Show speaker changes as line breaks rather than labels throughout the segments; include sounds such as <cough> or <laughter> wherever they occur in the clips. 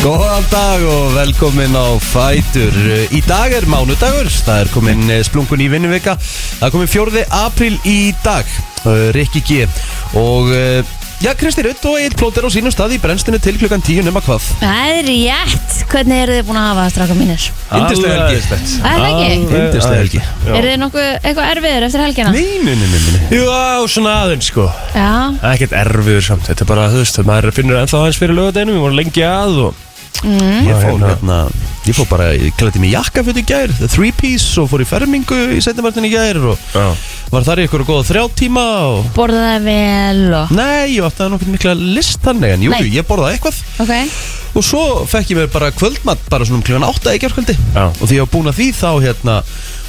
Góðan dag og velkomin á Fætur Í dag er mánudagur, það er komin eh, splungun í vinnuvika Það er komin 4. april í dag, Eh, Rikki G Og eh, já, Kristi Rutt og Egil Plóter á sínum stað í brennstinu til klukkan 10 nema hvað
Það er rétt. Hvernig eru þið búin að hafa það stráka mínir?
Yndislega helgi.
Er það ekki?
Yndislega helgi
Eru þið nokkuð eitthvað erfiður eftir helgina?
Nei, nei, nei, nei, nei.
Já, svona aðeins sko
Já,
Það er ekkert erfiður samt, þetta er bara, þú veist, maður finnur ennþá aðeins fyrir lögadeginum, við vorum lengi að og
Ég fór
hérna.
hérna Ég fór bara, ég klætti mig í jakkaföt í gær the Three piece og fór í fermingu í setjumvartin í gær Og
Já.
var þar í ykkur og góða þrjá tíma og
borðaði vel og...
Nei, ég átti að nokkert mikla list þannig En jú,
Nei.
jú, ég borðaði eitthvað
Ok.
Og svo fekk ég mér bara kvöldmatt Bara svona um klíðan átta í gerðkvöldi
Já.
Og því ég var búin að því þá hérna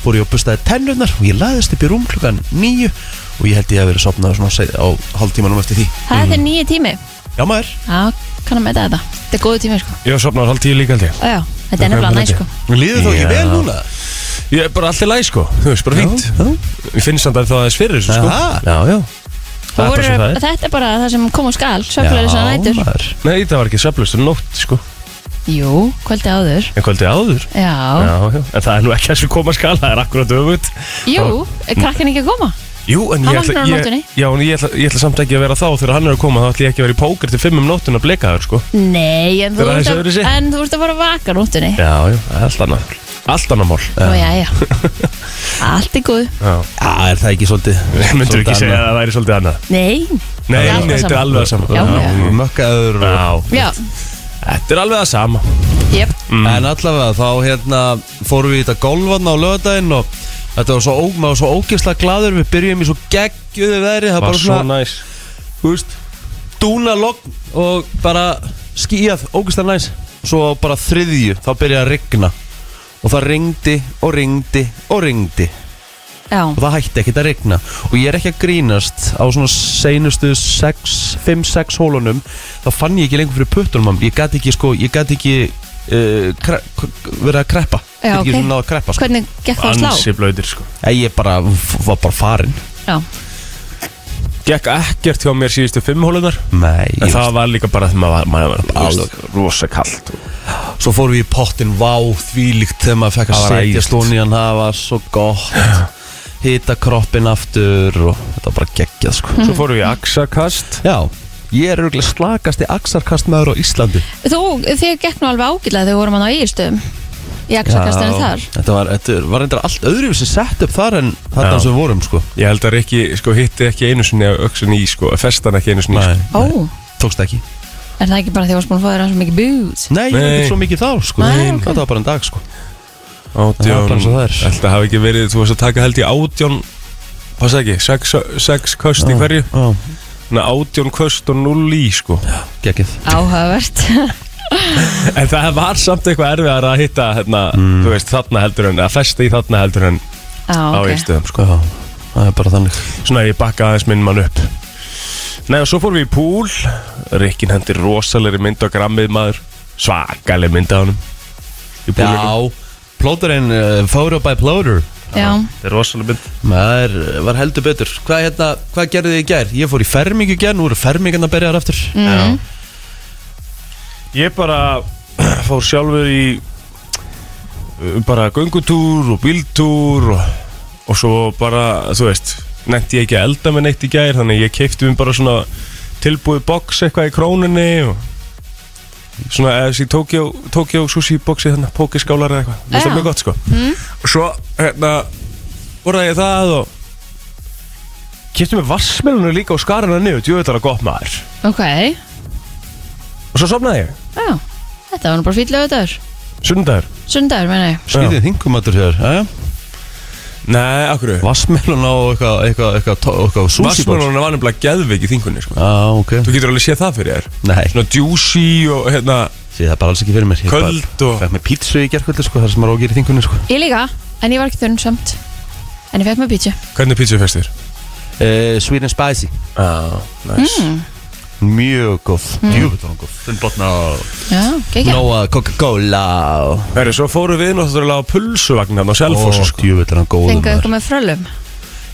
Fór ég og bustaði tennurnar Og ég laðist upp í rúm klukkan níu Og ég held ég að vera sopnað svona seg- á hálftímanum eftir því
Það
Mhm.
er þið nýju tími.
Já maður
Já, kannan með þetta. Þetta er góðu tími, sko.
Ég var sopnað hálf tíu líka aldrei
Ó, já, þetta er
Það
nefnilega
er
næst, sko.
Líður þó ekki
Já.
vel núna?
Ég er bara alltaf læg sko, þú veist, bara fínt
Já,
Ég finnst samt ennþá aðeins fyrir þessu sko
Aha.
Já, já Það er bara
Voru,
sem það er
þetta er bara það sem kom á skal, sökulega þess nætur.
maður
Nei, það var ekki sveflust um nótt sko
Jú, kvöldi áður.
En kvöldið áður
Já.
Já, já, en það er nú ekki að sem koma skala, það er akkurat öfut
Jú, er krakkin ekki að koma?
Jú, en
Hann
ég ætla,
vaknar á nóttunni.
ég, já, en ég, ætla, ég ætla samt ekki að vera þá þegar hann er að koma, þá ætla ég ekki að vera í póker til fimm um nóttuna blekaður, sko.
Nei, en þú,
Það er
ert
aðeins
að,
öðruvísi.
en þú ert að fara að vaka nóttunni.
Já, já, það er allt annað, allt annað mál.
Ó, já,
<laughs>
já. Allt er góð.
Já.
Já, er það ekki svolítið
Myndur
svolítið
ekki segja
annað?
að það væri svolítið annað?
Nei,
Nei,
Það er
nei,
alveg
þetta er
sama.
alveg að sama.
Já, já.
Mökkaður og-
Já.
já,
Þetta er alveg að sama.
jöp.
En allavega þá hérna fórum við í þetta golfan á lögadaginn og þetta var svo, ó, maður var svo ógeðslega gladur við byrjum í svo geggjöðu veðri það var bara svona,
næs.
þú veist dúna logn og bara skíjað, ógeðslega næs svo á bara þriðju, þá byrjaði að rigna og það ringdi og ringdi og ringdi
Já,
og það hætti ekkert að rigna og ég er ekki að grínast á svona seinustu 5-6 hólunum þá fann ég ekki lengur fyrir puttunum á mér. ég gæti ekki sko, ég gæti ekki uh, kre, verið að kreppa
Já,
Ég gat ekki
ok.
svona náð að kreppa sko.
hvernig gekk það að slá?
Ansi blöytir, sko.
Nei, ég bara, f- var bara farin
Já,
Gekk ekkert hjá mér síðustu fimm hólunar.
Nei,
En
ég,
það var líka bara því maður var, maður var bara
Alveg.
veist, rosa kallt.
svo fórum við í pottin vá þvílíkt þegar maður fekk að
Það var
setja
æðislegt.
stóni hann það var svo gott hita kroppin aftur og þetta var bara geggjað sko
Mm.
Svo fórum við í axakast.
Já, ég er örgulega slakasti axarkastmaður á Íslandi
þú, þið gekk nú alveg ágætlega þegar við vorum hann á Ígistum í aksakastinu þar
Þetta var, þetta var reyndar allt öðruvísi sett upp þar en þarna
Já.
sem við vorum sko
Ég held að Rikki, sko, hitti ekki einu sinni á öxun í, sko, festan ekki einu sinni í, sko.
Ó,
tókst ekki
er það ekki bara því að þú varst búin að fá þér alveg mikið bút?
Nei, ég er
Nei.
ekki svo mikið þá sko
Nei, ok.
Þetta var bara en dag sko Það er
Átján,
bara eins og það er.
held að hafa ekki verið, þú varst að taka held í átján, passa ekki, sex, sex köst í hverju.
Já,
Þannig að átjón köst og null í sko
geggið
Áhugavert <laughs>
En það var samt eitthvað erfiðar að hitta hérna,
Mm.
þú veist, þarna heldur en að festa í þarna heldur en
Á,
á
ok
einstöðum sko.
Já, það er bara þannig
Svona ég bakka aðeins minn mann upp Nei og svo fórum við í púl Rikkin hendir rosalegri mynd á grammið maður Svakaleg mynd á honum Í púlinu
Já, plóturinn, uh, photo by plotter
Já,
Þetta er rosaleg mynd
Maður eh, var heldur betur Hvað, hérna, hvað gerði þið í gær? Ég fór í fermingu í gær, nú eru fermingarna berjar aftur
mm. Ég bara <clears throat> fór sjálfur í uh, bara göngutúr og bíltúr og, og svo bara, þú veist nefndi ég ekki að elda með neitt í gær þannig ég keipti mér bara svona tilbúið box eitthvað í krónunni og svona eða þessi Tokyo, Tokyo sushi boxi þannig pókiskálar eða eitthvað, mér
Já.
finnst það mjög gott sko og svo hérna voraði ég það og keipti mér vassmelunum líka og skarana niður, djöðvitað að gott maður
ok
og svo sofnaði ég,
Já, þetta var nú bara fýtlega auðvitaður
sunnudagur
Sundagur, meina ég
Skrýðið þingum að þér hér eh?
Nei, akkur
Vassmelun á eitthvað, eitthvað, eitthvað, eitthvað, eitthvað sushi box.
Vassmálunum var nefnilega geðveik í þingunni sko.
Já, ok
Þú getur alveg séð það fyrir þér
Nei,
Svona juicy og hérna
sé það er bara alls ekki fyrir mér Ég bara-
köld og
Fekk mér pítsu í gerkvöldu sko, þar sem maður á að gera í þingunni sko
Ég líka, en ég var ekki þunn samt En ég fekk með pítsu
Hvernig pítsu fyrst þér?
uh, Sweet and Spicy
Já, næs
Hmm. Mjög góð, mm. djúvitt var hann góð Finnbotna
Já, gekk
Nóa Coca-Cola
Herri, svo fórum við náttúrulega á pulsuvagnan á Selfossi sko.
Djúvitt var hann góð
Fengu eitthvað með frölum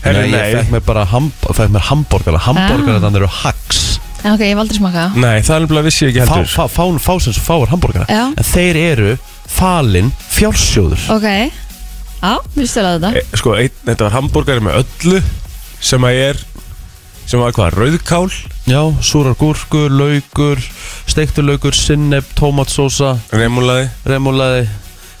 Herri,
Nei, ég
nei
Ah. fekk mér bara hamb fekk mér hambúrgara Hambúrgara þannig eru hacks
En ok, ég hef aldrei smakað það.
Nei, það er nefnilega vissi ég ekki
fá,
heldur
fá, fá, fá sem svo fáir hambúrgara
Já.
en þeir eru falinn fjársjóður
Ok, já, við stölaðu þetta.
e, Sko, ein, þetta var hambúrgari með öllu sem að er sem var hvað, rauðkál
já, súrar gúrkur, laukur steiktur laukur, sinneb, tómatsósa
remulaði
remúlaði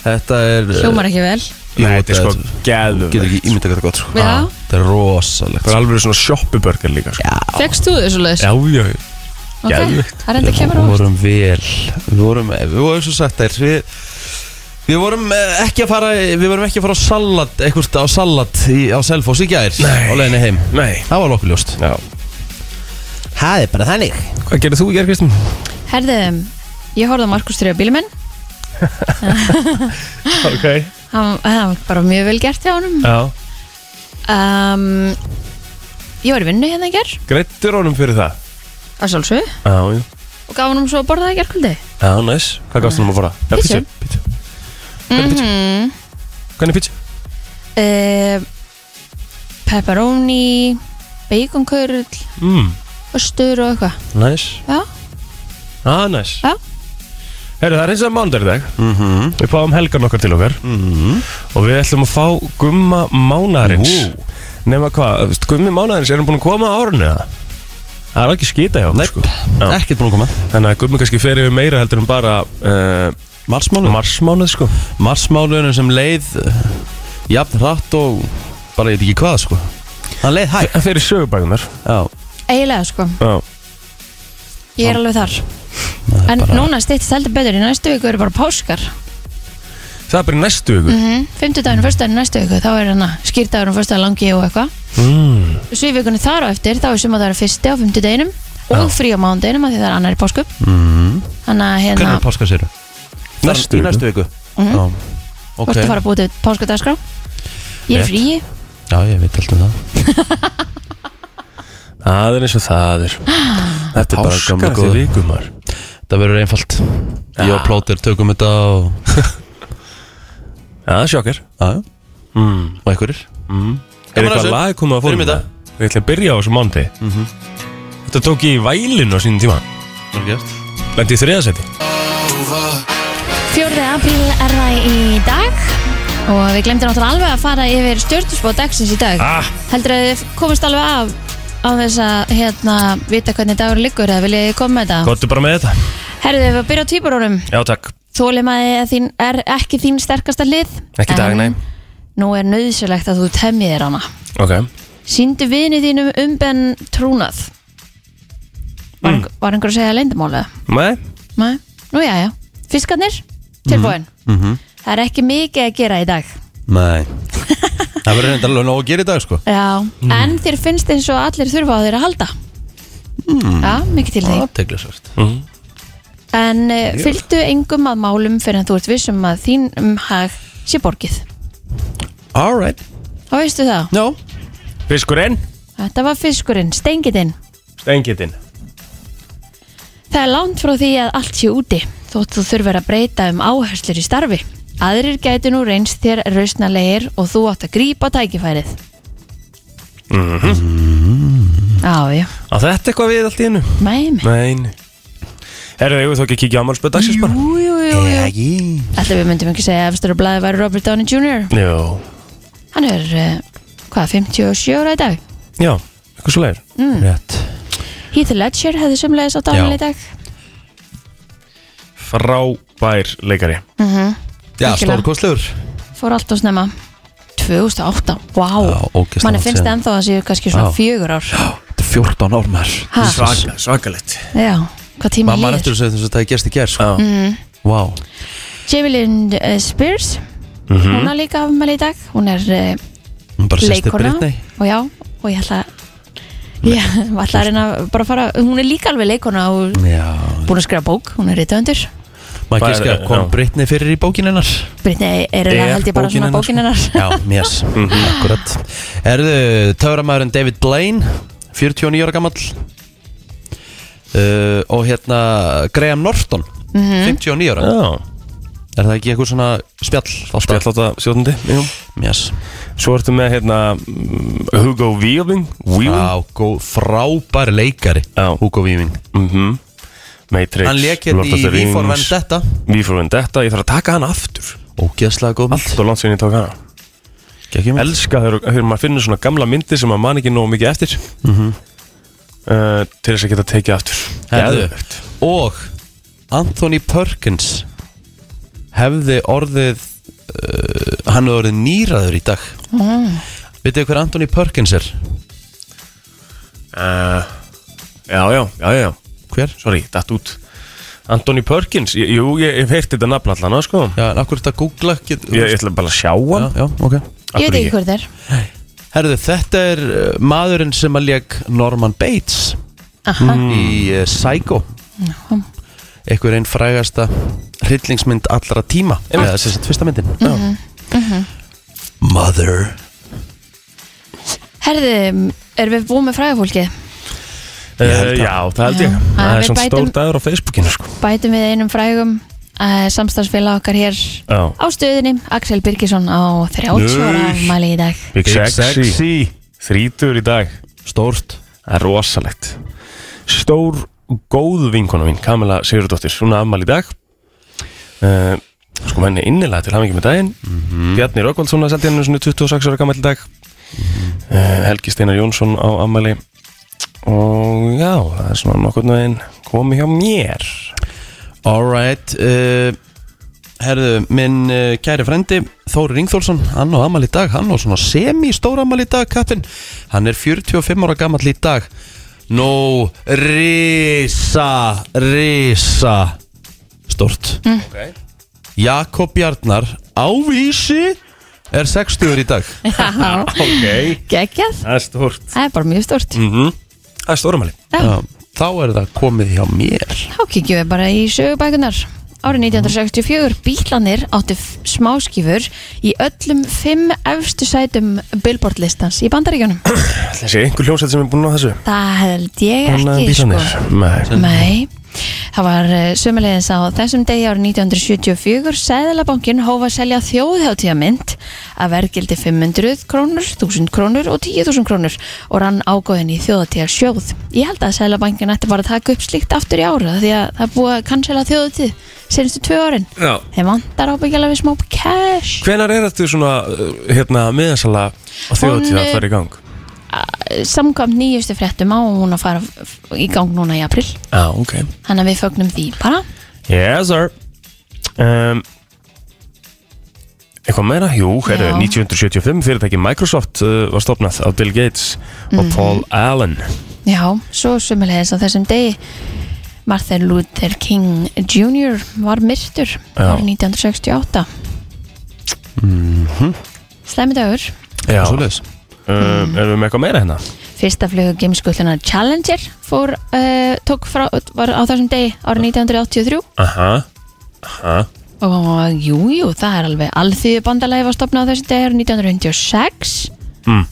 þetta er
Hljómar ekki vel.
Jú,
Nei, þetta er sko
þú getur
geðum
ekki ímynda hvað það er gott sko.
Já.
þetta er rosalegt sko.
Það er alveg svona shoppubörgar líka sko.
Fegst þú þessu laus?
Já, já, já
ok,
geðveikt.
það reynda kemur á
við
óvart.
vorum vel við vorum, eh, við vorum svo sagt þær við, við vorum eh, ekki að fara við vorum ekki að fara á salat eitthvað á salat í, á Selfoss í gær
Nei.
á leiðinni heim
Nei
það var nokkuð ljóst
Já
það er bara þannig
Hvað gerðið þú í gerð, Kristinn?
Herðið, ég horfði á Markus 3 á bílum minn.
Ok
Hann, það var bara mjög vel gert hjá honum.
Já
Um, ég var í vinnu hérna í gerð,
Greittur honum fyrir það
að sjálfsög,
Já, já
og gaf honum svo að borða það í gerðkvöldi.
Já, næs Hvað gafst honum að fara? Já,
Pizza.
Pizza Hvernig pizza?
Mhm.
Hvernig pizza?
Uh, pepperoni, baconkurl,
Mm,
ostur og eitthvað.
næs
Já,
Já, Ah, næs
Já.
Herru, það er eins og mánudar í dag -hmm. Við fáum helgan okkar til okkar mm -hmm. Og við ætlum að fá gumma mánaðarins
Ú.
Nefna hvað, þú veist, gummi mánaðarins, er hann búin að koma á árunni eða? Það er ekki skita hjá okkur,
Nei,
sko. Já.
ekkert búin að koma
Þannig að gummi kannski fer yfir meira heldur en bara uh,
Marsmáluðun
marsmánuð sko
Marsmáluðun sem leið eh, jafn hratt og bara ég veit ekki hvað sko hann leið hægt
Það fer í sögubækunar
já
eiginlega sko,
Já,
ég er alveg þar.
það er
En
bara-
núna stýttist heldur betur, í næstu viku eru bara páskar.
það er bara í næstu viku mm.
Mm, Fymtudagurinn, fyrstudagurinn, næstu viku, þá er hana skýrdagurinn, fyrstudagurinn, langi og eitthvað.
Mm.
Svo í vikunni þar á eftir, þá er sumadagur fyrsti á fymtudaginum og frí á mándaginum að því það er annar í páskum. Þannig að hérna,
Mm. hvernig er páska sér?
Næstu
í
viku.
næstu viku
Mhm.
já
þú ert að fara að búið til páskadagskrá. Ég
Rétt.
er fríi.
já ég veit alltaf um það
Það er eins og það er Þetta er bara
Páskar eftir
gamla
Ah.
góða vikumar
það verður einfalt ég og plótir tökum þetta og
Já, það er sjokkar
Ah, já já.
mm.
og einhverjir
Er
Gaman að
eitthvað
þessu.
lag komið að
Fyrir
fórum
mig í dag.
Við ætlum að byrja á þessu mándi Þetta tók ég í vælinu á sínum tíma Lendi í þriðasetti
Fjórði apríl er það í dag og við glemdum náttúrulega alveg að fara yfir stjórnusbóð dagsins í dag.
ah,
Heldur að þið komist alveg af á þess að hérna vita hvernig dagur liggur eða viljið þið koma með þetta?
Gottu bara með þetta
Herðu, ef við að byrja á týpurónum,
Já, takk
þólimaði þín, er ekki þín sterkasta hlið.
Ekki í dag,
en
nei.
Nú er nöðsynlegt að þú temjið þér hana.
Ok
Sýndu vinið þínum umbenn trúnað. Var, mm. var einhver að segja leyndamálið?
Nei
Nei, nú já, já. Fiskarnir, tilbúin.
Mhm.
Það er ekki mikið að gera í dag.
nei <laughs> það verður reynda alveg nóg að gera í dag sko
Já, Mm. en þér finnst eins og allir þurfa á þér að halda. Já, mikið til því.
teglisvært
mm.
En uh, fylgdu engum að málum fyrir að þú ert vissum að þín umhag sé borgið.
alright
Þá veistu það,
já
Fiskurinn
þetta var fiskurinn, stengitinn.
Stengitinn
Það er langt frá því að allt sé úti, þótt þú þurfur að breyta um áherslur í starfi. Aðrir gætu nú reynst þér rausnalegir og þú átt að grípa tækifærið.
Mhm.
Mm -hmm. Já, já,
Á þetta eitthvað við allt í hennu
mæmi.
Nein Herðu, ég vil þó ekki kíkja á amálspöð dagsins bara
Jú, jú, jú, jú.
ekki
Alltaf við myndum ekki segja að efstur að blæði væri Robert Downey Jr.
Jó
Hann er, eh, hvað, 57 ára í dag?
Já, eitthvað svo leir
rétt
Heath Ledger hefði sumlegis á
Já.
dánal í dag.
Frábær leikari
já
Virkilega.
stórkostlegur
Fór allt og snemma. 2008,
Já,
wow.
ógeðslega
Manni
langt
finnst
síðan.
ennþá að séu kannski svona
Já.
fjögur ár.
Þetta er 14 ár maður
Ha?
svakalegt
Já, hvað tíma
maður man
líður
eftir þessu þess að það er gerst í gerð sko
Já
wow
Jamie Lynn uh, Spears Hún er líka afmæli í dag Hún er uh,
hún bara sýsti
leikona
Britney
Og já, og ég ætla Já, ég ætla að reyna að bara fara Hún er líka alveg leikona og
já
búin að skrifa bók Hún er reytaundur
maður
Bara-
gíska
já.
kom Britney fyrir í bókin hennar
Brittany er
Er
eiginlega, held ég bara
bókin
svona
hennar,
bókin hennar
já yes akkurat erðu töframæðurinn David Blaine 49 ára gammal uh, og hérna Graham Norton 59 ára
Já
Er það ekki eitthvað svona spjall?
Spjall
alltaf?
átta sjóðandi
Yes.
Svo ertu með hérna mm, Hugo Weaving Weaving
Já, góð, frábær leikari
Já.
Hugo Weaving
Mhm. Matrix
Hann lék hérna
Lord of
í
the
V for
Rings,
Vendetta
V for Vendetta Ég þarf að taka hana aftur
Ógeðslega góð mynd
Allt og langt sinni ég tók hana
Gekkum við
Mm. Elska þegar þegar maður finnur svona gamla myndir sem maður man ekki nógu mikið eftir uh, Til þess að geta tekið aftur
Herðu.
Geðveikt.
Og Anthony Perkins hefði orðið uh, hann hefði orðið nýraður í dag mm. Vitið þið hver Anthony Perkins er?
Uh, Já, já, já, já
Hver?
Sorry, datt út Anthony Perkins, Ég- jú, ég hef heyrt þetta nafn allan, sko
Já, en akkur þetta googla get,
Ég, ég ætla bara að sjá
já,
hann
já, ok
Ég
Af
veit
hverju
ekki hvað það er
Herðu, þetta er uh, maðurinn sem að lék Norman Bates
Aha,
í uh, Psycho
Já.
einhver einn frægasta hryllingsmynd allra tíma eða þess að fyrsta myndin mm -hmm. Mother
Herði, erum við búið með fræðafólkið?
Ég held
Uh,
það.
já, það held ég
Já.
Það
Að
er
við
svona
bætum-
stór dagur á Facebookinu sko.
Bætum við einum frægum uh, samstarfsfélag okkar hér
Já.
á stöðinni Axel Birgisson á 30 ára
Nei.
afmæli í dag
Big Sexy Þrítur í dag
Stórt
Það er rosalegt Stór góð vinkona mín Kamila Sigurdóttir Svona afmæli í dag uh, Sko menni innilega til hamingi með daginn Bjarni Rökkvaldsson að sendi henni svona 26 ára gammal í dag uh, Helgi Steinar Jónsson á afmæli Og já, það er svona nokkurn veginn komið hjá mér
Alright uh, Herðu, minn uh, kæri frendi Þóri Ringþólsson, hann á amal í dag hann á svona semi-stór amal í dag kattinn, hann er 45 ára gammal í dag Nú, risa risa stórt
okay.
Jakob Bjarnar ávísi er 60 í dag
ok,
Gekkjað,
það er stórt
það er bara mjög stort
mm -hmm. Það er stórumæli
Já,
Já, Þá er það komið hjá mér
þá kikjum við bara í sögubækunar Árið 1964 bílanir áttu f- smáskífur í öllum fimm efstu sætum Billboard listans í bandaríkjunum
Það sé einhver hljómsveit sem er búin á þessu
Það held ég
Búin að
ekki
bílarnir?
sko.
Nei
Nei, það var sömulegins á þessum degi árið 1974 Sæðalabankin hófa að selja þjóðhjáttíðamynd að verðgildi 500 krónur, 1000 krónur og 10.000 krónur og rann ágóðin í þjóðatíðar sjóð. Ég held að Sæðalabankin ætti bara að taka upp slíkt aftur í ára því að það er búið að cancela þjóðatíð senstu tvö árin.
Já
Þeir vantar ábyggjalega við smá cash.
Hvenær er þetta svona, uh, hérna, miðasala á þjóðtíð að
Hún,
fara í gang?
Samkvæmt nýjustu fréttum á hún að fara f- í gang núna í april.
Já, ok
Þannig að við fögnum því bara.
Yes, sir um, Eitthvað meira? Jú, hérna,
Já.
1975 fyrirtæki Microsoft uh, var stopnað á Bill Gates
Mhm.
og Paul Allen
Já, svo sumulegis á þessum degi Martin Luther King Jr. var myrtur árið 1968 mm -hmm. Slæmidagur
Já um,
Svoleiðis.
Mhm.
Erum við með eitthvað meira hérna?
Fyrsta flugu gameskullunar Challenger fór, uh, tók frá, var á þessum degi árið 1983
Aha Aha
og jú, jú, það er alveg alþýðu bandalagi var stopnað á þessum degi árið 1996
Mm.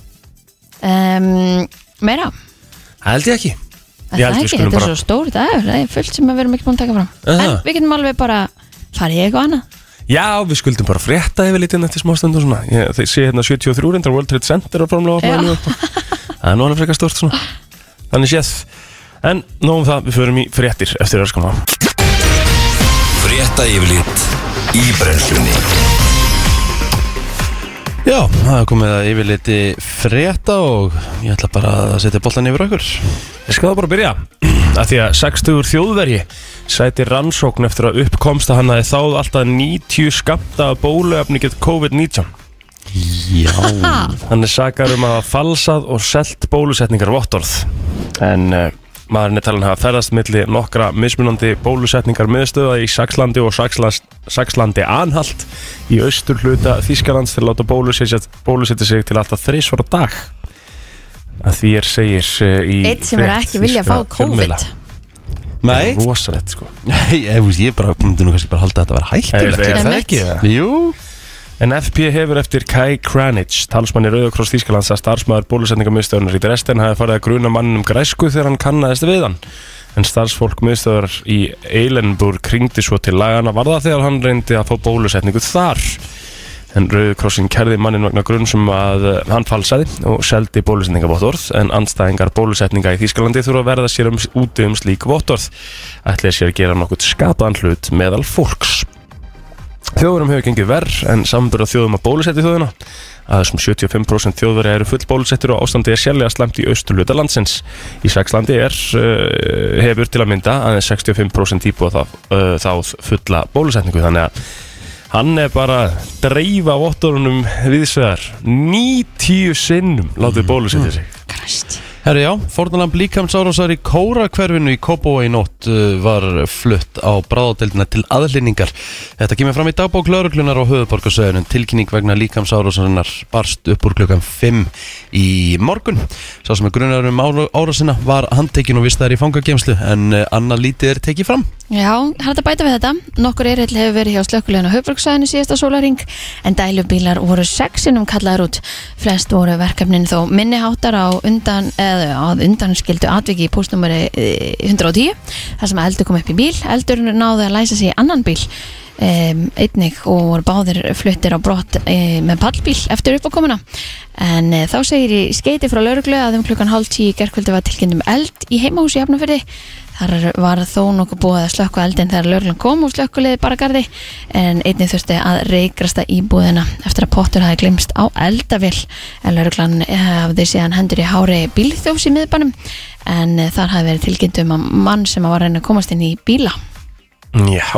um, Meira
Það held ég ekki
Það
Ég
er
held við
ekki, þetta
skulum
er
bara-
svo stór dagur, það er fullt sem við erum ekki búin að taka fram
Aha.
En við getum alveg bara farið í eitthvað annað
Já, við skuldum bara frétta yfir litið eftir smástund og svona ég, Þeir sé hérna 73 reyndar World Trade Center að
Já.
framlega opnaði nú upp og- Það er nú alveg frekar stort svona Þannig séð En nóg um það, við förum í fréttir eftir öskamá
Frétta yfirlit í brennslunni
Já, það er komið að yfirliti frétta og ég ætla bara að setja boltan yfir okkur
Ég skal það bara byrja <clears throat> að Því að 60 þjóðverji sæti rannsókn eftir að uppkomst að hann hafi þáð alltaf 90 skamta af bóluefni gett COVID-19
Já
Hann er sakar um að hafa falsað og selt bólusetningar vottorð En uh, maðurinn er talin að hafa ferðast milli nokkra mismunandi bólusetningar miðstöða í Saxlandi og Saxlans, Saxlandi anhalt í austur hluta Þýskalands til að láta bólusetja, bólusetja sig til alltaf þreysvara dag að því er segir uh, í
Eitt sem er
frétt
ekki vilja að
þýskra
fá COVID
fjölmiðla.
Nei,
Rosalegt sko
Nei, ég, veist, ég bara myndi nú kannski bara halda að þetta var hættilegt
Er
það ekki?
Jú
En FP hefur eftir Kai Kranich, talsmanni Rauðakross Þýskalands að starfsmæður bólusetningamöðstöðunar í Dresden hafi farið að gruna mannum græsku þegar hann kannaðist við hann. en starfsfólk miðstöðar í Eilenburg kringdi svo til lagana varða þegar hann reyndi að fá bólusetningu þar en Rauðkrossin kærði mannin vegna grunn sem að eh, hann falsaði og seldi bólusetningavottorð en anstæðingar bólusetninga í Þýskalandi þurfa að verða sér um, úti um slík vottorð ætlaði sér að gera nokkurt skapaðan hlut meðal fólks Þjóðurum hefur gengið verð en samanbyrða þjóðum að bólusetja þjóðuna. Aðeins um 75% þjóðverið eru full bólusettir og ástandið er sérlega slæmt í austurluta landsins. Í Saxlandi er, uh, hefur til að mynda aðeins 65% íbúa þá, uh, þáð fulla bólusetningu þannig að hann er bara að dreifa vottorunum viðsvegar 90 sinnum látið bólusetja sig.
Kræst.
Herri já, fórnalamb líkamsárásar í Kórakverfinu í Kópóa í nótt uh, var flutt á bráðadeldina til aðlýningar. Þetta kemur fram í dagbók lauruglunar á höfuborgarsöðunum. Tilkynning vegna líkamsárásarinnar barst upp úr klukkan 5 í morgun. Sá sem er grunar um ára- árásina var handtekin og vistaðar í fangagemslu en uh, annað lítið er tekið fram.
Já, hægt að bæta við þetta. Nokkur erill hefur verið hjá slökkuleginu höfbruksvæðinu síðasta sólaring en dælubílar voru sexinum kallaðar út. Flest voru verkefnin þó minni háttar á undan, eða að undanskildu atviki í eh, pústnumari 110 þar sem eldur kom upp í bíl. Eldur náði að læsa sig í annan bíl um, einnig og voru báðir fluttir á brott um, með pallbíl eftir uppákomuna en uh, þá segir í skeiti frá lauruglu að um klukkan hálf tíu gerkvöldi var tilkynnt um eld í heimahúsi í Hafnafyrði þar var þó nokkuð búið að slökka eldin þegar lauruglan kom úr slökkuleiði baragarði en einnig þurfti að reikrasta íbúðina eftir að pottur hafi glimst á eldavill en lauruglan hafði síðan hendur í hári bílþjófs í miðbænum en eh, þar hafi verið tilkynnt um að mann sem var að reyna að komast inn í bíla
Já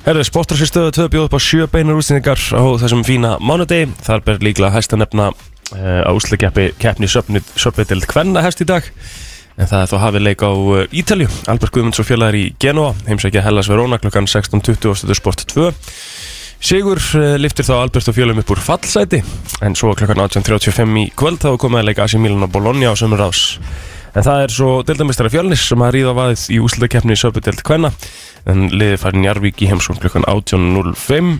Herðu, sportrassi stöðu 2 bjóð upp á sjö beinar útsendingar á þessum fína mánudegi Þar ber líklega hæst að nefna uh, á úsleikjappi keppni Söpvitild Kvenna hefst í dag En það er þó hafið leik á eh, Ítalju Albert Guðmunds og fjölaðar í Genoa Heimsækja Hellas Verona klukkan 16.20 og stöðu sport 2 Sigur uh, liftir þá Albert og fjölum upp úr fallsæti En svo klukkan 18.35 í kvöld þá er komið að leika Asi Milan og Bologna á sömur rás En það er svo deildamistara fjölnis sem að ríða á vaðið í úsleikjapni Söpvitild Kvenna en liðið fær Njarvík í heimsókn klukkan 18.05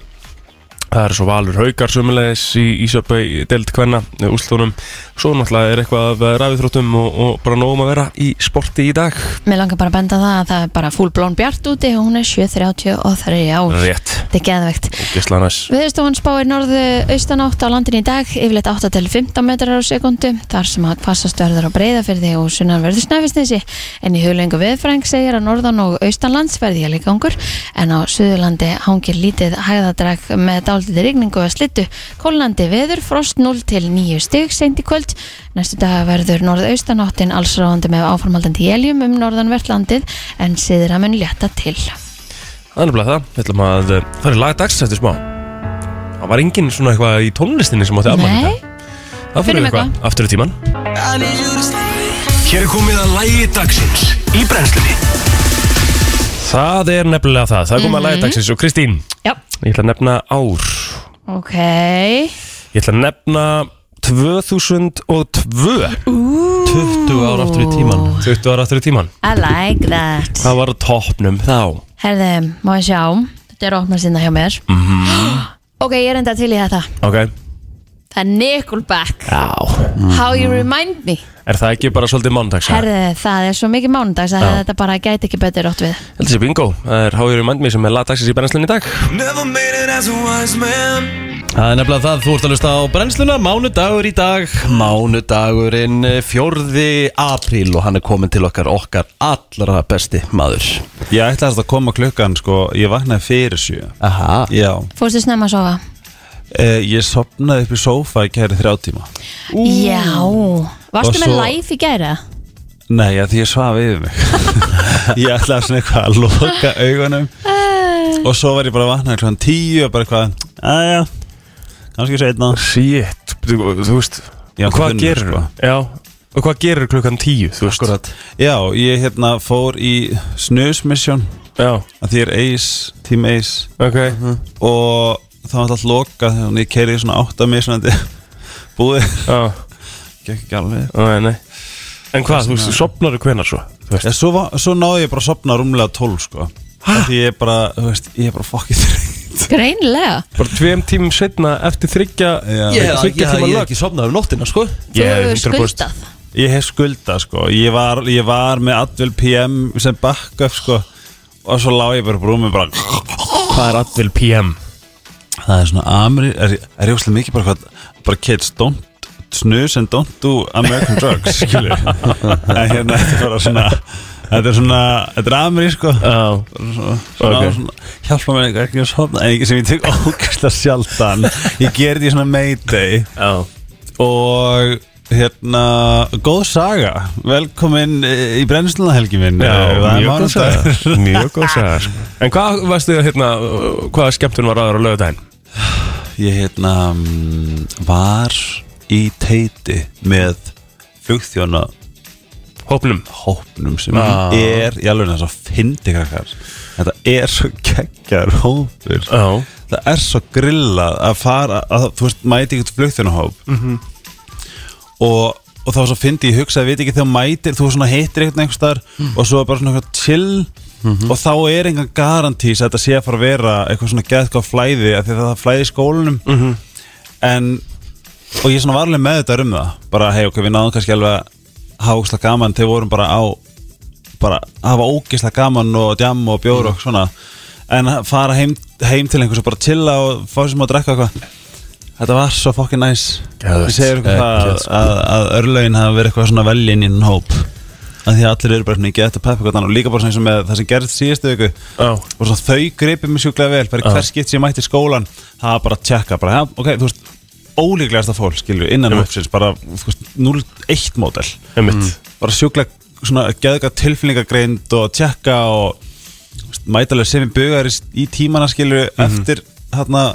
það er svo Valur Haukar sömulegis í Ísöpau deild kvenna úrslutunum, svo náttúrulega er eitthvað af ræðuþróttum og, og bara nógum að vera í sporti í dag
Mér langar bara að benda á það að það er bara full blón bjart úti og hún er 7.30 og það er já,
rétt,
þetta er geðvegt
ógislega næs
Viðstofan spáir norðu austanátt á landin í dag, yfirleitt 8 til 15 metrar á sekundu, þar sem að hvassast verður á breyðafyrði og sunnan verður snæfisnesi. En í huglengu viðfræng segir að norðan og austanlands verði jæli gangur, en á Suðurlandi hangir lítið hæðadrag með dálítið rigningu að slittu. Kólnandi veður, frost 0 til 9 stig seint í kvöld. Næstu dag verður norðaustanáttin allsráðandi með áformaldandi jæljum um norðanvert landið, en siður að mun létta til.
það er bara það, við ætlum að eh, það er lagdags eftir smá það var enginn svona eitthvað í tónlistinni sem átti afmæli í
Nei,
dag. það fyrir
finnum
eitthvað, aftur í tíman
Hér er komið að lægi dagsins í brennslunni
það er nefnilega það, það er komið að lagi dagsins og Kristín,
já,
ég ætla að nefna ár
ok.
ég ætla að nefna 2002
20 ára aftur í tíman.
20 ára aftur í tíman
I like that
Hvað var á toppnum þá?
Herði, má ég sjá Þetta er opnað sinna hjá mér mm Ok, ég er enda til í þetta
Ok
Það er Nickelback
Já Mhm.
How you remind me
Er það ekki bara svolítið mándags?
Herði, það er svo mikið mánudags að
Já.
þetta bara gæti ekki betur átt við
Heldur sér bingo Það er Hájur í Mandmi sem er lagdagsins í brennslinni í dag
Never made it as a wise man
Það er nefnilega það, þú ert að lusta á brennsluna, mánudagur í dag, mánudagurinn eh, 4. apríl og hann er komin til okkar, okkar allra besti maður.
Ég ætlaði að koma klukkan sko, ég vaknaði fyrir sjö
Aha.
Já,
Fórstu snemma að sofa?
eh, ég sopnaði upp í sófa í kæri þrjá tíma
Já Varstu
Og
með
svo-
live í
<laughs>
gæra?
Nei, að því ég svaf yfir mig <laughs> Ég ætlaði svona eitthvað að loka augunum Og svo var ég bara vaknaði klukkan tíu og bara eitthvað Æja, kannski seinna
Shit Þú, þú veist
Já,
Og hvað
finnur,
gerur
sko.
Já Og hvað gerur klukkan tíu? Þú veist Akkurat
Já, ég hérna fór í snusmission
Já
að því ég er ace, team ace
Ok
Mhm. Og það var alltaf lokað Þannig ég kæri svona átta mismunandi <laughs> Búið,
Já
gekk ekki alveg
Nei, nei En hvað, þú veist, sopnar þú hvenar svo? Þú veist
Já, svo, va- svo náði ég bara að sopna rúmlega 12 sko Af Því ég er bara, þú veist, ég er bara fokkið þreytt
Greinlega
Bara tveim tímum setna eftir þryggja
Já.
Ég hef
Þriggja
ég-
tíma
ég hef
lög.
ekki sofnað um nóttina, sko.
Þú
Ég er
hefur
100%
skuldað
Ég hef skulda sko Ég var, ég var með Advil PM sem backup sko Og svo lá ég bara brúmi bara
Hvað er Advil PM?
Það er svona Amri Er, er ég óslega mikið bara hvað Bara kids don't snus and don't do American drugs Skilur
<laughs>
En hérna þetta er bara svona Þetta er svona Þetta er Amri sko
Já
svona, svona,
Ok.
svona, hjálpa mér eitthvað ekki að sofna en ég- sem ég tek <laughs> ókvæslega sjaldan ég gerði í svona mayday
Já
og hérna, góð saga velkomin eh, í brennsluna helgi minn Eh, það er
mjög góð
mánudagur.
<laughs> saga Mjög góð saga sko. En hvað varstu hérna, hvaða skemmtun var aðra á lögadaginn?
<laughs> ég hérna mm, var í teiti með flugþjóna
Hópnum
hópnum sem
Ah.
er ég alveg þess að fyndi krakkar þetta er svo kekkjar hópur
Já
það er svo grillað að fara að, þú veist, mæti ekkert flugþjónahóp og, og þá svo fyndi ég hugsa að veit ekki þegar mætir þú svona hittir eitthvað einhvers þar og svo er bara svona eitthvað chill og þá er engan garantís að þetta sé að fara að vera eitthvað svona geðka flæði af því að það flæði í skólanum -hmm. en og ég svona var alveg með þetta um það bara hei ok, við náðum kannski alveg að hafa ógislega gaman þegar við vorum bara á bara hafa ógislega gaman og djam og bjór
Mm.
og svona en að fara heim, heim til einhvers og bara chilla og fá sér sem að drekka eitthvað þetta var svo fokkin næs
Geðvegt.
ég segir ykkur það
Ekkert, sko.
að, að örlögin hafa verið eitthvað svona veljinn í enn hóp að því að allir eru bara svona ekki eftir peppi og líka bara svona eins og með það sem gerðist síðustu viku
Já.
og svo þau gripið mér sjúklega vel bara
Já.
í hver skipt sem ég mætti í skólan það var bara að tjekka bara, ja, ok, þú veist ólíklegasta fólk, skilju, innan
Einmitt.
hópsins bara, þú veist, 0-1 módel
Einmitt
bara sjúklega svona geðga tilfinningagreind og tjekka og þú veist, mætalega sem við bugar í, í tímana skilju
Mhm.
eftir hérna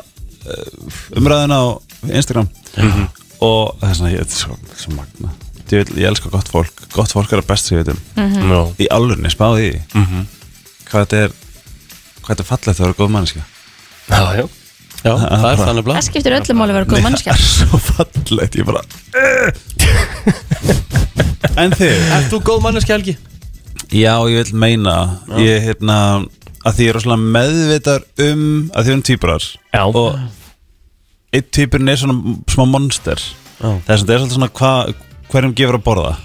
eh, umræðuna á Instagram
Mhm.
og það er svona, ég þetta er svo, svo magna ég, vil, ég elska gott fólk, gott fólk er að best sem ég veit um,
Já
í alvörni spáði í hvað þetta er hvað þetta er fallegt að vera góð mannskja
Já, já
Já, það er þannig
Það
blað
skiptir öllum máli að vera góð
það
mannskja
er svo fallegt, ég bara en þið
Er þú góð manneskja Helgi?
Já, ég vil meina Ég, hérna, að því ég er rosalega meðvitar um að því við erum týpurar
Já.
Og einn týpurinn er svona smá monster
Já.
Þess að það er svolítið svona hva, hverjum gefur að borða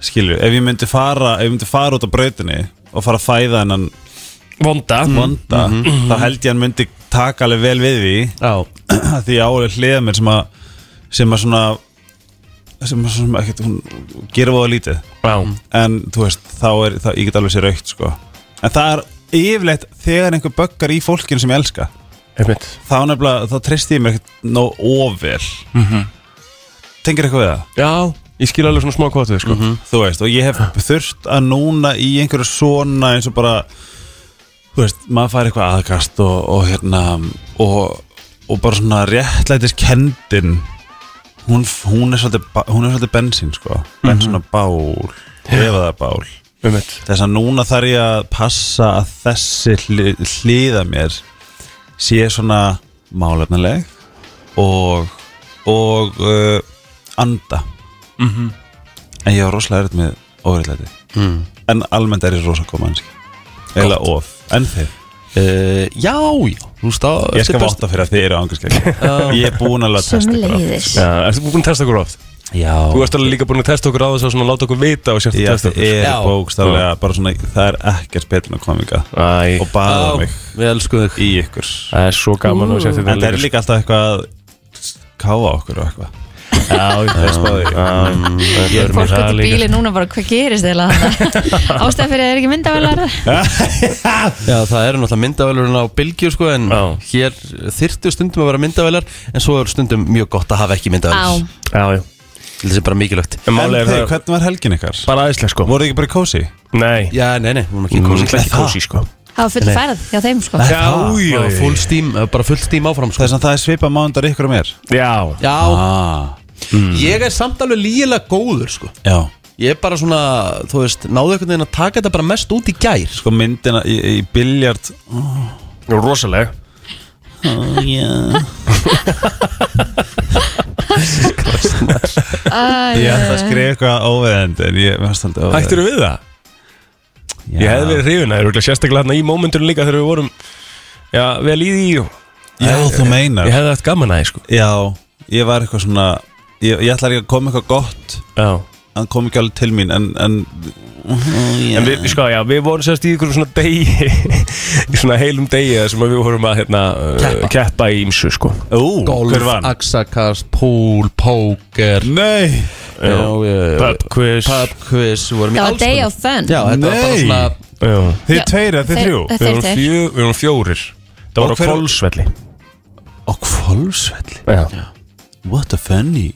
Skilju, ef ég myndi fara ef ég myndi fara út á brautinni og fara að fæða hennan
Vonda
vonda þá held ég hann myndi taka alveg vel við því
Já
<clears throat> að því álega hliða mér sem að sem að svona sem að svona ekkert, hún gerir voða lítið
Já
en þú veist, þá er þá, ég get alveg sér aukt sko. en það er yfirleitt þegar einhver böggar í fólkinu sem ég elska
Einmitt
þá nefnilega, þá treysti ég mér ekkert nóg ofvel mm tengir eitthvað við það,
Já, ég skil alveg svona smá kvotu, sko
Mhm. þú veist, og ég hef þurft að núna í einhverju svona eins og bara þú veist, maður fær eitthvað aðkast og, og hérna og, og bara svona réttlætis kendin hún, hún er svolítið ba- hún er svolítið bensín sko bensín og bál, hefa það bál
Einmitt
þess að núna þarf ég að passa að þessi hli, hliða mér sé svona málefnileg og og uh, anda en ég var rosalega erfitt með óriðlæti en almennt er ég rosa góð mannski eða of, en þið
Uh, já, já, þú stáð
ég skal vátta fyrir að þið eru ángarskæk ég er búin alveg að testa ykkur á.
Sömleiðis
Já, ertu búin að testa okkur oft?
já,
Þú ert alveg líka búin að testa okkur á þess að svona láta okkur vita og sérst að
ég
testa okkur
er
Já.
bókstaflega bara svona, það er ekkert betur en að koma ykkar
Æ,
og baða mig
Við elskum þig
í ykkur
það er svo gaman að sérst
En
Mm. þetta
það er líka alltaf eitthvað að káfa okkur og eitthvað
Já, ég
er spáð í.
spáði Ég
Fólk átt í bíli núna bara hvað gerist eða
<laughs>
Ástæð fyrir að það er ekki myndavelar
Já, það eru náttúrulega myndavælurinn á Bilgju sko En
Já.
hér þyrtu stundum að vera myndavælar En svo er stundum mjög gott að hafa ekki
Á,
myndavælar
Já, já
Þetta er bara mikilvægt
En
En
málega er
þið,
það
hvernig var helgin ykkar?
bara aðeinslega, sko
Voruð þið ekki bara í kósi?
Nei,
Já, nei, nei, hún er ekki kósi
ekki kósi, sko
það var full
Nei.
færð hjá þeim sko
Já, já, já,
Full steam, eh, bara full steam áfram sko
Þess að það er svipað mánundar ykkur og mér
já
Já,
ah,
ég er samt alveg lígilega góður sko
Já
Ég er bara svona, þú veist, náðu einhvern veginn að taka þetta bara mest út í gær
Sko myndina í, í biljart
Rosaleg
oh, yeah.
Æ,
Ég ætla að skrifa eitthvað óveðend En ég veist aldrei óveðend
Ættir við það? Ég hefði verið hrifin Það er örugglega sérstaklega hérna í mómentunum líka þegar við vorum Já, vel í því og
Já, þú meinar
Ég hefði haft gaman að því, sko
Já, ég var eitthvað svona Ég, ég ætla ekki að koma eitthvað gott
Já
hann kom ekki alveg til mín en, en,
Oh, En við, sko, já, við vorum sérst í ykkur svona degi <laughs> Í svona heilum degi þar sem að við vorum að hérna, keppa. keppa í ímsu sko.
ú, hver
Golf,
vann?
axakast, pool, póker
Nei
já, já, já.
Uh, Pub quiz.
Pub quiz, við vorum í
Það var
alls
day
konar.
of fun
Já, þetta var bara
Nei.
svona
Já.
Þið
Já,
tveir eða þið
þeir-
þrjú?
þeir-
Við vorum fjö, við vorum fjórir Það
Og
var á
hver-
Kolsvelli
Á kvolfsvelli
Já.
What a funny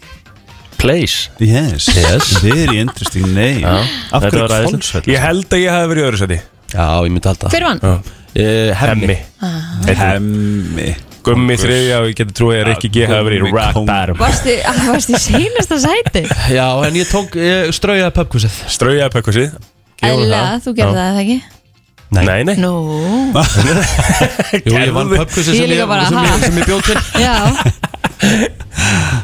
Place
Yes, yes. Very interesting name Af
Þetta
hverju
var æðislegt.
kvolfsvelli?
Ég held að ég hef verið í öðru seti
Já, ég myndi halda
Hver vann?
Eh, Hemmi
Hemmi
Hemmi
Gummi þriðja og ég geti trúið að Rikki G hafi verið í
Gummi
Rock
kóng.
Bottom
Varstu, <laughs> varstu í seinasta sæti?
Já, en ég tók, ég straujaði pubquizið
Strauja pökkusi
Æla, þú gerði það eða ekki?
Nei, nei
Nú,
Jú, ég vann pubquizið
Ég
sem,
líka
ég-
bara,
sem,
ha?
ég- sem ég bjóð til
<laughs> já,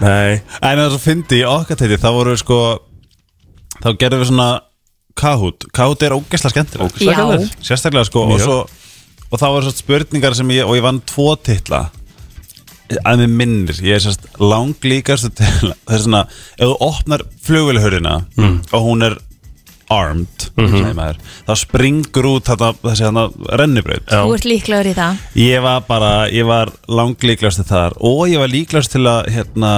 Nei
En það er svo fyndi í okkar tæti Þá voru við sko Þá gerðum við svona Kahoot Kahoot er ógeðslega skemmtilegt
Já. skemmtilegt.
Sérstaklega sko Og,
Mjög.
svo, og það voru svona spurningar sem ég Og ég vann tvo titla Að mér minnir Ég er sérst langlíkast til Það er svona Ef þú opnar flugvélhörðina
Mm.
Og hún er armed
Mhm.
maður, Þá springur út þetta, þessi hana rennubraut
Já.
þú ert líklegur í það
Ég var bara, ég var langlíklaust til þar og ég var líklaust til að hérna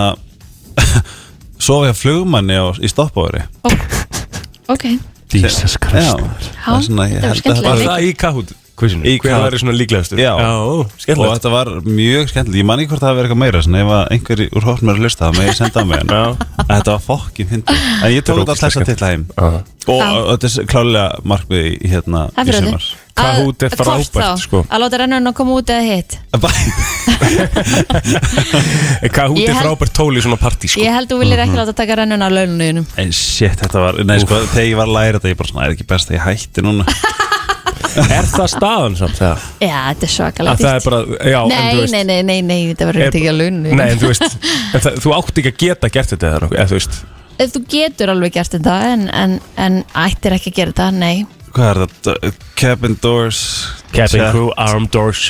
<laughs> sofa hjá flugmanni á, í stoppári
Ok,
Jesus
Já, það er
þetta
svona,
var
ég held að
skemmtilegt.
þetta
Var
var
það í Kahoot quizinu?
Í
Hver
Kahoot.
var svona líklegastur?
Já.
ó,
og
Skemmtilegt
þetta var mjög skemmtilegt, ég man ekki hvort það hafi verið eitthvað meira svona, ef að einhver úr hóttum er að hlusta það með ég senda á mig en
Já.
að þetta var fokkin hindi en ég
Þetta er
tók þetta alltaf
ógeðslega
þess að tilla heim
Já.
og og þetta er klálega markmið í í hérna
það
í
fyrir
sumar
þig
Kahoot er
Að- hvort
frábært,
þá?
sko.
Að láta rennurinn að koma út eða hitt
Kahoot
Ég
er
held-
frábært tól í svona partí sko.
Ég held þú viljir ekki láta taka rennurinn af laununuðinum
en shit, þetta var, nei sko, þegar ég var að læra þetta ég bara svona, er ekki best að ég hætti núna
Er það staðan samt? Það,
Já, þetta er svakalega
að það er bara, já, en þú
Nei,
veist
nei, nei, nei, nei, þetta var
er-
reynd ekki að launinu
Nei, en þú veist
<laughs>
en það, Þú átt ekki að geta gert þetta eða nokkuð, eða þú veist
Þú getur alveg gert þetta en, en, en ættir ekki að gera þetta, nei
hvað er þetta, cabin doors
Cabin
check.
crew, arm doors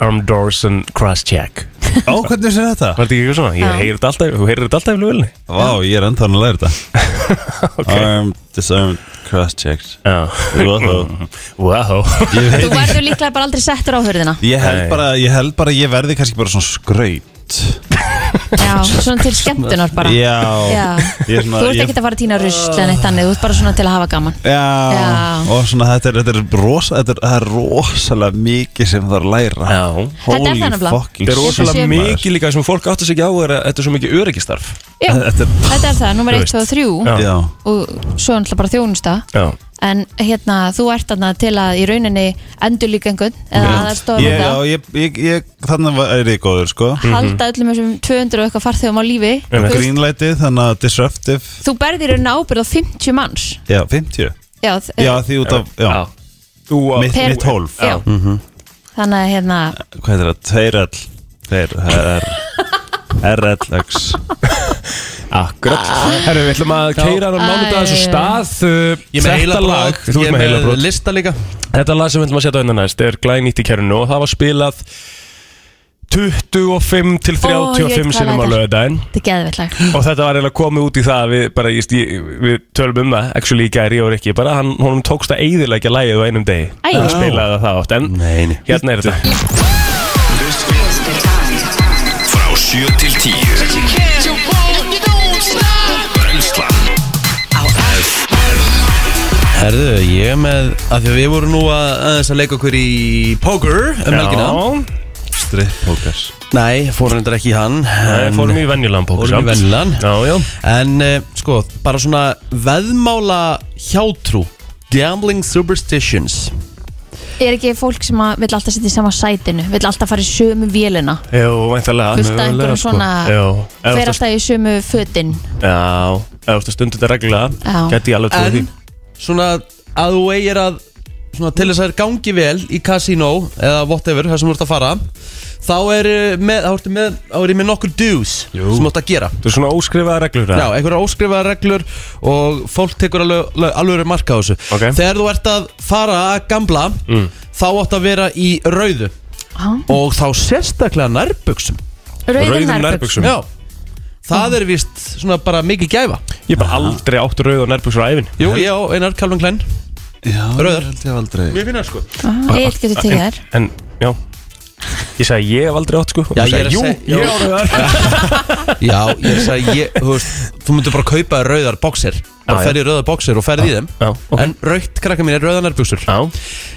Arm doors and cross check
Ó, hvernig sér þetta?
Var þetta ekki eitthvað svona?
Já.
Ég heyri þetta alltaf, þú heyrir þetta alltaf í flugvölinni
Vá, ég er ennþá að læra þetta
<laughs>
Armed, disarmed, cross-checked
Já
Wow.
Wow
Ég
Þú
veit
verður líklega bara aldrei settur á hörðina
Ég held
Nei.
bara, ég held bara, ég verði kannski bara svona skraut
Já, <laughs> svona til skemmtunar
Ah.
bara
Já,
Já.
Ég er svona,
Þú ert
ég,
ekki að fara að týna rusl en eitt þannig, þú ert bara svona til að hafa gaman
já,
Já.
og svona þetta er, þetta er, rosa, þetta er, það er rosalega mikið sem það er að læra
Já
Þetta er
Holy
það nefnilega.
<laughs>
fucking
Þetta er
shit,
rosalega
sé-
maður.
mikið líka sem fólk átt að segja á er að þetta er svo mikið öryggistarf
Já,
Þetta er,
þetta er það, nummer
Þú
1, 2 og 3
Já.
já,
og svo er náttúrulega bara þjónusta
Já
en hérna, þú ert þarna til að í rauninni endur líka einhvern eða aðstofa
ég, já,
þetta
ég, ég, ég þannig var- er ég góður, sko
halda öllum þessum 200 og eitthvað farþegum á lífi
Já.
Þú-
Greenlightið, þannig að disruptive
þú berðir einn ábyrð á 50 manns
Já, 50
já, þ-
Já, því út af, já,
Þú á
mitt,
Per-
mitt hólf
já.
Mhm.
þannig að hérna
hvað er það, tveirall tveir, það
<laughs>
er RLX
Akkurat Herru, við ætlum að keira hann á mánudag þessu
Æ.
stað
Ég
uh,
er með
Þetta
heila
lag,
brot,
þú
ég
ert
er
með heila
með lista líka
Þetta lag sem við ætlum að setja á innan næst er glænýtt í kerfinu og það var spilað 25 til
Ó, ég veit
35
hvað
sinnum á
lag þetta er.
löðdæn
þetta er geðveitt lag
og þetta var eiginlega komið út í það að við, bara, ég, stí- við tölum um það actually í gæri og ekki bara hann, honum tókst að eiðilegja lagið á einum degi
Æ.
hann spilaði það oft en
Nei, nei.
hérna er þetta
Frá 7 til 10 Brenslan
Herðu, ég er með, af því að við vorum nú að, aðeins að leika okkur í poker um helgina
Já,
strippókar
Nei, fórum reyndar ekki í hann
Nei,
en-
fórum í venjulegan póker
Fórum í
samt.
venjulegan.
Já, já
En uh, sko, bara svona veðmála hjátrú Gambling superstitions
er ekki fólk sem að vill alltaf sitta í sama sætinu vill alltaf fara í sömu vélina
Jú, sko. væntalega
Fullt af einhverjum svona-
Jú, ef
fer
þú
alltaf í sömu fötin
Já, ef þú ert að stunda þetta reglulega
Já.
Gæti ég alveg trúið því
En svona að þú eigir að svona, til þess að þær gangi vel í casino eða whatever, það sem þú ert að fara þá er eh, með, þá ertu með, þá er ég með nokkur dues
Jú.
sem þú ert að gera
Þú er svona óskrifaða reglur
Já, einhverja óskrifaða reglur og fólk tekur alveg, alveg- alveg marka á þessu
Ok.
Þegar þú ert að fara að gamla þá átt að vera í rauðu
Ah.
og þá sérstaklega nærbuksum
rauðum
Rauðum
nærböks
nærbuxum.
Já Það er vist svona bara mikil gæfa
Ég er bara aldrei átt rauð og nærbuksur á æfin
Jú, já, einar Calvin Klein
Já,
Rauðar.
ég held ég aldrei
Mér finna það sko
Eitt getur
<laughs>
tekið þær
En, já Ég sagði ég hef aldrei átt sko
Já,
Þú
ég er
sagði,
að
Jú,
seg-
ég á rauðar
Já, ég sagði, ég, þú veist Þú myndir bara kaupa þér rauðar boxer Bara
Já, já.
ferð í rauðar boxer og ferð í þeim
Já, ok.
En raukt krakka mín er rauðar nærbuxur
Já,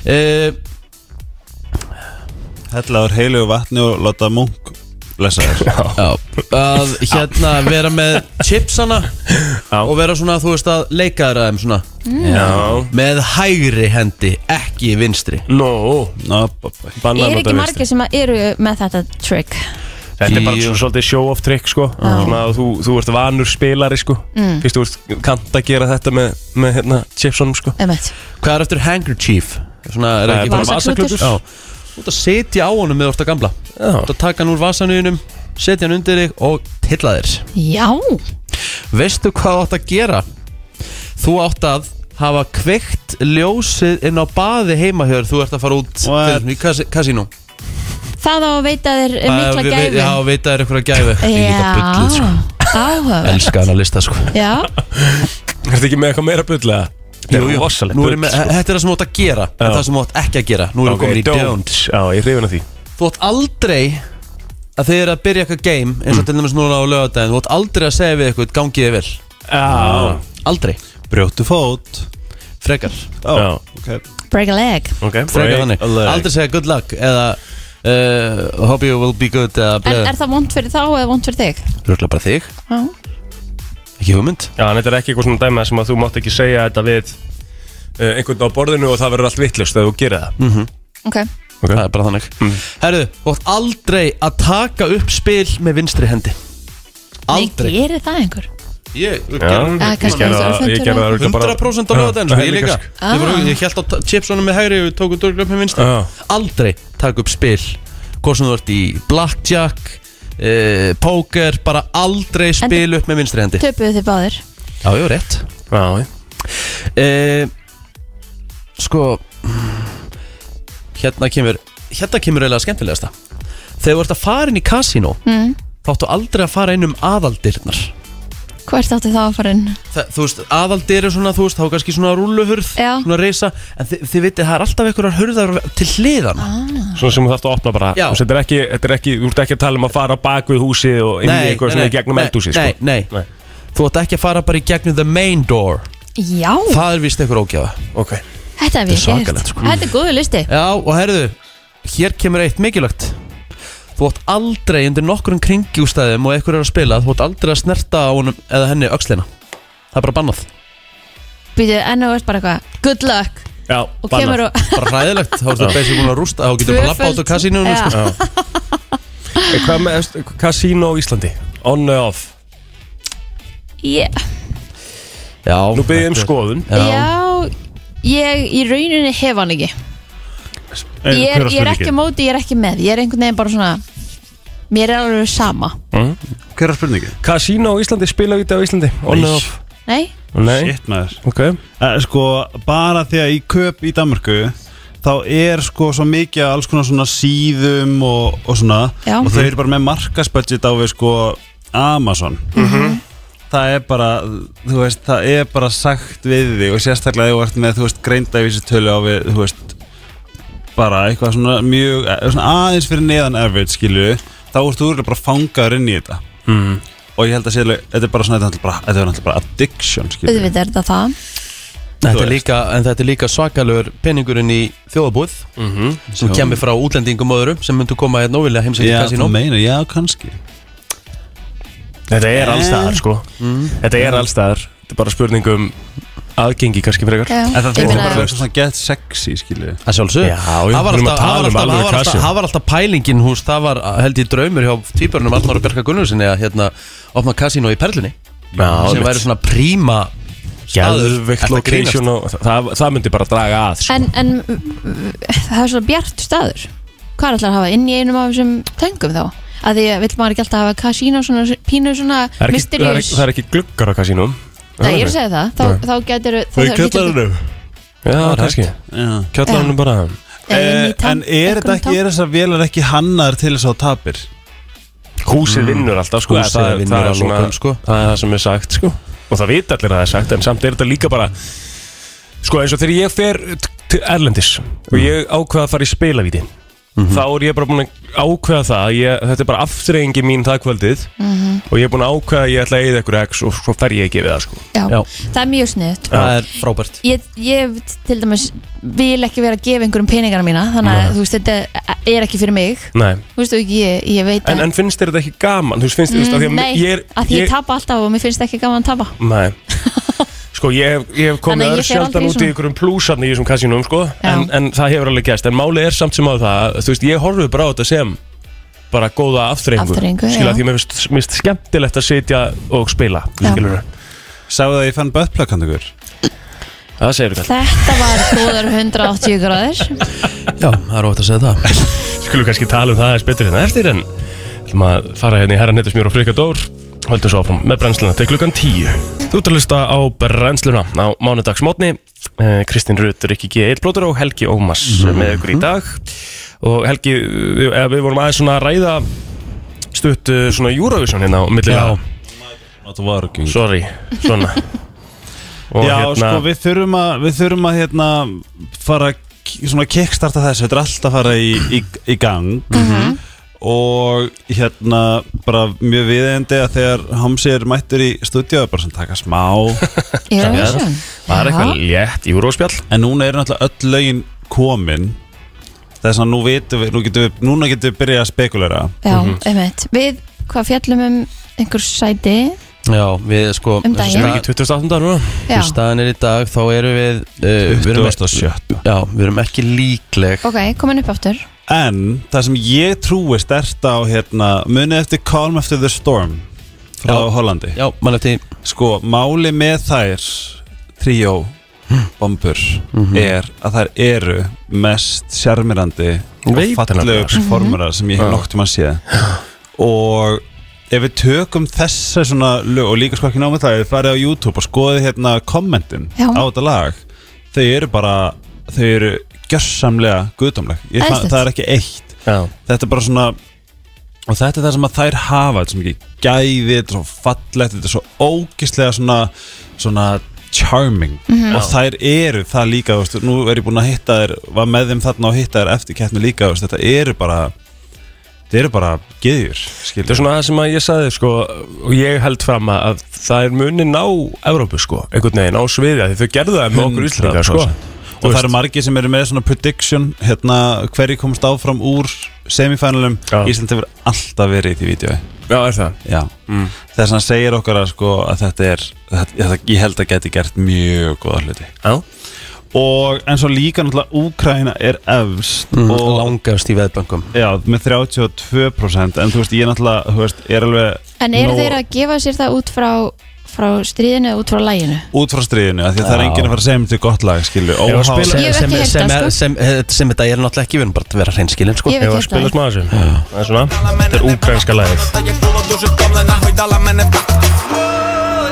Eh,
Hellaður heilu vatni og láta munk lesa þér
Já, að hérna vera með chipsana
Já. Mm.
og vera svona, þú veist, að leika þér aðeim svona
já
með hægri hendi, ekki vinstri
Nó,
Ná, babba
bannar
Er
nota
ekki
vinstri.
margir sem að eru með þetta trick
Þetta er bara
Jú.
svona svolítið show off trick sko Svona að þú, þú ert vanur spilari sko
Mm.
Fyrst þú ert kant að gera þetta með, með hérna, chipsunum sko
Emmett
Hvað er eftir handkerchief? Svona, er
Það
ekki
er bara
Vasaklútur.
vasaklútur
Já, þú ert að setja á honum með orta gamla Þú
Já.
ert að taka hann úr vasanuðinum, setja hann undir þig og tilla þér
Já
Veistu hvað þú átt að gera? Þú átt að hafa kveikt ljósið inn á baði heima hjör þú ert að fara út
What?
fyrir, í kas kasínú
Það á að veita þér
Það-
mikla
við- við-
gæfi
Já, veita þér einhverja gæfi Líka bullið sko
áhugavert
Elskar hann að lista sko
Já,
Er þetta ekki með eitthvað meira bulla?
Jú, jú. Nú erum
sko.
við- Þetta er það sem þú átt að gera en
Já.
Það sem þú átt ekki að gera Nú erum við komin í sko. don't
Já, ég hrifin að því
Þú átt aldrei að þið eru að byrja eitthvað game eins og til dæmis núna á lögadaginn Þú átt aldrei að segja við eitthvað gangið þið vel
Já,
Aldrei
Brjóttu fót
Frekar
Já,
Já.
ok
break a leg
ok
Frekar þannig
a leg.
Aldrei segja good luck eða uh, hope you will be good eða
En
bleða
er það vond fyrir þá eða vond fyrir þig?
Röglega bara þig
Já.
Ekki hugmynd
Já, en þetta er ekki eitthvað svona dæma sem að þú mátt ekki segja þetta við uh, einhvern á borðinu og það verður allt vittlust ef þú gerir það
Ok
Ok.
Mhm.
Mm,
Það er bara þannig Herðu, þú átt aldrei að taka upp spil með vinstri hendi Aldrei
Nei, gerir það einhver?
Ég, ég
Já,
gerði-
Ah,
ég
kannski aðeins
gerði það- ég
örfendur
gerði það örugglega bara-
100% á lögadaginn sko,
Já,
ég líka
sko.
ah. Ég, var, ég held á ta- chipsunum með hægri og tóku dörglöf með vinstri
Já.
Aldrei taka upp spil Hvort sem þú ert í blackjack Uh, póker, bara aldrei spil upp með vinstri hendi Já,
Töpuðu þið báðir
ég var rétt
Já,
Ah.
já.
uh, Sko Hérna kemur Hérna kemur eiginlega skemmtilegasta Þegar þú ert að fara inn í kasínó
mm.
Þá áttu aldrei að fara inn um aðaldirnar
Hvert áttu þá að fara inn?
Þa, þú veist, aðaldir er svona, þú veist, þá er kannski svona rúluhurð,
Já.
svona reysa en þið, þið vitið, það er alltaf einhverjar hurðar til hliðan
Svona sem þú þarfst að opna bara
Já.
Þessi, þetta er ekki, þetta er ekki, þú ert ekki að tala um að fara bak við húsið og inn í eitthvað svona í gegnum eldhúsið
nei,
sko.
nei,
Nei.
þú átt ekki að fara bara í gegnum the main door
Já,
það er vist einhver ógjafa
Ok
Þetta
þetta hef ég
er
gert
svakalegt, sko.
Þetta er góðu listi
Já, og herðu, hér kemur eitt mikilvægt þú átt aldrei undir nokkurum kringjústæðum og einhver er að spila, þú átt aldrei að snerta á honum eða henni öxlina það er bara bannað,
Býtu enn og ert bara eitthvað Good luck
Já,
Og kemur og
bara hræðilegt þá ertu basic búin að rústa, þá getur bara lappa át á kasínu
Já.
Eh, Hvað með kasínu á Íslandi? On eða off?
Ég-
Já,
Nú byrðið um skoðun
Já.
Já, ég í rauninni hef hann ekki
En
ég
hver
er,
var
ég er ekki á
spurningin?
móti, ég er ekki með Ég er einhvern veginn bara svona Mér er alveg sama
Hver er spurningin?
Kasínu á Íslandi, spilavíti á Íslandi On eða off?
Nei,
Nei
Shit maður
Ok
Eh, Sko, bara því að í köp í Danmörku þá er sko svo mikið af alls konar svona síðum og, og svona
Já.
og þau eru bara með markasbudget á við sko Amazon það er bara, þú veist, það er bara sagt við þig og sérstaklega ef þú ert með, þú veist, greindavísi tölu á við, þú veist bara eitthvað svona mjög eh, svona aðeins fyrir neðan average, skilju þá ert þú örugglega bara fangaður inn í þetta
Mm.
og ég held að séðlega, þetta er bara svona þetta er náttúrulega bara, þetta er náttúrulega bara addiction, skilju
auðvitað er þetta það
Þetta
Þú
er
veist.
líka, en þetta er líka svakalur peningurinn í þjóðabúð sem kemur frá útlendingum og öðrum sem myndu koma hérna óvilja heimsækja
Já,
kasínó
þú meinar, já, kannski
Þetta er allstaðar sko Þetta er allstaðar Þetta er bara spurning um aðgengi kannski frekar
Já.
En það
Ég
þurfti
meina-
bara að vera svona get sexy, skilju
Það sjálfsög
Já, já,
Það var
við erum
alltaf, það
að
var
tala um
alltaf,
alveg
það var alltaf,
kasjó.
það var alltaf pælingin hús Það var held ég draumur hjá týpurunum Arnar og Berka Gunnarsinni að hérna opna kasínó í Perlunni sem
Já, einmitt.
væri svona príma staður.
Geðveikt
Ertu að grínast?
location og það, það myndi bara draga að sko.
En, en mm, það er svona bjart staður Hvað er alltaf að hafa inn í einum af þessum töngum þá? Að því að vill maður ekki alltaf hafa kasínó svona pínu svona
það, er ekki, það, er
mysterious
ekki, það er ekki gluggar á kasínum
Nei, ég er að segja það, þá,
Nei.
þá getur
Já, kannski
Já.
Kjallarunum bara
Ehm,
Eh, En er þetta ekki, er þessar vélar ekki hannar til þess að þú tapir?
Mm.
húsið vinnur alltaf sko,
Húsið
það, er-
vinnur
það er
að
svona-
lokum, sko.
það er það sem er sagt sko. og það vita allir að það er sagt en samt er þetta líka bara sko eins og þegar ég fer t- til Erlendis og
Mhm.
ég ákveða að fara í spilavíti þá er ég bara búin að ákveða það að ég, þetta er bara aftreyingi mín það kvöldið
Mhm.
og ég er búin að ákveða að ég ætla að eigða ykkur x og svo fer ég ekki við það sko.
já.
Já.
það er mjög sniðut
Það er frábært
ég, ég til dæmis vil ekki vera að gefa einhverjum peningana mína þannig að þú veist, þetta er ekki fyrir mig
Nei.
þú veist þú ekki, ég, ég veit
en,
að-
en finnst þér þetta ekki gaman? Þú veist, finnst þér mm,
Mm, nei,
ég er,
að því ég tapa alltaf og mér finnst ekki gaman að tapa <laughs>
Nei Sko ég hef, ég hef
Þannig
komið
að ég fer aldrei
örsjaldan
í
út í
svona.
einhverjum plúsarni í þessum kasinum sko
Já.
en, en það hefur alveg gæst En málið er samt sem á það að, Þú veist ég horfið bara á þetta sem Bara góða aftreyingu
Afþreyingu, já.
Skilja því mér finnst, mér finnst skemmtilegt að sitja og spila
Já.
Skilur
Sáðu það að ég fann böttplakkan ykkur
Það segir við
Þetta var góðar 180 gráður
Já, það er óvægt að segja það
<laughs> Skulum kannski tala um það aðeins betur hérna eftir en ætlum að fara hérna í herra netusmjör og frika dór höldum svo áfram með brennsluna til klukkan 10 Þú ert að hlusta á brennsluna á mánudagsmótni eh, Kristinn Rutt, Rikki G. Eilblótur og Helgi Ómas
Mhm.
með ykkur í dag og Helgi, við, eh, við vorum aðeins svona að ræða stutt eh, svona Eurovision hérna á millilega
Svo,
Sorry,
<laughs>
svona og hérna-
Já, sko, við þurfum að, við þurfum að hérna, fara að k- svona kickstarta þessu, þetta er allt að fara í, í, í gang
Mhm.
og hérna bara mjög viðeigandi að þegar Hamsi er mættur í stúdíu bara sem taka smá
Eurovision
Það er eitthvað
Já.
létt Eurospjall
en núna eru náttúrulega öll lögin komin þess að nú vitum við, nú getum við núna getum við byrjað að spekulera
Já, einmitt Við, hvað fjallum um einhver sæti
Já, við sko
Um daginn.
staðan-
Ekki 28. núna
Í
Já,
staðan er í dag, þá erum við uh, Við erum ekki
27.
Já, við erum ekki líkleg
ok, komin upp aftur
en það sem ég trúi stert á hérna, munið eftir Calm After the Storm frá
Já.
Hollandi
Já, mann eftir
sko, máli með þær tríó
Hm.
bombur
Mhm.
Mhm.
Eh,
er að þær eru mest sjarmirandi
Ég
og
veit það
fallegur formurar sem ég hef
Mhm. Já.
nokt um að sé og ef við tökum þessa svona lög og líka sko ekki námið það, ef við farið á YouTube og skoðið hérna kommentin
Já.
á þetta lag þau eru bara, þau eru gjörsamlega guðdómleg, Ég fann-
Æðislegt.
það er ekki eitt
Já,
þetta er bara svona og þetta er það sem að þær hafa þetta er svo mikið gæði, þetta er svo fallegt þetta er svo ógislega svona svona charming og þær eru það líka, þú veist, nú er ég búin að hitta þær var með þeim þarna og hitta þær eftir keppni líka, þú veist, þetta eru bara þetta eru bara geðjur
Þetta er svona það sem að ég sagði sko og ég held fram að- að það er munin á Evrópu sko, einhvern veginn á sviði af því þau gerðu það með okkur Íslandingar sko
og það eru margir sem eru með svona prediction hérna, hverju komst áfram úr semifinalum,
Já.
Ísland hefur alltaf verið í því vídeo
Já, er það
Já,
Mm.
þess að segir okkar að, sko, að þetta er, þetta, þetta, ég held að geti gert mjög góða hluti
Já,
Og eins og líka náttúrulega Úkraina er efst
Mm.
Og
og,
langast í veðbankum
Já, með 32% en þú veist, ég náttúrulega, þú veist, er alveg
En eru
nóg
þeir að gefa sér það út frá, frá stríðinu, út frá læginu?
Út frá stríðinu, af því að það er
Já.
enginn að fara að segja mér til gott lag, skilju
að
óháð-
spila-
Ég hef
sem,
ekki heyrt
sem,
það,
er-
sko.
sem, eh, sem þetta er náttúrulega ekki Við erum bara að vera hreinskilin sko.
Ég hef
ég
ekki
var að
heyrt
spila
það.
smá þessu Það er svona, þetta er ukrainska lagið
Jak było duży problem na chuj dala mene w bak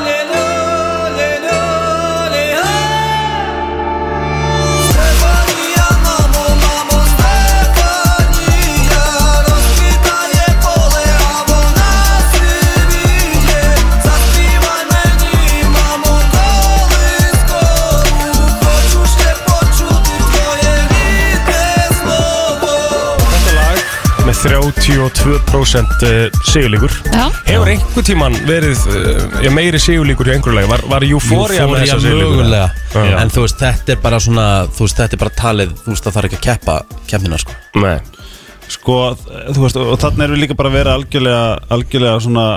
með 32% sigurlíkur
Já,
eh, Hefur einhver tíman verið eh, já, meiri sigurlíkur í einhverju lagi? Var, var Euphoria með
Euphoria
þessa sigurlíkur?
mögulega
Já.
En þú veist, þetta er bara svona Þú veist, þetta er bara talið Þú veist, það þarf ekki að keppa keppnina sko.
Nei,
Sko, þú veist, og þannig erum við líka bara að vera algjörlega, algjörlega svona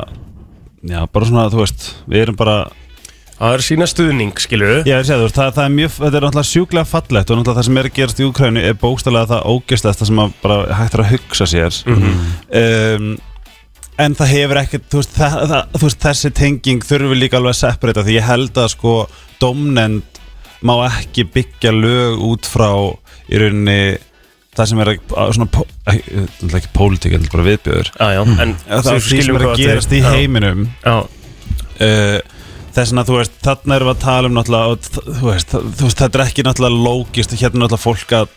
Já, bara svona, þú veist, við erum bara
það er sína stuðning, skilur
Já, ég segi, þú veist, það, það er mjög, þetta er náttúrulega sjúklega fallegt og náttúrulega það sem er að gerast í Úkrænu er bókstælega það ógistast það sem að bara hægt er að hugsa sér um, en það hefur ekkert, þú veist, það, það, þú veist þessi tenging þurfum við líka alveg að separata því ég held að sko domnend má ekki byggja lög út frá í rauninni það sem er að, að svona, pó- ekki, náttúrulega ekki pólitík, þetta er bara viðbjöður
Já, já, en
það er
þú
því sem er
hvað
að gerast í
Já,
heiminum
Já,
uh, þess að þú veist, þarna erum við að tala um náttúrulega, og þ- þú veist, þ- þú veist, þetta er ekki náttúrulega lógist, hérna er náttúrulega fólk að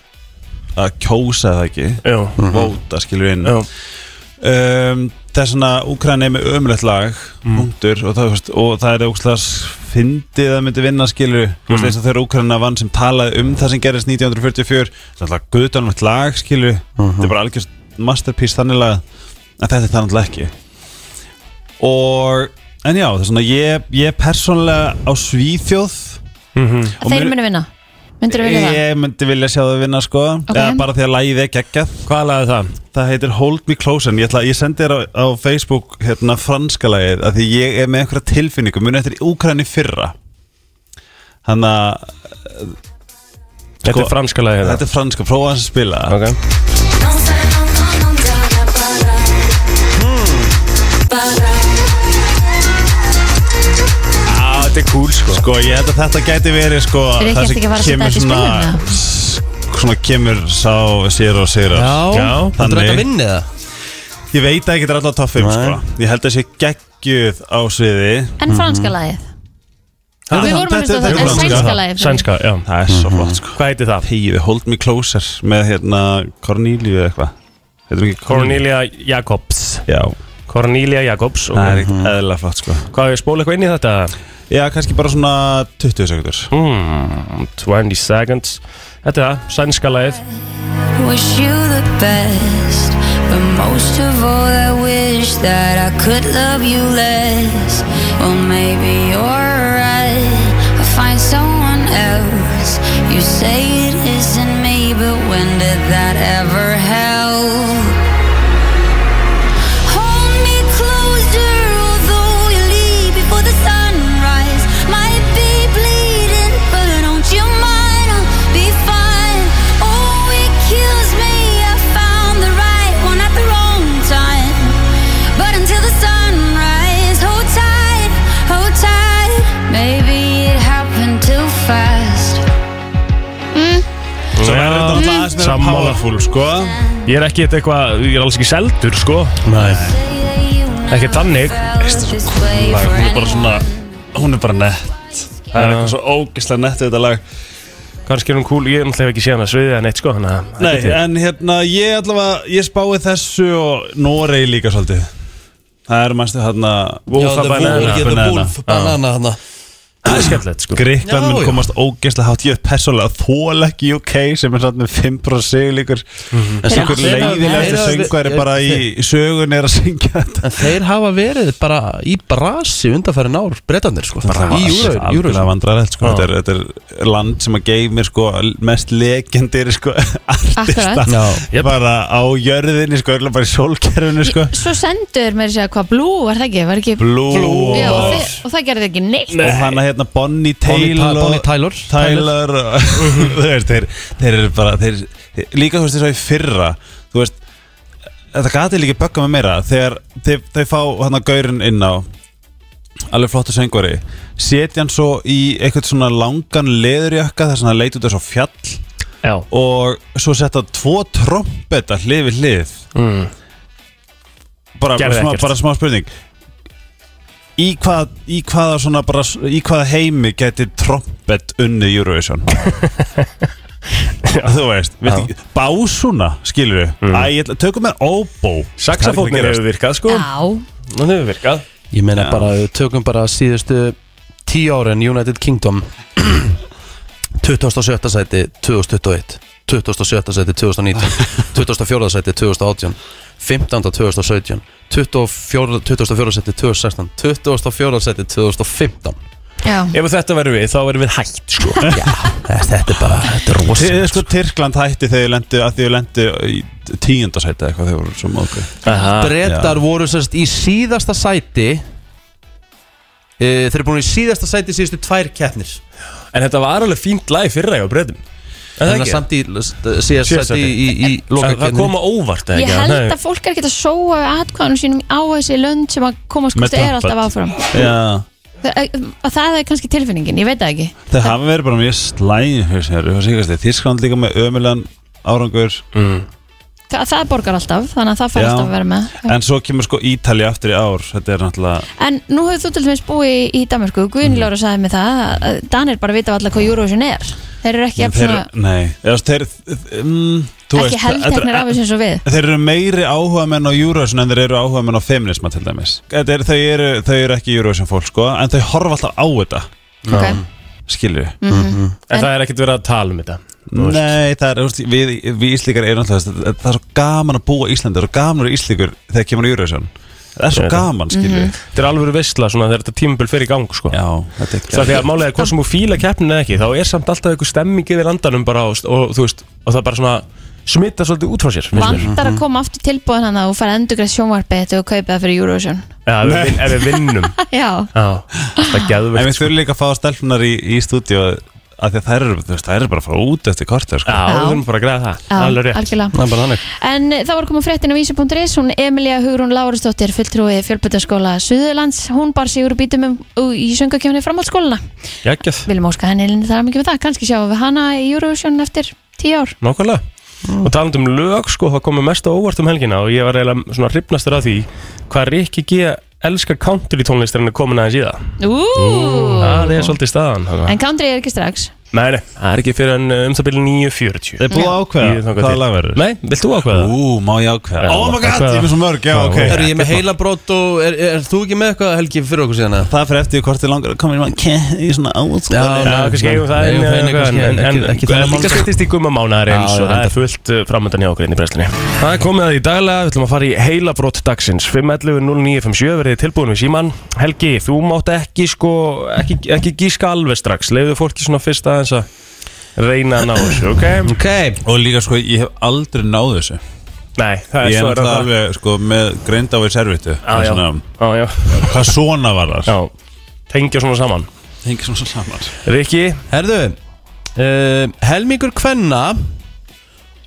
að kjósa það ekki,
já,
vóta skilur inn
já,
uh, um, Það er svona Úkræna er með ömulegt lag punktur, og, það, þú veist, og það er ógstlega fyndið að myndi vinna skilur mm. eins og þegar Úkræna vann sem talaði um það sem gerist 1944 það er alltaf guðdánlegt lag skilur þetta er bara algjörst masterpiece þannig lag en þetta er það náttúrulega ekki og en já, það er svona ég, ég persónlega á Svíþjóð
Mhm.
Og
Þeir
mér-
munu vinna Myndur þú vilja það?
Ég myndi vilja sjá það vinna sko
Ok.
Eða bara því að lagið er geggjað
Hvað laði það?
Það heitir Hold Me Close En ég, ætla, ég sendi þér á, á Facebook hérna franska lagið af Því ég er með einhverja tilfinningu Muni eftir Úkræni fyrra Þannig að
Þetta er franska lagið
Sko, Þetta er franska, prófa aðeins að spila það.
Ok
Hmm.
Á, þetta er cool sko
Sko ég held að þetta gæti verið sko
Er ekki
það sem
eftir ekki að fara að setja
kemur
þetta í
svona-
spilin, eða?
s- Svona kemur sá sér og sér
Já, þannig Þetta
þannig.
vinni það
Ég veit að ég getur alltaf toffum
Nei.
sko Ég held að sé geggjuð á sviði
En franska lagið Við vorum að hlusta
þetta-
á
þetta er
þetta En
franska.
sænska lagið
Sænska, já
Það er svo flott sko
Mhm. Hvað heiti það?
Pegið Hold Me Closer með hérna Corneliu eða eitthvað Heitum ekki
Cornelia Jacobs
Já,
Cornelia Jacobs
það er
okay.
ekkert eðla flott sko
Hvað er spóla eitthvað inn í þetta?
Já, kannski bara svona 20 sekundur
Hmm, 20 seconds Þetta er það, sænska lagið
Wish you the best, but most of all, I wish that I could love you less. Well, maybe you're right. I'll find someone else. You say it isn't me, but when did that ever help? Hold me closer, although you leave before the sunrise. Might be bleeding, but don't you mind? I'll be fine. Oh, it kills me. I found the right one at the wrong time. But until the sunrise, hold tight, hold tight. Maybe it happened too fast.
Svo verður þetta alltaf aðeins meira
Sammála.
powerful sko
Ég er ekki eitthvað, ég er alls ekki seldur sko
Nei
Ekki þannig.
Lag,
Hún er bara svona, hún er bara nett Það er eitthvað svo ógeðslega nett við þetta lag
Kannski er hún cool, ég er náttúrulega ekki séðan að sviðið en eitt sko Þannig að
Nei, en hérna ég allavega, ég spái þessu og Norei líka svolítið Það er mæstu hérna
Já,
Wolf
það
of
voru
Banana
ekki þetta
Banana.
Wolf Banana hann
Það er skemmtilegt sko
Gríkland
Já,
mun
já.
komast ógeðslega hátt Ég er persónlega þól ekki UK sem er sann 5% siglíkur Mhm. En
Þeir-
sigur
þeir-
leiðilegasti
þeir-
söngveri
þeir-
bara í í sögunni er að syngja þetta
En þeir hafa verið bara í brasi undanfærin ár breytanir sko Bara í
Algjörlega
júru
vandræðilegt sko þetta er, þetta er land sem að geymir sko mest legendir sko <laughs> artista
Já.
Jep.
bara á jörðinni sko örugglega bara í sólkerfinu sko
Svo sendur mér sér hvað Blue var það ekki, var ekki
Blue,
Já, og,
og,
þi- og það gerði ekki neitt
og hann að hérna Bonnie
Bonnie
Taylor
Ty- Bonnie Tyler.
Tyler og- <laughs> þú veist, þeir, þeir eru bara þeir, líka þú veist þess að í fyrra þú veist, þetta gati líka bögga með meira þegar þeir, þeir fá hann að gaurin inn á alveg flottu söngvari setja hann svo í eitthvað svona langan leðurjakka þess að hann leit út þess á fjall
Já
og svo setja tvo trombetta hlið við hlið
Mm.
bara,
Gerði
smá,
ekkert.
bara smá spurning í, hvað, í, hvaða svona bara, í hvaða heimi geti trombett unnið Eurovision þú veist, veist ekki, básuna skilur við, mm. ætla, tökum með óbó
Saxafóknir hefur virkað sko
Já,
Hann hefur virkað
Ég meina bara, við tökum bara síðustu tíu árin United Kingdom <clears throat> 2007. sæti 2021 2007. sæti
<laughs>
2019 2004. sæti 2018 15. 2017 24. 2004. sæti 2016 2004. sæti 2015
já
Ef þetta verður við, þá verður við hægt sko
Þetta er bara, þetta er
Þið,
rosa
sko, Tyrkland hætti þegar þau lendu að þau lendu í tíundasæti eitthvað þegar voru svo móku
Ah,
Bretar voru sérst í síðasta sæti e, Þeir eru búin í síðasta sæti síðustu tvær keppnir
En þetta var alveg fínt lag í fyrra hjá breytum En það
Þannig að
ekki
samt í eh, síðasta
Síðasta
sæti í, í, í
Það- Það
lokakeppninni
koma óvart eða
Ég
ekki
held að fólk er ekki að sóa atkvæðanum sínum á þessi lönd sem að komast
Með
hvort er alltaf áfram
trompet. Já
það, eh, það er kannski tilfinningin, ég veit það ekki
Þeir hafa verið bara mjög slæðin Þískland líka með ömulegan árangur
það, það borgar alltaf, þannig að það fær
Já.
alltaf að vera með en,
En svo kemur sko Ítali aftur í ár Þetta er náttúrulega
nú hefur þú til dæmis búið í, í Danmarku
Mhm.
Guðni Lóra sagði mig það að Danir bara vita allar hvað Eurovision er þeir eru ekki, jafn
þeir,
svona,
Nei, eða þú veist, þeir mm, þú
ekki
veist, þetta
heldteknir
er-
af þessu eins og við
Þeir eru meiri áhuga menn á Eurovision en þeir eru áhuga menn á feminisma til dæmis Þetta er, þau, eru, þau eru ekki Eurovision fólk sko En þau horfa alltaf á þetta
Ok.
Skilju
Mm.
En það er ekkert verið að tala um þetta Þú veist.
Nei, það er, þú veist, við, við Íslíkar erum alltaf það, það er svo gaman að búa í Íslandi Það er svo gaman að vera Íslíkur þegar kemur á Eurovision Það er svo
Ég veit það.
gaman, skilju
Mhm.
Þetta er alveg veistla svona þegar þetta tímabil fer í gang sko.
Já, þetta er
Það er því að málega hvort sem þú fíla keppnin eða ekki Þá er samt alltaf einhver stemming yfir landanum bara og, og þú veist, og það bara svona smita svolítið út frá sér finnst mér.
vantar að koma aftur tilbúin hann að þú fara endurgræs sjónvarpið þetta og kaupa það fyrir Eurovision <laughs>
Já, ef við, vin- ef við vinnum
<laughs>
já,
Já, það er
En
geðvegt
við þurfum líka að fá stelpunar í, í stúdíu að því að þær eru, þú veist, þær eru bara að fara út eftir kortir, sko.
Já, við þurfum bara að græða það
já
Alveg rétt
algjörlega
Það er bara þannig
En eh, það var komið fréttin á vísi.is hún Emilia Hugrún Lárusdóttir fulltrúi fjölbyrðaskóla Suðurlands hún bar sig úr býtum um, í söngakefni framhaldsskólana
Jækjað,
Viljum óska henni elinni þar mikið með það kannski sjáum við hana í Eurovision eftir tíu ár
nákvæmlega Og taland um lög, sko, það komið mest á óvart um helgina Og ég var eiginlega svona hrifnastur af því Hvað Rikki G elskar country tónlistir en er komin aðeins í það
Ú,
Það er svolítið staðan þarna.
En country er ekki strax
Nei, nei, það er ekki fyrir en um það byrja 9.40
Þeir búið að
Ég er
ákveða
þangað
hvaða
til.
lag verður.
Nei, vilt þú ákveða það?
Ú, má ég ákveða?
Já,
Oh my god,
ákveða.
ég er með svo mörg, já,
Já,
ok.
já.
Er ég með heila brot og er, er, er þú ekki með eitthvað helgi fyrir okkur síðan? eða?
Það fyrir eftir hvort þið langar að koma inn í mann í svona átt
Já,
Já, kannski eigum það
Eigum það
inn
inn,
eða
kannski,
eitthvað, en- en
ekki- ekki
en
þennan
líka
mánudag.
styttist í gumma mánaðarins
Já,
og það
reyndar.
er fullt uh, framöndan hjá okkur inn í brenslinni Það er komið að því daglega, við ætlum að fara í heila brott dagsins 5.11.09.57 verðið tilbúin við síman Helgi, þú mátt ekki sko, ekki, ekki gíska alveg strax leiðu fólki svona fyrst aðeins að reyna að ná þessu, ok?
Ok
Og líka sko, ég hef aldrei náð þessu
Nei, það er
Ég er
svo er
náttúrulega
það
alveg, sko, með greind á í servitu
Já, já, já, já,
Hvað svona var þar?
já Tengja svona saman
Hengi svona saman
Rikki,
Herðu uh, Helmingur kvenna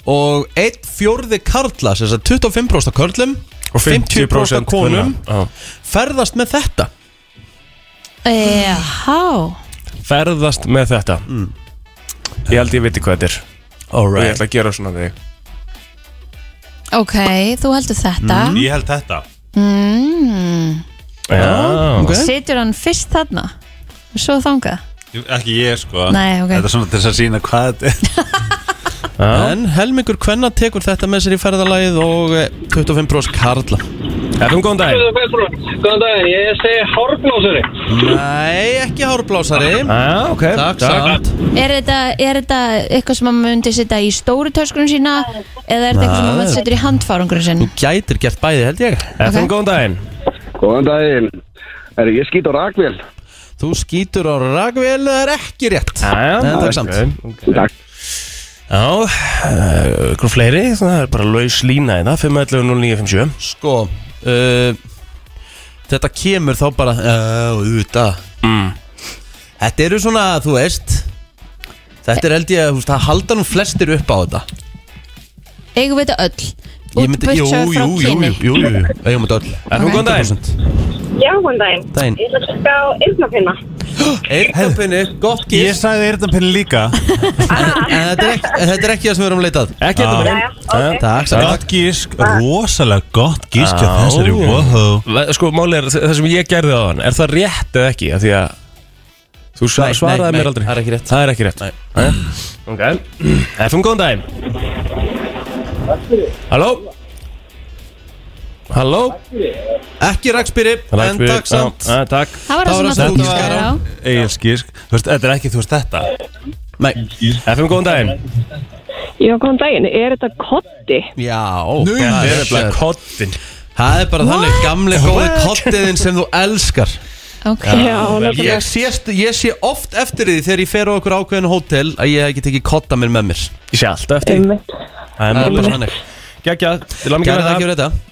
Og einn fjórði karla sem sagt 25% af körlum
og 50%, 50
konum
Já.
Ferðast með þetta
Há,
ferðast með þetta Ég held ég viti hvað þetta er og ég ætla að gera svona þig
ok, þú heldur þetta
Mm. Ég held þetta
mm.
Já,
ok.
Situr hann fyrst þarna og svo þangað
Ég- Ekki ég, sko
Nei, ok.
Þetta er svona til þess að sína hvað þetta er
Já.
En helmingur kvenna tekur þetta með sér í ferðalagið Og eh, 25% karla
Efum góðan daginn
Góðan daginn, ég segi hárblásari
Nei, ekki hárblásari
Já, ok
Takk, samt
Er þetta, er þetta eitthvað sem maður myndi setja í stóru töskunum sína eða er þetta eitthvað sem maður setur í handfárungur sinn?
Þú gætir gert bæði held ég
Efum
Ok.
góðan daginn
Góðan daginn Er ég skýt á rakvél?
Þú skýtur á rakvél Það er ekki rétt
Já,
Nei, takk samt.
Takk
Já, eh, ykkur fleiri Það er bara laus lína hérna, í það 511-0957
Sko uh, Þetta kemur þá bara uh, Úta
Mm.
Þetta eru svona, þú veist Þetta er held ég að þú veist, það halda nú flestir upp á þetta
Eigum við þetta öll?
Ég myndi, jú, jú, jú, jú, jú, jú, jú, jú. Ég myndi öll
Efum góðan daginn
Já, góðan daginn.
Daginn.
Ég ætla að skaka á eyrnapinna.
Eirnapinni, gott
Ég
gís
sagði eyrnapinn líka
En þetta er ekki- en þetta er ekki það sem við erum leitað
Ekki hérna Eh?
Já.
þetta
Jæja,
með
Takk, samt
Gott gísk,
Ah.
rosalega gott gísk hjá þessari,
Já.
wow
Sko, máli er það sem ég gerði á hann Er það rétt eða ekki? Af Því að Þú
Nei,
svar-
nei,
svaraði
nei,
mér aldrei
það er ekki rétt.
Það er ekki rétt Jæja. Ok Efum góðan daginn Halló Halló
Ekki rakspýri, en
Rakspíri.
takk samt
Já, já, Takk
Það
Það
var
var
það sem
það sem
að
þú
þú
skar
skar
á.
á
Egilsk gísk Þú veist, Þetta er ekki, þú veist, þetta
Nei,
Efum góðan daginn
Já, góðan daginn. Er þetta kotti?
já
Þetta
það
er
er-
nefnilega kottin
Það er bara þannig, gamli góði kottiðin sem þú elskar
Ok,
Já, nákvæmlega.
ég, sést, ég sé oft eftir því þegar ég fer á okkur ákveðinu hótel að ég hef ekki tekið kotta mér með mér
Ég sé alltaf eftir því.
Einmitt.
Það
Það
er
er bara
bara
þannig
Gækja, við lágum
Gerði það
ekki
ekki verið
verið
þetta?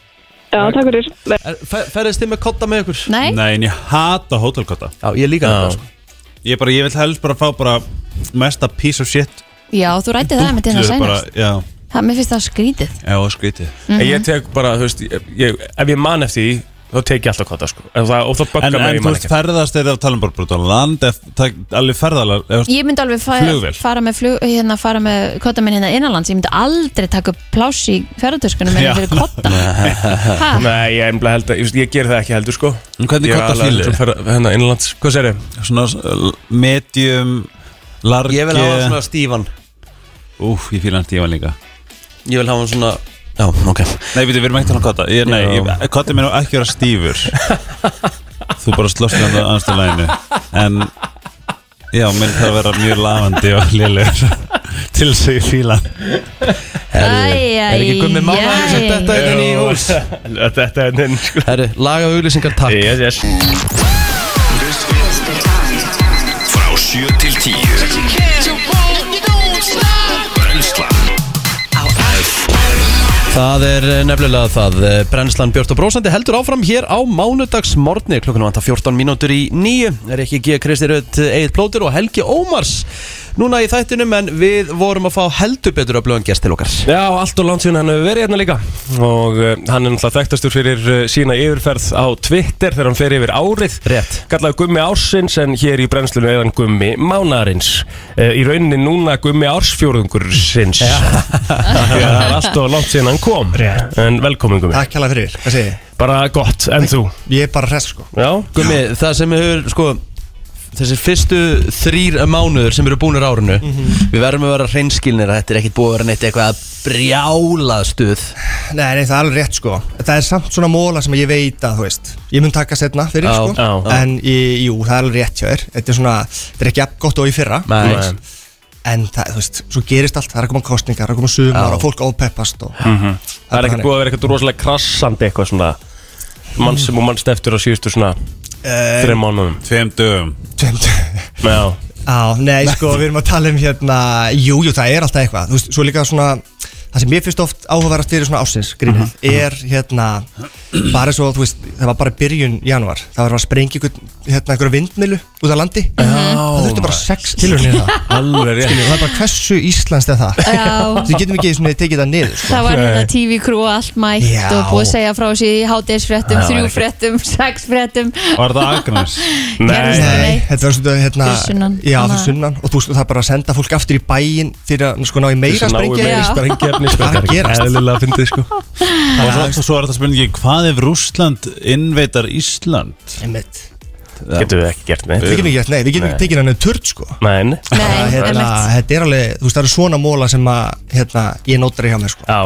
Já, takk fyrir.
Er- fer- Ferðist þið með kotta með ykkur?
nei,
Nei, en ég hata hótelkotta
Já, ég líka
Já.
þetta sko.
Ég bara, ég vil helst bara fá bara mesta piece of shit
já, þú rætti það með þetta
Bara-
sænast
Já,
Það, mér finnst það skrítið
já, skrítið
Mm. það Ég tek bara, þú veist, ég, ég- ef ég man eftir því þá tek ég alltaf kvota sko og það, og það
En,
böggar mig
en
ég
þú
man
veist
ekki
ferðast eða tala um bara brútt á land eða tak- alveg ferðalar eða,
Ég myndi alveg fara,
Flugvél.
fara með flug, hérna, fara með kotta minn hérna innanlands Ég myndi aldrei taka upp pláss í ferðartöskunum minni
Já.
fyrir kotta ha,
Nei, ég einbla held að, ég, veist, ég ger það ekki heldur sko
En hvernig
Ég er
kodda
aðallega
fílið?
sem ferða- Hérna, innlands, hvað sér ég?
svona uh, medium large
Ég vil hafa hann svona stífan
Úf, ég fýla hann stífan líka
Ég vil hafa hann svona Já, ok
Nei, við, við erum ekkert hann að kotta ég, Nei,
Já.
ég- kotta minn á ekki að vera stífur Þú bara slóst hann á anstu læginu En Já, minn það að vera mjög lafandi og lélegur <laughs> Til þess að ég fíla hann
Æ, æ,
Er ekki gummi mánaður sem
æ.
þetta er inn í hús
<laughs> Þetta er henni sko
Herru, laga auglýsingar takk
Yes, yes
Frá 7 til 10 Brennslan
Það er eh, nefnilega það Eh, Brennslan Björn og Brósandi heldur áfram hér á mánudagsmorgni Klokkan vantar 14 mínútur í nýju Er ekki G. Kristi Rödd, Egil Plóter og Helgi Ómars Núna í þættinum en við vorum að fá heldur betur að blöðan gest til okkar
Já, allt og langt síðan hann hefur verið hérna líka og uh, hann er náttúrulega þekktastur fyrir uh, sína yfirferð á Twitter þegar hann fer yfir árið
Rétt.
Kallaði Gummi Ársins en hér í brennslunum er hann Gummi Mánarins uh, Í rauninni núna Gummi Ársfjórðungursins <laughs> Já Það er allt og langt síðan hann kom
Rétt.
En velkomin Gummi
Takk hella fyrir, hvað segir þið?
Bara gott, en þú?
Ég er bara hress sko
Já
Gummi, það sem hefur, sko Þessi fyrstu þrýr mánuður sem eru búinir árinu Við verðum að vera hreinskilnir að þetta er ekkit búið að vera neitt eitthvað brjálað stuð
Nei, nei, það er alveg rétt sko Það er samt svona móla sem ég veit að, þú veist Ég mun taka setna fyrir
Já,
sko
já, já.
En ég, jú, það er alveg rétt hjá þér Þetta er svona, þetta er ekki jafn gott og í fyrra
Nei.
þú veist. En það, þú veist, svo gerist allt Það er að koma kostningar, það er að koma sumar
Já.
og fólk ópeppast og, mm -hmm.
Það er ekkert búið að vera eitthvað rosalega krassandi eitthvað svona mann sem og mannst eftir á síðustu svona þreim mánuðum
Tveim dögum
búið
Já,
Já, nei, sko, við erum að tala um hérna Jú, jú, það er alltaf eitthvað Þú veist, svo líka svona Það sem mér finnst oft áhugaverðast fyrir svona ásins grínið Er hérna Bara svo, þú veist, það var bara byrjun januar Það var að sprengja ykkur, hérna, ykkur vindmilu Út af landi Það þurfti bara sex tilhörnir það
<laughs> alveg rétt
Skilju, Það er bara hversu íslenskt er það
Já.
Við getum ekki svona tekið það niður sko.
Það var hérna TV crew og allt mætt
Já.
og búið að segja frá sér í hátdeisfréttum, þrjú fréttum, <laughs> sex fréttum
Var það Agnes?
Nei,
Gerðist það?
Nei,
Nei.
þetta var svona hérna
Fyrir sunnan.
Já, fyrir
Annað.
sunnan Og þú veist, það er bara að senda fólk aftur í bæin Fyrir að sko, ná í meira sprengja
meira.
sprengjefni
Hvað er að gerast?
Eðlilega fyndið sko
Og svo, svo er þetta spurningi, hvað ef Rússland innveitar Ísland?
Einmitt.
Getum við ekki gert neitt
Við getum ekki gert- nei, við getum ekki tekið hann en turd sko
Nein
Nei,
að, hérna,
einmitt.
þetta er alveg, þú veist, það eru svona móla sem að hérna, ég nótri hjá mér sko.
Já,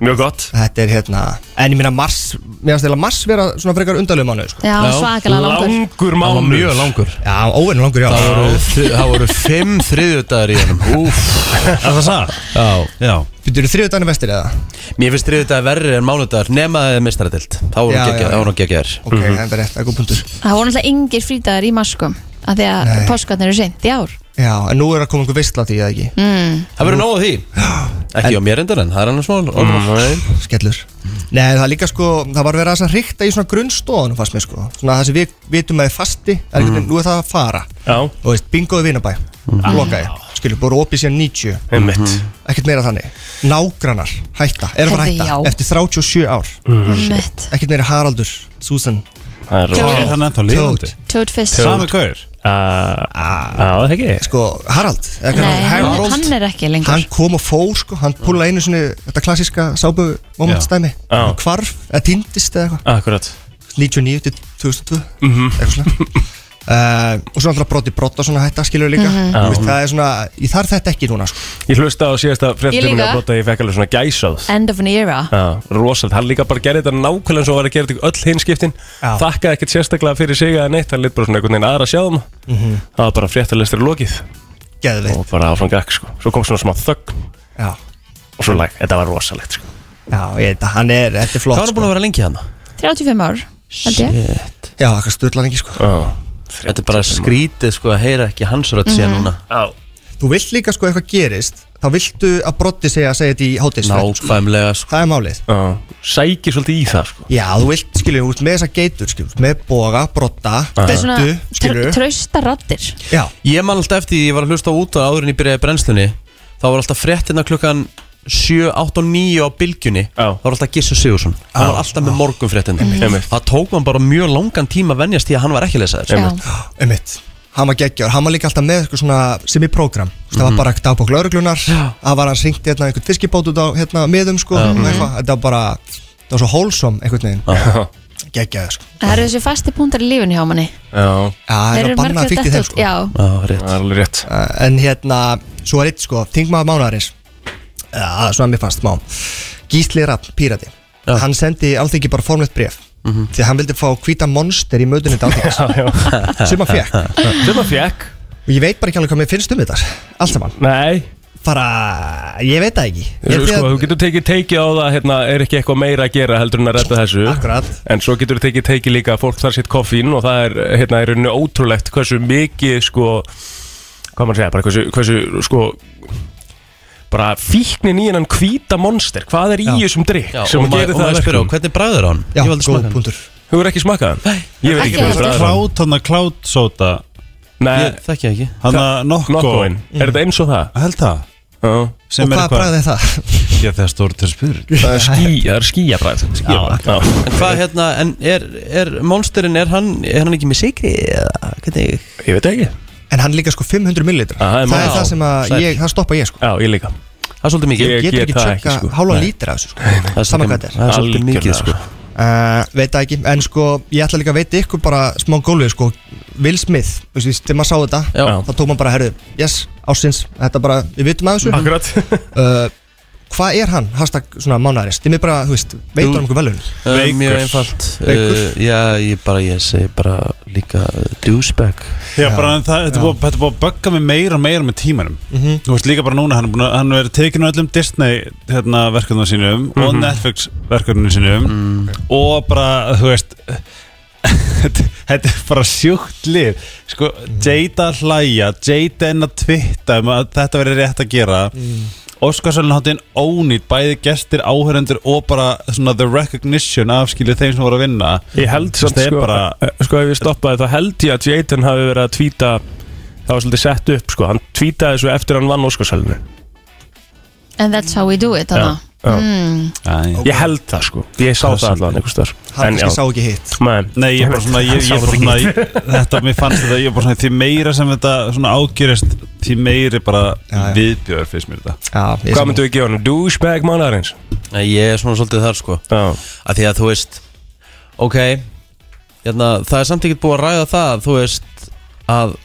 mjög gott
þetta er hérna, en ég minna mars mér finnst eða mars vera svona frekar undarlegu mánu sko.
Já, svakalega langur
Langur mánuð
langur
já, óvinn langur, já
Það voru, það voru fimm þriðudagar í hennum Úf
Er það það?
Já
Já
Býttu, eru þriðu daginn vestir eða?
Mér finnst þriðudagar verri en mánudagar nema mestaradild Þá voru
Já, já,
geggjaðir,
já.
þá voru geggjaðir
ok, mm það er rétt, það er góð punktur
Það voru náttúrulega yngir frítagar í maskum af því að
Nei.
páskarnir eru seint í ár
já, en nú er að koma einhver veistla því, eða ekki
Það verður nóg af því Ekki á mér endan en það er annars mál mm.
skellur Nei, það er líka sko, það var verið að þess að hrikta í svona grunnstóðanum fast mér sko Svona það sem við vitum að er fasti, er mm. nú er það að fara
Já,
Og veist, bingoði vinabæ, mm. lokaði, skilur, bara opið síðan 90
einmitt
ekkert meira þannig nágrannar hætta, er að fara að
Heyrðu,
hætta
já.
eftir 37 ár,
Mhm.
Mött,
ekkert meira Haraldur Susan,
Það er
Er
rosa
hann ennþá
Toad
lifandi?
Toadfish
Sami gaur?
Ah. Já, það er ekki
sko Harald eða hvað
Nei,
hann-
hann,
Harold,
hann er ekki lengur
hann kom og fór sko, hann púla einu svona þetta klassíska sábu momentstæmi
Já.
Hann hvarf, eða týndist eða eitthvað
Akkurat
99 til 2002 eitthvað svona Uh, og svo alltaf broti brota svona hætta skilur líka
Mhm.
Þú veist, það er svona, ég þarf þetta ekki núna sko.
Ég hlusta á síðasta
Ég
fréttum
líka.
og brota að ég fekk alveg svona gæsað
End of an era
Já, rosalt, hann líka bara gerði þetta nákvæmlega eins og var að gera þetta í öll hinskiptin
Já.
Þakkaði ekkert sérstaklega fyrir sig að neitt, hann lit bara svona einhvern veginn aðra sjáum Það var bara fréttalestur lokið
geðveikt
og bara áfram gakk sko Svo kom svona smá þögn
já,
og svo læk, þetta var rosalegt sko
já, ég veit að hann er, þetta er flott
Hvað var búin að vera lengi hann?
35 ár, held ég
sko. já, það stöðlar ekki sko.
Já,
Þetta er bara skrítið sko að heyra ekki Mhm. hans rödd síðan núna
já
þú vilt líka sko eitthvað gerist þá viltu að brotti segja að segja þetta í hátisverð sko.
Nákvæmlega sko
það er málið
Já, sækir svolítið í það sko
já, þú vilt, skilju, út með þessa geitur skilju, með boga, brotta,
Þetta er svona
dettu skilju,
tr trausta rattir
já,
Ég man alltaf eftir því ég var að hlusta á út áður en ég byrjaði brennslunni Þá var alltaf fréttina klukkan 7, 8 og 9 á bylgjunni Já. Það var alltaf Gissur Sigursson Hann
Já.
var alltaf með morgunfréttin
Einmitt. Einmitt.
Það tók man bara mjög langan tíma að venjast því að hann var ekki lesaður
Einmitt.
Einmitt Hann var geggjar, hann var líka alltaf með eitthvað svona sem í prógram Það var
Mhm.
bara dagbók lauruglunar Það var hans ringt hérna einhvern fiskibót út á hérna miðum sko
Já.
og
Mhm.
eitthvað. Þetta var bara, það var svo hólsom einhvern veginn
Já.
Geggjaði sko
Það eru þessi fasti púntar í lífinu hjá manni
Já,
það
Þeir
er
eru
að banna
margir
að fíkt í
dettur
þeim
út,
sko
já.
Það er alveg rétt
Uh, En hérna, svo var eitt sko, þingmaður mánuðarins Já, það er svona mér fannst má Gísli Rapp, pírati Hann sendi alþingi bara formlegt bref Því að hann vildi fá hvíta monster í mötunni dálþingis Sem hann fekk
Sem að fekk
Og ég veit bara ekki alveg hvað mér finnst um þetta Allt saman
Nei
Bara, ég veit það ekki Ég
Þú,
held ég
sko,
að-
þú getur tekið teiki á það, hérna, er ekki eitthvað meira að gera heldur en að redda þessu
Akkurat
En svo getur þú tekið teiki líka að fólk þarf sitt koffín og það er, hérna, er unni ótrúlegt hversu mikið, sko, hvað maður segja, bara hversu, hversu, sko, bara fíknin í hennan hvíta monster, hvað er í þessum drikk
Já,
sem
og maður-
gerir
og
það
maður
að
spyr á,
verkum?
hvernig bragður hann?
Já, góð punktur
Þú hefur ekki smakað hann? Ég veit ekki hvernig bragður hann
Klát, hann að klát sóta
Nei.
Ég sko. þekki það ekki
Hann að
Nokkoin, er þetta eins og það?
Held það
Já.
Sem er eitthvað-
bragð er það?
Já, það er stórt til spyrir
<laughs>
Það er sko- ský, það er skýjabræð Skýjabræð
En hvað hérna, en er, er monsterinn, er hann, er hann ekki með sigri eða hvernig?
Ég veit ekki
En hann líka sko 500 millilitra
Ah, það er
Það er
mál.
það sem að
Sæll.
ég, það stoppa ég sko
Já, ég líka
Það er svolítið mikið
Ég get ekki tjökka hálfa
Nei.
lítra af þessu sko Saman hvað þetta
Það
er
er svolítið mikið sko
Uh, veit það ekki, en sko ég ætla líka að veita ykkur bara smá gólfið sko Will Smith, þú veist, þegar maður sá þetta
Já.
þá tók maður bara, herru, yes, ásins þetta bara, við vitum að þessu
Akkurat
uh, hvað er hann, hashtag svona mánæðarins, þið mér bara, þú veist, veitur hann einhver velun
Veikur. Eh, Mjög einfalt
Veikur.
uh, Já, ég bara, ég segi bara líka uh, douchebag
Já, bara en það, þetta er búið- þetta er búið að bögga mig meira og meira með tímanum
Mhm.
Þú veist líka bara núna, hann er, búin að, hann er tekinu öllum Disney hérna, verkefnum sínum og
Mhm.
Netflix verkefnum sínum og bara, þú veist <laughs> þetta þetta er bara sjúkt lið sko, Jada að hlæja Jada en að twitta um að þetta verið rétt að gera
Mm-hmm.
mm. Óskarsvælun hátti einn ónýtt bæði gestir, áhörendur og bara svona the recognition afskilu þeim sem voru að vinna
Ég held
Þú veist,
samt
það er
sko,
bara,
eh, sko ef ég stoppaði þá held ég að Jaden hafi verið að tvíta það var svolítið sett upp sko, hann tvítaði svo eftir hann vann Óskarsælinu
And that's how we do it þarna.
já.
Mm.
Ég held það sko, ég sá
Það er
það allavega einhvers þar
hann kannski sá ekki hitt
Nei, ég er bara svona, ég, ég er bara svona ég, <laughs> Þetta, mér fannst þetta, ég er bara svona Því meira sem þetta svona ágerist Því meiri bara
já.
viðbjör fyrst mér þetta
Já,
Hvað myndu við gefa hann? Douchebag mannarins?
Nei, ég er svona svolítið þar sko
Já
Af því að þú veist Ok hérna, Það er samt ekki búið að ræða það Þú veist að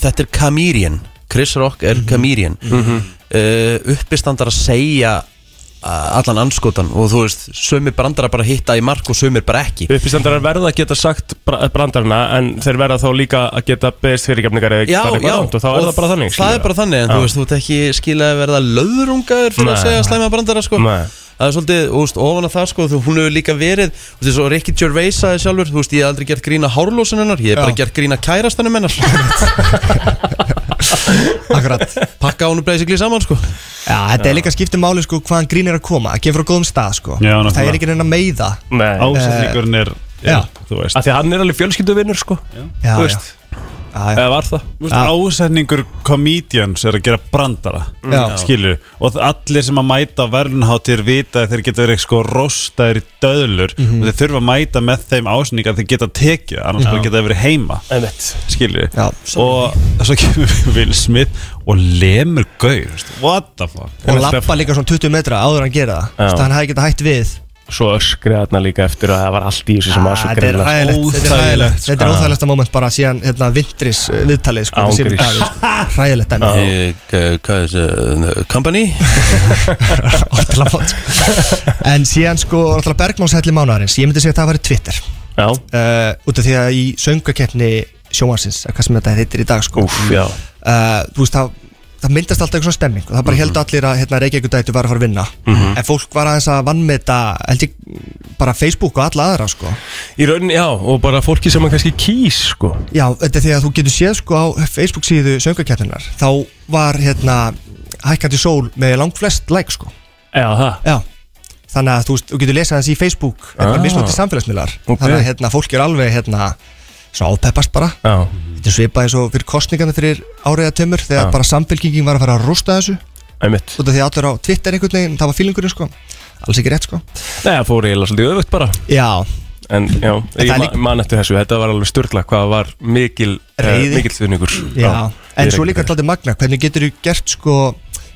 Þetta er Kamírian Chris Rock er Kamírian mm Uppistandar að segja uh, Allan anskotan Og þú veist Sumir brandara bara hitta í mark Og sumir bara ekki
Uppistandarar verða að geta sagt bra- eh, brandarana en þeir verða þá líka að geta beðist fyrirgefningar eða
Já,
farið eitthvað
já,
rangt og þá er það bara þannig
Það er bara þannig, en
Já.
þú veist, þú ert ekki skilaði að verða löðrungaður fyrir að
Nei.
segja slæma brandara, sko
Nei.
Það er svolítið, þú veist, ofan að það, sko, þú, hún hefur líka verið Þú veist, svo Ricky Gervais sagði sjálfur, þú veist, ég hef aldrei gert grína hárlósun hennar Ég hef bara gert grína
<laughs>
kærastanum hennar
Akkurat
Pakka honum basically saman, sko
Já, þetta er líka skipti máli sko hvaðan grín er að koma að kemur frá góðum stað sko
Já, nákvæmlega.
það er ekki reyna að meiða
Nei.
Ásetningurinn er,
Eh, Já.
er þú veist
Af því að hann er alveg fjölskylduvinnur sko Já,
Já,
Þú
já.
veist,
já, já.
eða var það
Þú veist, Ásetningur komedians er að gera brandara
Já.
Skilur Og allir sem að mæta á verðlunhátir vita að Þeir geta verið sko rostaðir í döðlur
Mhm.
Og þeir þurfa að mæta með þeim ásetning að þeir geta tekið Annars bara geta þeir verið heima
Einmitt.
Skilur
Já,
Og svo kemur <laughs> Will Smith Og lemur gaur þú veist, What the fuck
og lappa líka svona 20 metra áður en hann gera það
Já.
Þannig að hann hefði getað hætt við
Svo öskriða þarna líka eftir að það var allt í þessu sem var svo
Ah,
sko.
Þetta er
greinlega
ræðilegt Þetta er
Óþægilegt,
ræðilegt
sko.
Þetta er óþægilegsta moment bara síðan hérna, vintris uh, viðtalið sko,
Án
síðan
gríns.
Davíð, sko. Ræðilegt dæmi <laughs>
Eh, k- Hvað er þessi, eh, company?
Ótrúlega flott, sko. En síðan sko náttúrulega Bergmáns helli mánuðarins Ég myndi segja að það væri Twitter
Já,
uh, Út af því að í söngakeppni sjónvarsins eða Hvað sem þetta heitir í dag sko
úf, já
uh, Þú veist það Það myndast alltaf eitthvað svona stemming og það bara
Mhm.
held allir að hérna, Reykjavík dætu var að fara að vinna En fólk var aðeins að vannmeta held ég bara Facebook og alla aðra sko
Í rauninni, já, og bara fólki sem að kannski kýs, sko
Já, þetta er því að þú getur séð sko á Facebook síðu söngarkjartinnar þá var hérna hækkandi sól með langflest like sko
Já, það
Já Þannig að þú, veist, þú getur lesað þessi í Facebook en það
Ah.
er mismöndi samfélagsmiðlar
Ok.
Þannig að hérna, fólk er alveg hérna svona ápeppast bara
Já,
Þetta er svipað eins og fyrir kostningarna fyrir áriða tömur þegar bara samfélkingin var að fara að rústa þessu
Einmitt.
Út af því að allir á Twitter einhvern veginn, það var fílingurinn sko Alls ekki rétt sko
Nei, það fór eiginlega svolítið öfugt bara
Já
En já,
það
ég
er
ma man eftir þessu, þetta var alveg störla hvað var mikil, uh,
Reiði.
mikil stuðningur
Já, en
við
svo líka
Reykjavík.
alltaf magna Hvernig getur þú gert sko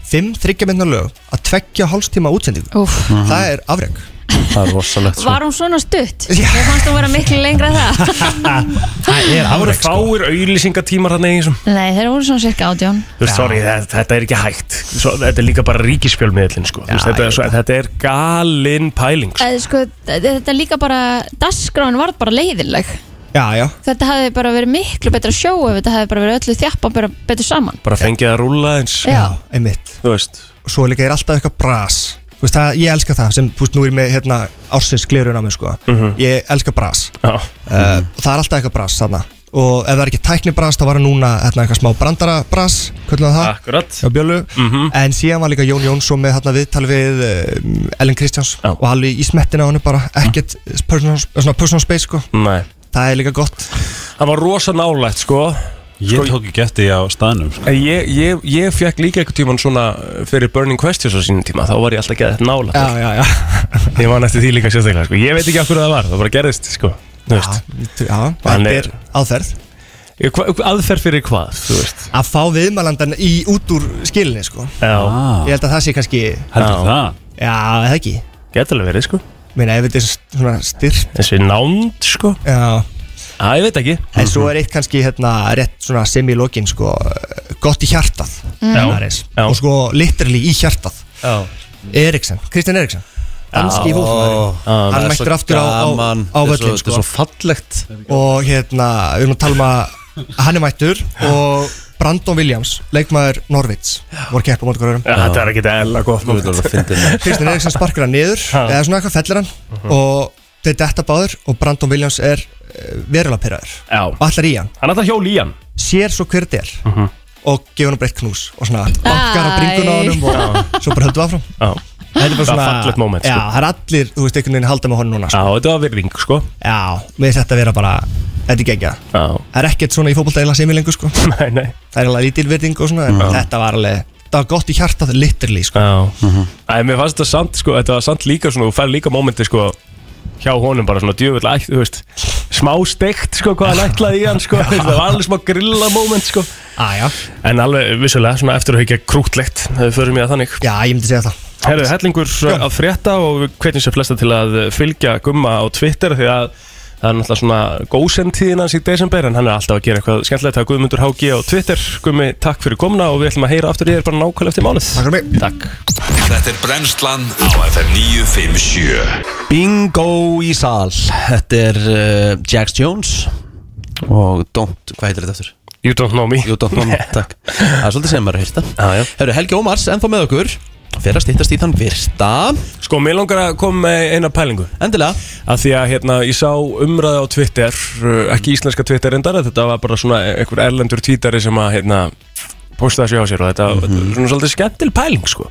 Fimm þryggjaminna lög að tveggja hálstíma útsendingu
Úff.
Það er afreg
Það er
Sko.
rosalegt sko.
Var hún svona stutt? Mér fannst hún vera miklu lengra en það
<laughs>
Það
er sko.
voru fáir auðlýsingatímar hann eigin
Nei, þeir voru svona cirka átján
Þú veist, sorry, þetta, þetta er ekki hægt svo, Þetta er líka bara ríkispjölmiðlinn sko. Þú veist, þetta, er, svo, þetta er galin pæling sko.
Eða sko, þetta er líka bara Dasgráin var bara leiðileg
Já, já
Þetta hefði bara verið miklu betra sjó ef þetta hefði bara verið öllu þjappa bara betur saman
Bara fengið að rúlla eins
Já.
Einmitt
Þú veist
Og svo líka er alltaf eitthvað bras Þú veist, það, Ég elska það sem, þú veist, nú er ég með hérna, ársins glirun á mig sko Ég elska bras
Já
uh, og það er alltaf eitthvað bras þarna og ef það er ekki tæknibras þá var það núna hérna, eitthvað smá brandarabras hvernig það
Akkurat
hjá Björlu
Mhm.
en síðan var líka Jón Jónsson með hérna, viðtal við um, Ellen Kristjáns og allir í smettina á hennu bara ekkert personal, svona personal space sko
Nei
það er líka gott
Það var rosa nálægt sko
Ég tók ekki eftir því á staðnum sko.
En Ég, ég, ég fekk líka einhvern tíman svona eh, fyrir Burning Questions á sínum tíma þá var ég alltaf að geða þetta nála
Já, já, já
Ég man eftir því líka sérstaklega sko. Ég veit ekki af hverju það var, það bara gerðist sko. Þú veist.
já, þetta
Þannig-
er aðferð
Ég- hva- Aðferð fyrir hvað, þú veist
að fá viðmælandan í út úr skilinni sko
Já,
ég held að það sé kannski
heldur það
já, er það ekki
Gæti alveg verið sko
Meina, ef þetta er svona styrt
Þessi nánd sko
Já
Æ, ég veit ekki
En svo
Mhm.
er eitt kannski hérna rétt svona sem í lokin sko eh, Gott í hjartað
Mhm.
Mm. Já,
Ares.
já.
Og sko literally í hjartað
Já.
Eriksen, Kristján Eriksen Danski
Já.
fólkmaðurinn
Já, það
Hann
er
mættur
svo
aftur á, á,
gaman.
á
Þetta er svo-
völlin
þetta er
sko
svo fallegt
Og hérna, við erum að tala um að Hann er mættur og Brandon Williams, leikmaður Norvits Voru að keppa á móti hverjum
Já, þetta er ekki eðla gott
Þú veit alveg að fyndi
Kristján Eriksson sparkar hann niður eða svona eitthvað fellir hann
Mhm.
og þeir detta báður og Brandon Williams er uh, verulega pyrraður
Já.
og allar í hann
Hann ætla hjól í hann
sér svo hver þetta er
Mhm.
og gefur hann bara eitt knús og svona bankar á bringuna á hann og svo bara höldu áfram
Já,
þetta er bara
Það var
svona
fallegt moment, sko.
já, það er allir, þú veist, einhvern veginn að halda með honum núna
Já,
sko.
þetta var virðing sko
já, mér finnst þetta að vera bara þetta er gegja
Já,
það er ekkert svona í fótbolta eiginlega sem ég lengur sko. það
<laughs> nei, nei
er eiginlega lítilverðing og svona en þetta var alveg það var gott í hjartað literally sko.
Já Æ, mér fannst þetta samt sko, þetta var samt líka svona, þú fær líka mómenti sko hjá honum bara svona djöfull ætt, þú veist smá steikt sko hvað hann ætlaði í hann sko það var alveg smá grilla moment sko
Aja.
en alveg vissulega svona eftir að hugja krútlegt ef við förum í að þannig
já, ég myndi segja það
Herðu, hellingur að frétta og við hvetjum sér flesta til að fylgja Gumma á Twitter því að það er náttúrulega svona góðsendtíðin hans í desember en hann er alltaf að gera eitthvað skemmtilegt að Guðmundur HG á Twitter Gummi, takk fyrir komna og við ætlum að heyra aftur í þér bara nákvæmlega eftir mánuð
Takk fyrir mig
Takk
Þetta er brennslan á FM 957
Bingo í sal Þetta er uh, Jax Jones og Don't, hvað heitir þetta aftur?
You don't know me
You don't know me, <laughs> takk Það er svolítið sem maður heyrta
Já, já.
Hörru, Helgi Ómars, ennþá með okkur Fyrir að stýttast í þann virta
Sko, mér langar að koma með eina pælingu
Endilega
að því að hérna, ég sá umræði á Twitter uh, ekki íslenska Twitter endara þetta var bara svona einhver erlendur tvítari sem að hérna, postaði sér á sér og þetta mm -hmm. svona svolítið skemmtil pæling sko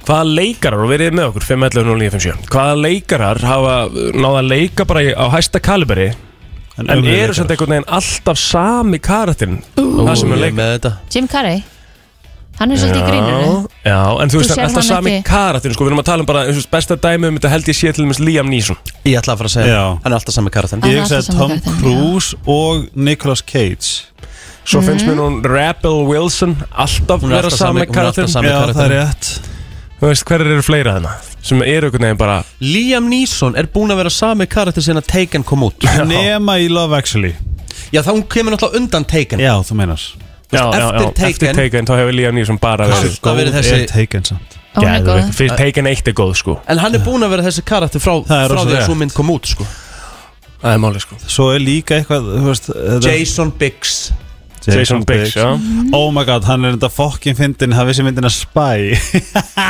hvaða leikarar, og verið með okkur 5.11.09.57, hvaða leikarar hafa náða að leika bara í- á hæsta kaliberi en,
ömurlegir
eru samt einhvern veginn alltaf sami karakterinn það sem er
Ég er
leik
með þetta
Jim Carrey Hann er svolítið í gríninu
já, en þú
Þú
veist, það er
sérð
alltaf
hann
sami
ekki.
karakterinn sko, við erum að tala um bara, þú veist, besta dæmi um þetta held ég sé til dæmis Liam Neeson
Ég ætla að fara að segja
Já.
Hann er alltaf sami karakter
Ég
er
hugsaði
alltaf
Tom
sama karakterinn,
Cruise og Nicolas Cage
Svo finnst mér hún Rebel Wilson alltaf
Hún er
vera
alltaf sami- hún
sami
er alltaf
karakterinn
sami
Já, það er
karakterinn.
rétt
Þú veist, hverjir eru fleira þarna sem eru einhvern veginn bara
Liam Neeson er búin að vera sami karakter sinna Taken kom út
Nema í Love Actually
Já, þá hún kemur náttúrulega undan Taken
Já, þú meinas
já, já, já,
eftir Taken-
eftir Taken þá hefur Liam Neeson bara verið
Það verið þessi-
er Taken samt
Og hún er
Geðveikt.
góð
Fyrst Taken 1 er góð sko
En hann er búin að vera þessi karakter frá,
Það
frá
er rosa
því að
rétt.
svo mynd kom út sko.
Það er máli sko
Svo er líka eitthvað, þú veist eh, þetta-
Jason Biggs
Jason Biggs, já
Oh my god, hann er enda fokkin fyndin Það vissi myndina Spy <laughs>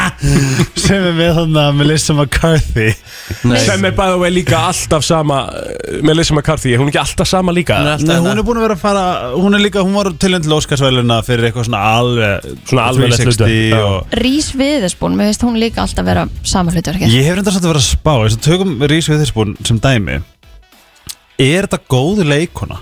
Sem er með hann að Melissa McCarthy
Sem er bæða vegi líka alltaf sama eh, Melissa McCarthy, er hún ekki alltaf sama líka?
Hún er alltaf- hérna.
Nei, hún er búin að vera að fara Hún er líka, hún var tilhend lóskarsvæluna Fyrir eitthvað svona alveg
Svona alveg
360
hlutverk, já.
og,
Rís Viðersbún, mér finnst hún líka alltaf vera sama hlutverki
Ég hef enda samt að vera að spá Þess að tökum Rís Viðherspún sem dæmi Er þetta góð leikona?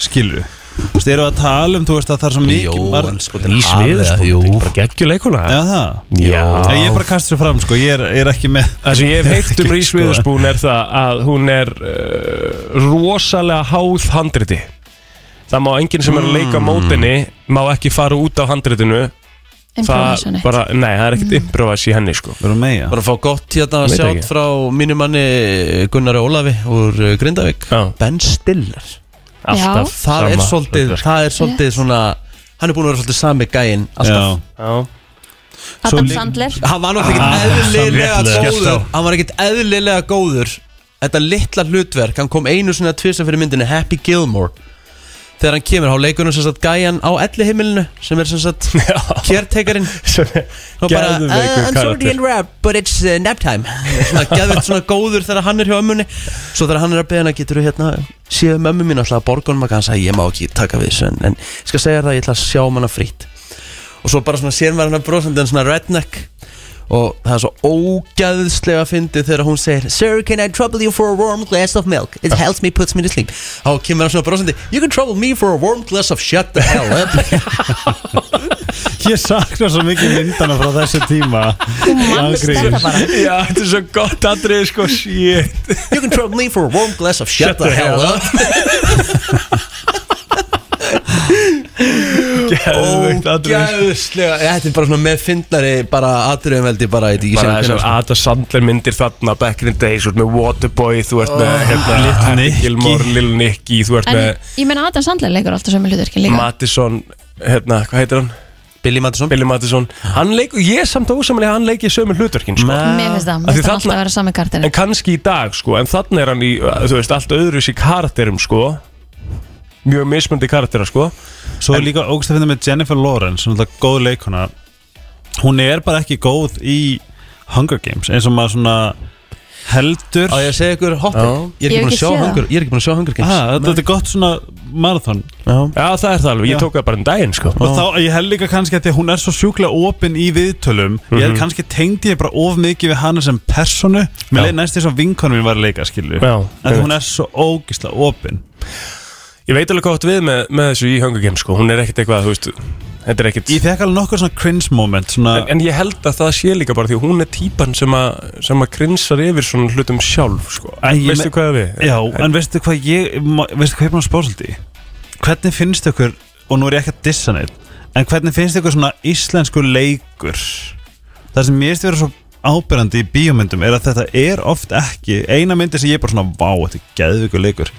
Skilur við? Þú veist, eru að tala um, þú veist, að það er svo mikið
sko,
margskotin
Í sviðurspóti, sko? bara geggjur leikuna
Já, það
Já.
Nei, Ég er bara að kasta sér fram, sko, ég er, ég er ekki með sko.
Það sem
<laughs>
ég hef heitt um
sko.
Rís Viðurspún er það að hún er uh, rosalega háð handriti Það má enginn sem er að leika
Mm.
mótinni má ekki fara út af handritinu
Improvisa
Það
neitt.
bara, nei, það er ekkert mm. improvise í henni sko
Bara meja
Bara að fá gott hérna
Veit
sjátt
ekki.
frá mínu manni Gunnari Ólafi úr uh, Grindavík Ben Stiller
Alltaf Já.
Það er
sama
svolítið,
hlutverk.
það er svolítið svona Hann er búin að vera svolítið sami gæinn alltaf Svo
Adam
lík-
Sandler
Hann var náttúrulega ekkert eðlilega góður Hann var ekkert eðlilega góður Þetta litla hlutverk, hann kom einu svona tvisa fyrir myndinni Happy Gilmore Þegar hann kemur á leikunum sem sagt gæjan á elli sem er sem
<laughs>
sagt kjertekarinn og bara
geðveikur
"Uh, I'm sorry
karakter."
to interrupt but it's uh, nap time <laughs> svona geðvitt svona góður þegar hann er hjá ömmunni svo þegar hann er að beða hana getur þú hérna séð um ömmu mín alltaf að borgunum að hann sagði ég má ekki taka við þessu en, en ég skal segja þér það ég ætla að sjá um hana frýtt og svo bara svona sér maður hana brosandi en svona redneck og það er svo ógæðslega fyndið þegar hún segir Sir, can I trouble you for a warm glass of milk? It helps me, puts me to sleep þá kemur hann svona brosandi You can trouble me for a warm glass of shut the hell up
Ég sakna svo mikið myndana frá þessu tíma
Þú manst
Ágríns.
þetta bara.
Já, þetta er svo gott atrið sko Shit
You can trouble me for a warm glass of shut, the, hell up
Geðveikt atriði.
Ógæðslega Þetta er bara svona með fyndnari bara atriðum veldi bara Þetta ekki sko.
Bara
sem
þessar Ada Sandler myndir þarna Back in the days, þú ert með Waterboy Þú
Oh,
ert með hérna, Happy Gilmore, Lil Nicky Þú ert
En
með
ég meina Adam Sandler leikur alltaf sömu hlutverki líka
Mattisson hérna, hvað heitir hann?
Billy Mattisson
Billy Mattisson Hann leikur, ég er samt ósamlega hann leikir sömu hlutverkin sko.
Mér finnst það,
Af
mér
því
finnst hann
þarna-
alltaf að vera sami kartin
En kannski í dag sko, en þannig er hann í, uh, þú veist, allt öðruvísi karakterum sko Mjög mismöndi karakterar sko
Svo er líka ógst að finna með Jennifer Lawrence sem er alltaf góð leikona hún er bara ekki góð í Hunger Games eins og maður svona heldur
Á ég að segja ykkur hoppið Ég er ekki Ég hef búin að ekki sjá séð það. Hunger- ég er ekki búin að sjá Hunger Games.
ah, Þetta er gott svona marathon
Já,
það er það alveg, ég
Já.
tók það bara um daginn sko
og þá, ég held líka kannski að því að hún er svo sjúklega opin í viðtölum ég held
Mhm.
kannski tengdi ég bara of mikið við hana sem personu mér
Já.
leið næst þess að vinkonum mín var að leika skilju
Já,
en hún er svo ógisla opin
Ég veit alveg hvað átt við með, með þessu í Hunger Games sko Hún er ekkert eitthvað, þú veist, þetta er ekkert
ég fekk alveg nokkur svona cringe moment svona,
en, en ég held að það sé líka bara því að hún er típan sem að, sem að grinsar yfir svona hlutum sjálf sko.
Æ, ég
Veistu
me-
hvað við?
Já, en veistu hvað ég ma- Veistu hvað ég er búin að spása þetta í? Hvernig finnst ykkur, og nú er ég ekki að dissa neitt En hvernig finnst ykkur svona íslensku leikur Það sem mér finnst vera svo ábyrrandi í bíómyndum Er að þetta er oft ekki Eina myndi sem ég er bara svona Vá, þetta er geðvikur leikur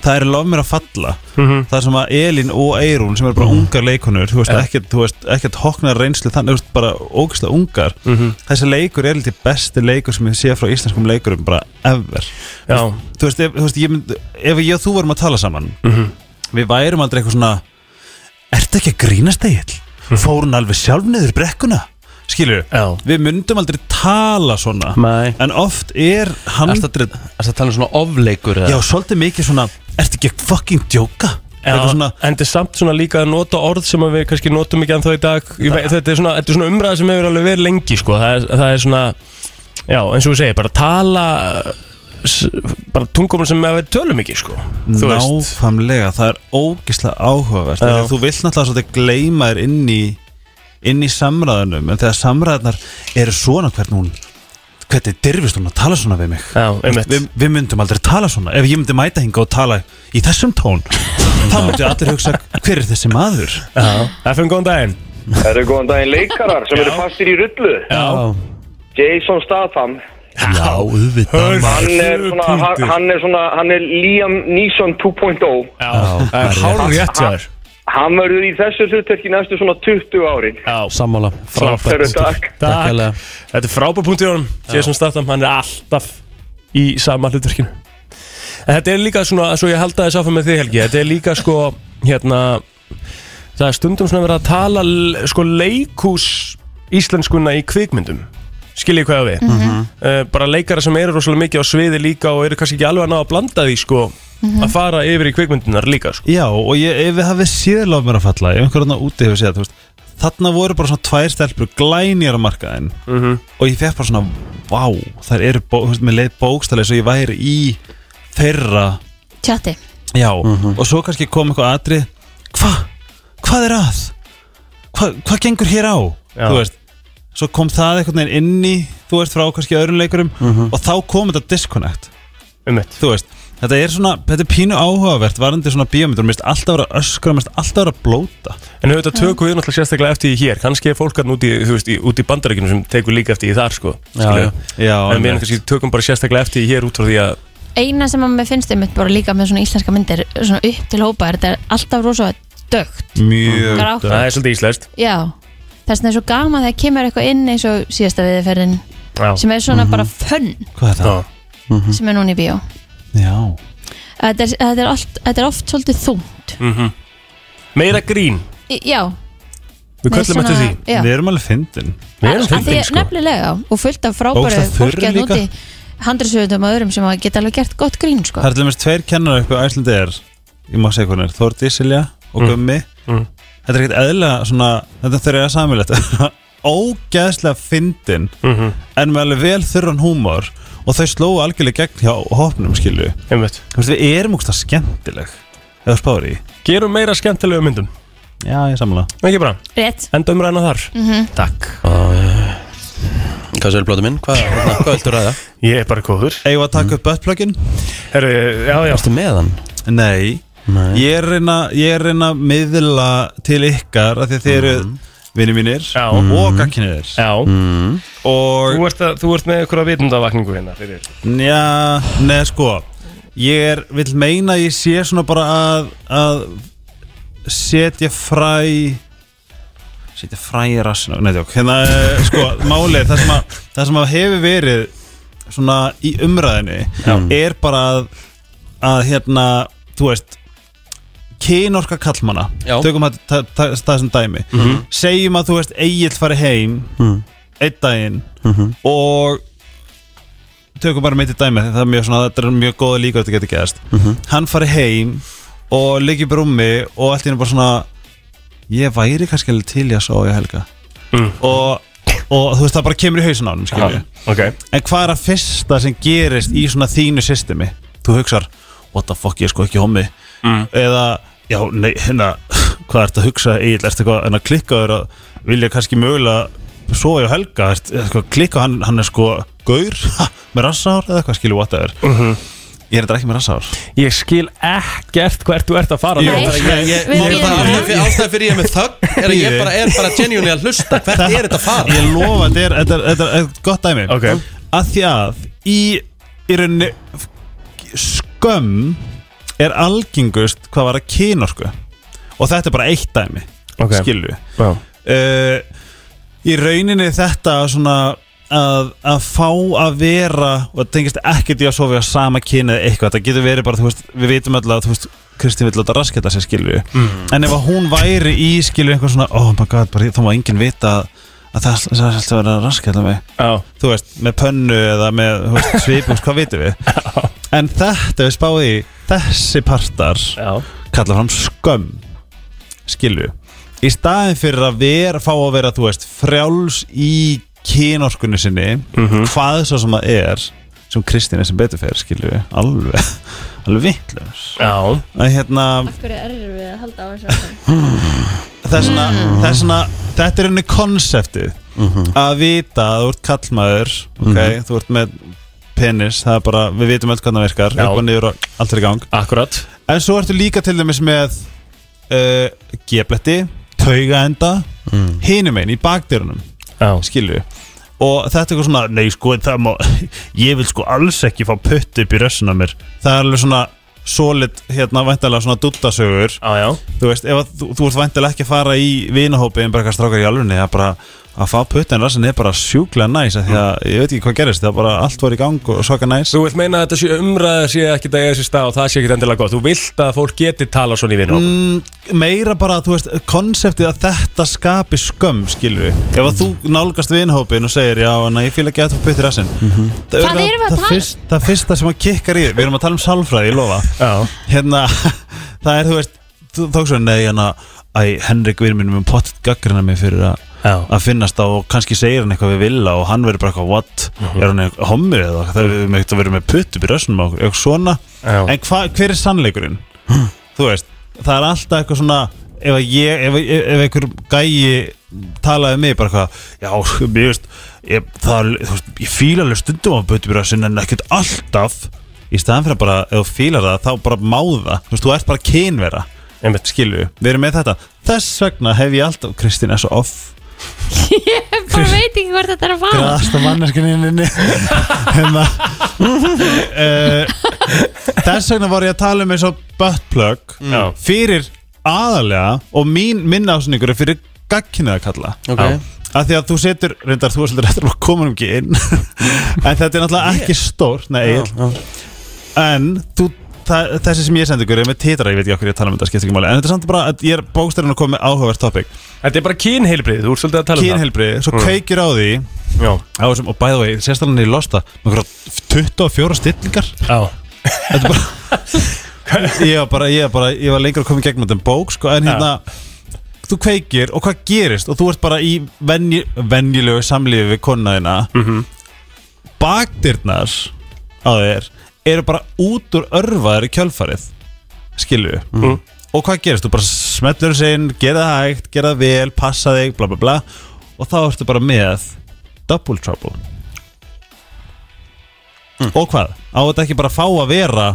Það er lof mér að falla
Mhm.
Það sem að Elín og Eirún sem eru bara ungar leikunur Þú veist, ekkert, þú veist, ekkert hoknar reynslu Þannig, þú veist, bara ógislega ungar
Mhm.
Þessi leikur er litið besti leikur sem ég sé frá íslenskum leikurum bara ever
Já.
Þú veist, ef, þú veist ég mynd, ef ég og þú varum að tala saman
Mhm.
Við værum aldrei eitthvað svona Ertu ekki að grínast eigill?
Mhm.
Fór hún alveg sjálf niður brekkuna? Skilur
Já.
Við myndum aldrei tala svona
Nei.
En oft er hann
Ertu að- ertu að tala um svona ofleikur eða?
Já, svolítið mikið svona Ertu ekki að fucking djóka?
Já, en þetta er samt svona líka að nota orð sem að við kannski notum ekki ennþá í dag Ég veit, þetta, er svona, þetta er svona umræða sem hefur alveg verið lengi sko. það, er, það er svona, já eins og við segir, bara tala s- bara tungumum sem við tölum ekki sko. Þú veist.
Náfamlega, það er ógislega áhugavert Þegar þú vilt náttúrulega svolítið gleyma þér inn í inn í samræðunum en þegar samræðunar eru svona hvernig hún hvernig dirfist hún að tala svona við mig
Já, einmitt.
við, við myndum aldrei tala svona ef ég myndi mæta hinga og tala í þessum tón þá myndi allir hugsa hver er þessi maður
Já, FN góðan daginn
Það eru góðan daginn leikarar sem eru fastir í rullu
Já
Jason Statham
Já, auðvitað
Hann er svona, hann- hann er svona, hann er Liam Neeson 2.0
það er hár rétt hjá þér
Hann verður í þessu hlutverki næstu svona 20 árin
Sammála,
Frábært. Takk. Takk.
hérlega.
Þetta er frábær punkt í honum Jason Statham, hann er alltaf í sama hlutverkinu En þetta er líka svona, svo ég held að þess áfram með þig Helgi Þetta er líka sko, hérna Það er stundum svona verið að tala l- sko leikús íslenskuna í kvikmyndum Skiljið hvað ég á við
Mhm.
Eh, Bara leikara sem eru rosalega mikið á sviði líka og eru kannski ekki alveg að ná að blanda því sko
Mhm.
að fara yfir í kvikmyndunar líka sko
Já, og ég, ef við hafið séð lof mér að falla ef einhverjum úti hefur séð þú veist, þarna voru bara svona tvær stelpur glænjar á markaðin
Mhm.
og ég fekk bara svona vá, þær eru, bó, þú veist, með leið bókstæli svo ég væri í þeirra
Tjatti
Já, og svo kannski kom eitthvað atrið hvað er að? Hva, hvað gengur hér á? Þú veist, svo kom það einhvern veginn inn í, þú veist, frá kannski öðrum leikurum og þá kom þetta disconnect
Ummitt
Þú veist, þetta er svona, þetta er pínu áhugavert varandi svona bíómyndur, mér finnst alltaf vera öskra, mér finnst alltaf vera blóta
En auðvitað tökum við náttúrulega sérstaklega eftir því hér kannski er fólk hann úti, þú veist, í, út í bandarækjunum sem tekur líka eftir því þar sko skilurðu.
já. Já,
En við
einmitt.
kannski tökum bara sérstaklega eftir því hér út frá því að
eina sem að mér finnst einmitt bara líka með svona íslenska myndir svona upp til hópa er þetta er alltaf rosa dögt
Mjög
Grátt.
Það er svolítið íslenskt
já þess vegna er svo gaman þegar kemur eitthvað inn eins og síðasta viðferðin
Já.
sem er svona bara fönn
Hvað er það?
sem er núna í bíó
Já
þetta er, þetta er, allt, þetta er oft svolítið þung
-hmm. Meira grín
Í- já
Við
Nei,
köllum
svona-
eftir því
já. Við
erum alveg fyndin
Við erum
Af því
fyndin
að-
sko
nefnilega og fullt af frábæru
Ógeðslega þurr
fólki að
líka.
núti handriðsöðum og öðrum sem að geta alveg gert gott grín sko.
Það er til dæmis tveir kennar upp á Æslandi er ég má segja hvernig er, Þórdi Silja og Gummi Þetta er ekkert eðlilega svona þetta þurfa að samilegt <laughs> ógeðslega fyndin
Mhm.
en með alveg vel þurran húmor og þau slóu algjörlega gegn hjá hopnum skilju
Einmitt.
Við erum úkst að skemmtileg eða spári
Gerum meira skemmtilega myndum
Já, ég samla
Ekki bara
Rétt
Enda umræðina þar
Mhm.
Takk
Hvað sér blóta minn? Hvað, <laughs> hvað viltu ræða?
Ég er bara góður
Eigum við að taka upp buttplugin?
Herru, já, já
Varstu með hann?
Nei,
Nei.
Ég er að reyna, ég er að reyna að miðla til ykkar af því að þið eru mm. vinni mínir Já. og gagkinir
Já
mm. og
Þú ert, að, þú ert með einhverja vitundavakningu hérna fyrir.
Já, neða sko Ég er, vill meina að ég sé svona bara að, að setja fræ setja fræ í rassinu Nei, tjók, hérna, eh, sko, málið það sem, að, það sem að hefur verið svona í umræðinni er bara að, að hérna, þú veist kynorka kallmana
Já.
tökum það- það það- það sem dæmi
Mhm.
segjum að þú veist Egil fari heim
Mm.
einn daginn
Mhm.
og tökum bara mitt í dæmi því það er mjög svona, þetta er mjög góða líka þetta getur gerst
Mhm.
hann fari heim og liggi brúmi og allt í henni bara svona ég væri kannski alveg til í að sofa í helga
Mm.
og, og þú veist það bara kemur í hausin á hann skilju
okay.
en hvað er að fyrsta sem gerist í svona þínu systemi þú hugsar, what the fuck, ég er sko ekki homi
Mm.
eða, já, nei, hérna <laughs> hvað ert að hugsa, Egil, ertu eitthvað en að klikka þér að vilja kannski mögulega sofa hjá Helga, ert, eitthvað, klikka hann, hann er sko gaur <laughs> ha, með rassár eða eitthvað skilju, what the er ég er þetta ekki með rassár
ég skil ekkert hvert þú ert að fara
Jú,
með
ég-
þetta.
ég- Við ég- viljum það.
Ástæðan ástæðan fyrir ég er með þögn er að ég bara, er bara genuinely að hlusta Hvert er þetta að fara?
Ég lofa, þetta er, þetta er, þetta er eitt gott dæmi
okay.
Að því að í, í rauninni skömm er algengust hvað var að kynorku og þetta er bara eitt dæmi
Ok.
skilju
Já.
Eh, í rauninni þetta svona að, að fá að vera og það tengist ekkert í að sofa á sama kyni eða eitthvað, það getur verið bara þú veist, við vitum öll að þú veist Kristín vill láta rasketa sér skilju
Mm.
en ef að hún væri í skilju einhver svona oh my god, bara, þá má enginn vita að- að það það er alltaf að vera rasketa mig
Já.
þú veist, með pönnu eða með þú veist, svipum, hvað vitum við en þetta við spáði í þessi partar
Já.
kalla fram skömm skilju í staðin fyrir að vera, fá að vera þú veist, frjáls í kynorkunni sinni
Mhm.
Mm.
hvað svo sem það er sem Kristín er sem betur fyrir skilju alveg, <laughs> alveg vittlust
Já
að hérna
hverju erum við að halda á <laughs> þessu
þess vegna, þess vegna þetta er henni konseptið að vita að þú ert kallmaður ok, þú ert með penis það er bara, við vitum öll hvernig það virkar
Já.
upp og niður og allt er í gang
Akkurat
en svo ertu líka til dæmis með uh, gebletti, taugaenda mm. hinum einn í bakdyrunum skilju og þetta er eitthvað svona, nei sko það má, <laughs> ég vil sko alls ekki fá putt upp í rössuna mér það er alveg svona solid, hérna væntalega svona duttasögur
já, já.
þú veist, ef að, þú, þú ert væntalega ekki að fara í vinahópi en bara eitthvað strákar í alvunni að bara að fá puttin rassin er bara sjúklega næs af því að ég veit ekki hvað gerist, það bara allt var í gang og svaka næs
Þú vilt meina að þetta sé umræða sé ekki það eða sér stað og það sé ekki endilega gott Þú vilt að fólk geti tala svona í vinahóp
mm, meira bara, þú veist, konseptið að þetta skapi skömm, skilur við ef að þú nálgast vinhópin og segir já, en ég fíl ekki að þú putti rassinn það,
Hvað erum við að
það,
tala-
fyrst, það fyrsta sem að kikkar í þig, við erum að tala um salfræði, ég lofa
já.
hérna, <laughs> það er, þú veist þú tók svo, nei, hérna æ, Henrik vinur minn er með pottet gaggrina mig fyrir að að finnast á og kannski segir hann eitthvað við vilja og hann verður bara eitthvað what, er hann eitthvað homur eða það er með eitthvað að vera með putt upp í rössnum á okkur, eitthvað svona
Já.
en hva, hver er sannleikurinn? þú veist, það er alltaf eitthvað svona ef, að ég, ef, ef, ef einhver gæi talaði við mig bara hvað já, sko, mér veist ég, það, er alveg- þú veist, ég fíla alveg stundum á bötubirasin en ekkert alltaf í staðan fyrir að bara, ef þú fílar það þá bara máða, þú veist, þú ert bara kynvera Einmitt. skilju, við erum með þetta þess vegna hef ég alltaf, Kristín er svo off
Ég bara veit ekki hvort þetta er að fara
græðasta manneskinni hérna uh, þess vegna var ég að tala um eins og buttplug
Mm.
fyrir aðalega og mín minna ásningur er fyrir gagkinniða kalla
Ok.
Já. Af því að þú setur, reyndar þú er svolítið eftir að koma um ekki inn en þetta er náttúrulega ekki stórt nei,
Mm. Já,
Egill. en þú, það, þessi sem ég sendi ykkur er með titra, ég veit ekki okkur ég tala um þetta, skiptir ekki máli en þetta er samt bara, að ég er bókstærin að koma með áhugavert topic
Þetta er bara kynheilbrið, þú ert svolítið að tala um það
Kynheilbrigði, svo
Mm.
kveikir á því
Já.
á þessum, og by the way, sérstæðan er losta með einhverja 24 stillingar
Já
Þetta er bara ég var bara, ég var bara, ég var lengur að koma í gegnum þetta bók, sko, en hérna þú kveikir og hvað gerist og þú ert bara í venju, venjulegu samlífi við konaðina mm -hmm. bakdyrnar á þér eru bara út úr örfaður í kjölfarið skilu
Mhm.
og hvað gerist, þú bara smetlur þessu inn gera það hægt, gera það vel, passa þig bla bla bla og þá ertu bara með double trouble og hvað, á þetta ekki bara að fá að vera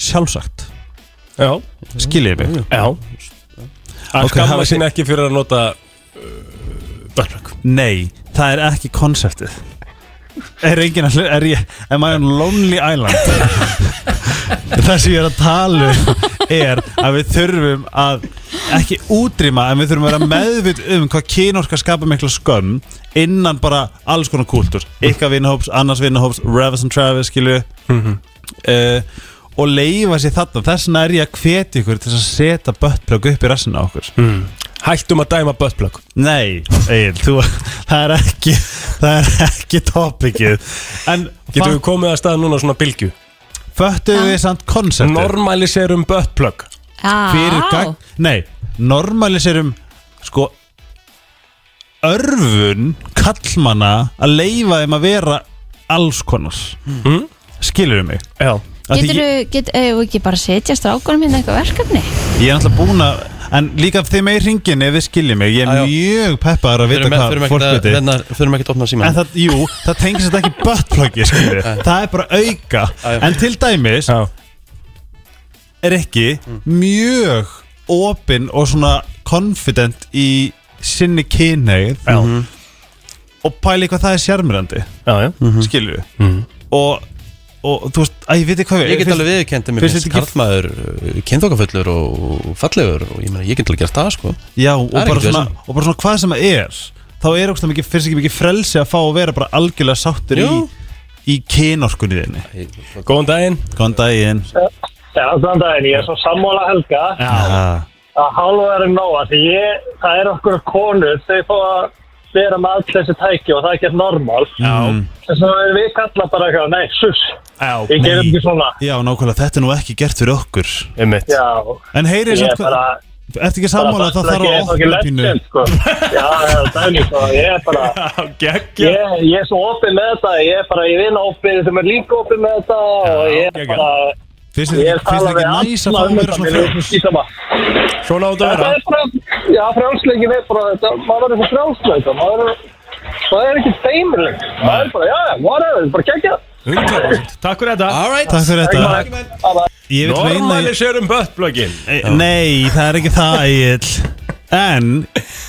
sjálfsagt
Já
skiljið mig
Já Að
Ok, hafa
skamma
þið-
sín ekki fyrir að nota uh, buttplug
Nei, það er ekki konseptið Er enginn að hlu- er ég, am I on Lonely Island <laughs> Það sem ég er að tala um er að við þurfum að ekki útrýma en við þurfum að vera meðvit um hvað kynorka skapa mikla skömm innan bara alls konar kúltúr ykkar vinahóps, annars vinahóps, Revis and Travis skilju uh, og leifa sér þarna, þess vegna er ég að hvetja ykkur til að setja buttplug upp í rassinu á okkur mm.
Hættum að dæma buttplug
Nei, Egil, þú, það er ekki það er ekki topikið En
Getum við komið að staða núna á svona bylgju
Föttuðu við samt konseptið?
Normaliserum buttplug
fyrir gagn Ah. Nei, normaliserum sko örfun kallmanna að leifa þeim að vera alls konar mm. Skilurðu mig?
Já
Getur get, þú ekki bara setja strákunum hérna eitthvað verkefni?
Ég er náttúrulega búin að En líka þeim með í ringin ef við skiljum mig Ég er mjög peppar að vita
Förum-
hvað
förum ekkert
fólk
að-
viti
hérna, Förum ekki að opna síma
En það, jú, það tengis þetta ekki buttpluggi, skilju
Nei.
Það er bara auka En til dæmis Er ekki
Mm.
mjög opinn og svona confident í sinni kynneið Og pæli hvað það er sjarmirandi
Já, já
Mhm.
Skilju og, og þú veist, að ég veit ekki hvað
Ég get alveg viðurkennt að mér
finnst
finnst
þetta ekki-
karlmaður kynþokafullur og fallegur og ég meina ég get alveg gert það sko
Já, og
Það er
bara,
ekkert
svona,
vesen.
og bara svona hvað sem það er þá er ógst mikið, finnst ekki mikið frelsi að fá að vera bara algjörlega sáttur í,
Jú.
í kynorkunni þinni
Góðan daginn
Góðan daginn
Já, þann daginn, ég er svo sammála helga
Já.
að hálfa er um nóa því ég, það er okkur konur þau fá að vera með allt þessi tæki og það er ekki normal
Já.
þess að við kalla bara eitthvað, nei, sus ég gerum ekki svona
Já, nákvæmlega, þetta er nú ekki gert fyrir okkur
Einmitt.
Já,
En heyrið
Ég
samt
er bara-
Ertu ekki sko- sammála að það
bara
þarf að
ekki-
opna
ekki
pínu
legend, sko. Já, já, dæmi, sko, ég er bara
<laughs>
ég, ég er svo opið með þetta ég er bara í vinn opið sem er líka opið með þetta og ég er bara
Finnst
þér
ég
ekki- finnst þér ekki
tala við
næs að
alla
fá að
um
vera
þetta,
svona
mér er
frjáls?
ekki sama.
Svona áttu að
Þetta
vera
er frjáls, já, frjálsleiki við bara þetta, maður verður svo frjálsleika, maður er, maður er ekki feimileg, maður er bara, já, já, whatever, þetta er bara gegja.
100%. Takk fyrir þetta
right.
Takk fyrir þetta. Ég vil meina-
Normaliserum buttplugin
Nei, það er ekki það Egil En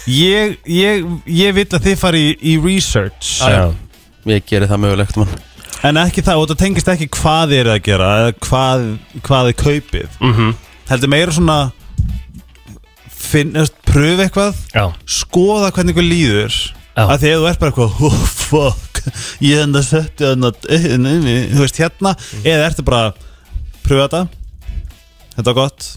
ég, ég, ég vil að þið fari í, í research
Já, já. Ég gerir það mögulegt mann
En ekki það, og þetta tengist ekki hvað þið er að gera eða hvað, hvað þið kaupið
Mhm.
Heldur meira svona finnast, pröfu eitthvað
Já.
skoða hvernig ykkur líður Já. að því að þú ert bara eitthvað oh, fuck, ég hérna enda setti þarna inni, þú veist hérna
Mhm.
eða ertu bara, pröfa þetta þetta var gott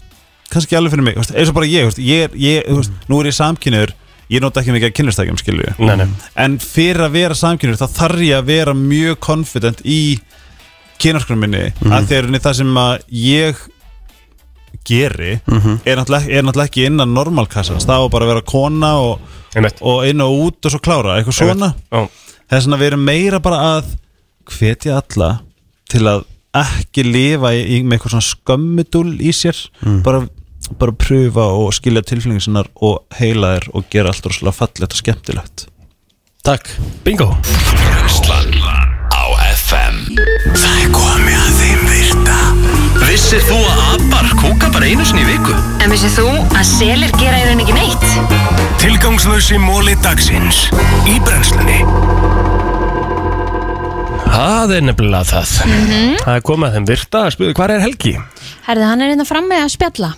kannski ekki alveg fyrir mig, þú veist, eins og bara ég, þú veist, ég, er- ég þú veist, nú er ég samkynur ég nota ekki mikið að kynlistækjum skilju
Nei, nei.
en fyrir að vera samkynur þá þarf ég að vera mjög confident í kynarskunum minni
Mhm.
mm -hmm. að þegar það sem að ég geri
Mhm.
er, náttúrulega, er náttúrulega ekki innan normalkassans það á bara að vera kona og, og inn og út og svo klára, eitthvað svona þess vegna við erum meira bara að hvetja alla til að ekki lifa í, í með eitthvað svona skömmudúl í sér bara bara pröfa og skilja tilfinningar sinnar og heila þér og gera allt rosalega fallegt og skemmtilegt
Takk Bingo
Brennslan á FM Það er komið að þeim virta
Vissir þú að abar kúka bara einu sinni í viku?
En vissið þú að selir gera í raun ekki neitt?
Tilgangslösi móli dagsins Í brennslunni
Það er nefnilega það
Mhm.
Það er komið að þeim virta að spyrja hvað er Helgi?
Herði, hann er hérna frammi að spjalla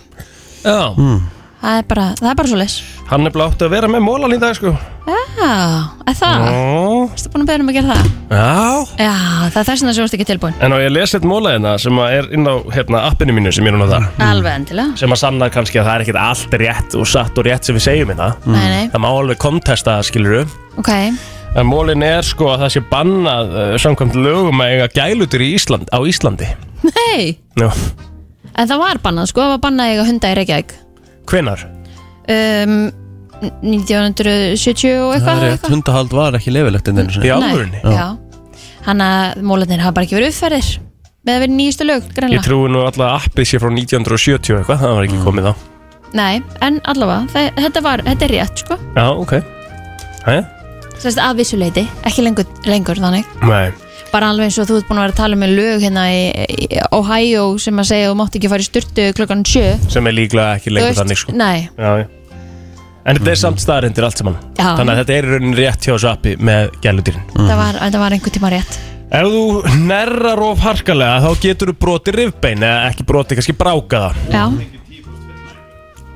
Já mm.
Það er bara, það er bara svo leys
Hann nefnilega átti að vera með mólan í dag sko
Já, er það?
Ó.
Erstu búin að beða um að gera það?
Já
Já, það er þess vegna sem þú ert ekki tilbúin
En á ég lesi eitt móla hérna sem að er inn á hérna, appinu mínu sem ég er núna það
Mm. Alveg endilega
sem að sanna kannski að það er ekkert allt rétt og satt og rétt sem við segjum hérna
Nei, nei.
Það má alveg kontesta það skiluru
Ok,
En mólin er sko að það sé bannað uh, samkvæmt lögum að eiga gælutur í Ísland, á Íslandi
nei
Nú,
En það var bannað, sko, það var bannað að eiga hunda í Reykjavík
hvenar?
um, 1970 og eitthvað eitthvað.
Hundahald var ekki leifilegt enn þenni
Í
Nei, Já, hann að mólarnir hafa bara ekki verið uppferðir með að vera nýjastu lög,
Ég
greinlega
trúi nú alltaf að appið sé frá 1970 og eitthvað, það var ekki
Mm.
komið þá
Nei, en allavega, það, þetta, var, þetta er rétt, sko
Já, ok Æja?
Sérst að vissuleiti, ekki lengur, lengur þannig
Nei
Bara alveg eins og þú ert búin að vera að tala með lög hérna í, í Ohio sem að segja að þú mátt ekki fara í styrtu klokkan sjö
Sem er líklega ekki
Þú
lengur
veist,
þannig sko
nei.
Já, já En þetta er samt staðarindir allt saman
Já.
Þannig að þetta er í rauninni rétt hjá þessu appi með gæludýrin
Þetta var, þetta var einhver tíma rétt
Ef þú nerrar of harkalega þá getur þú brotið rifbein eða ekki brotið, kannski brákaða
Já,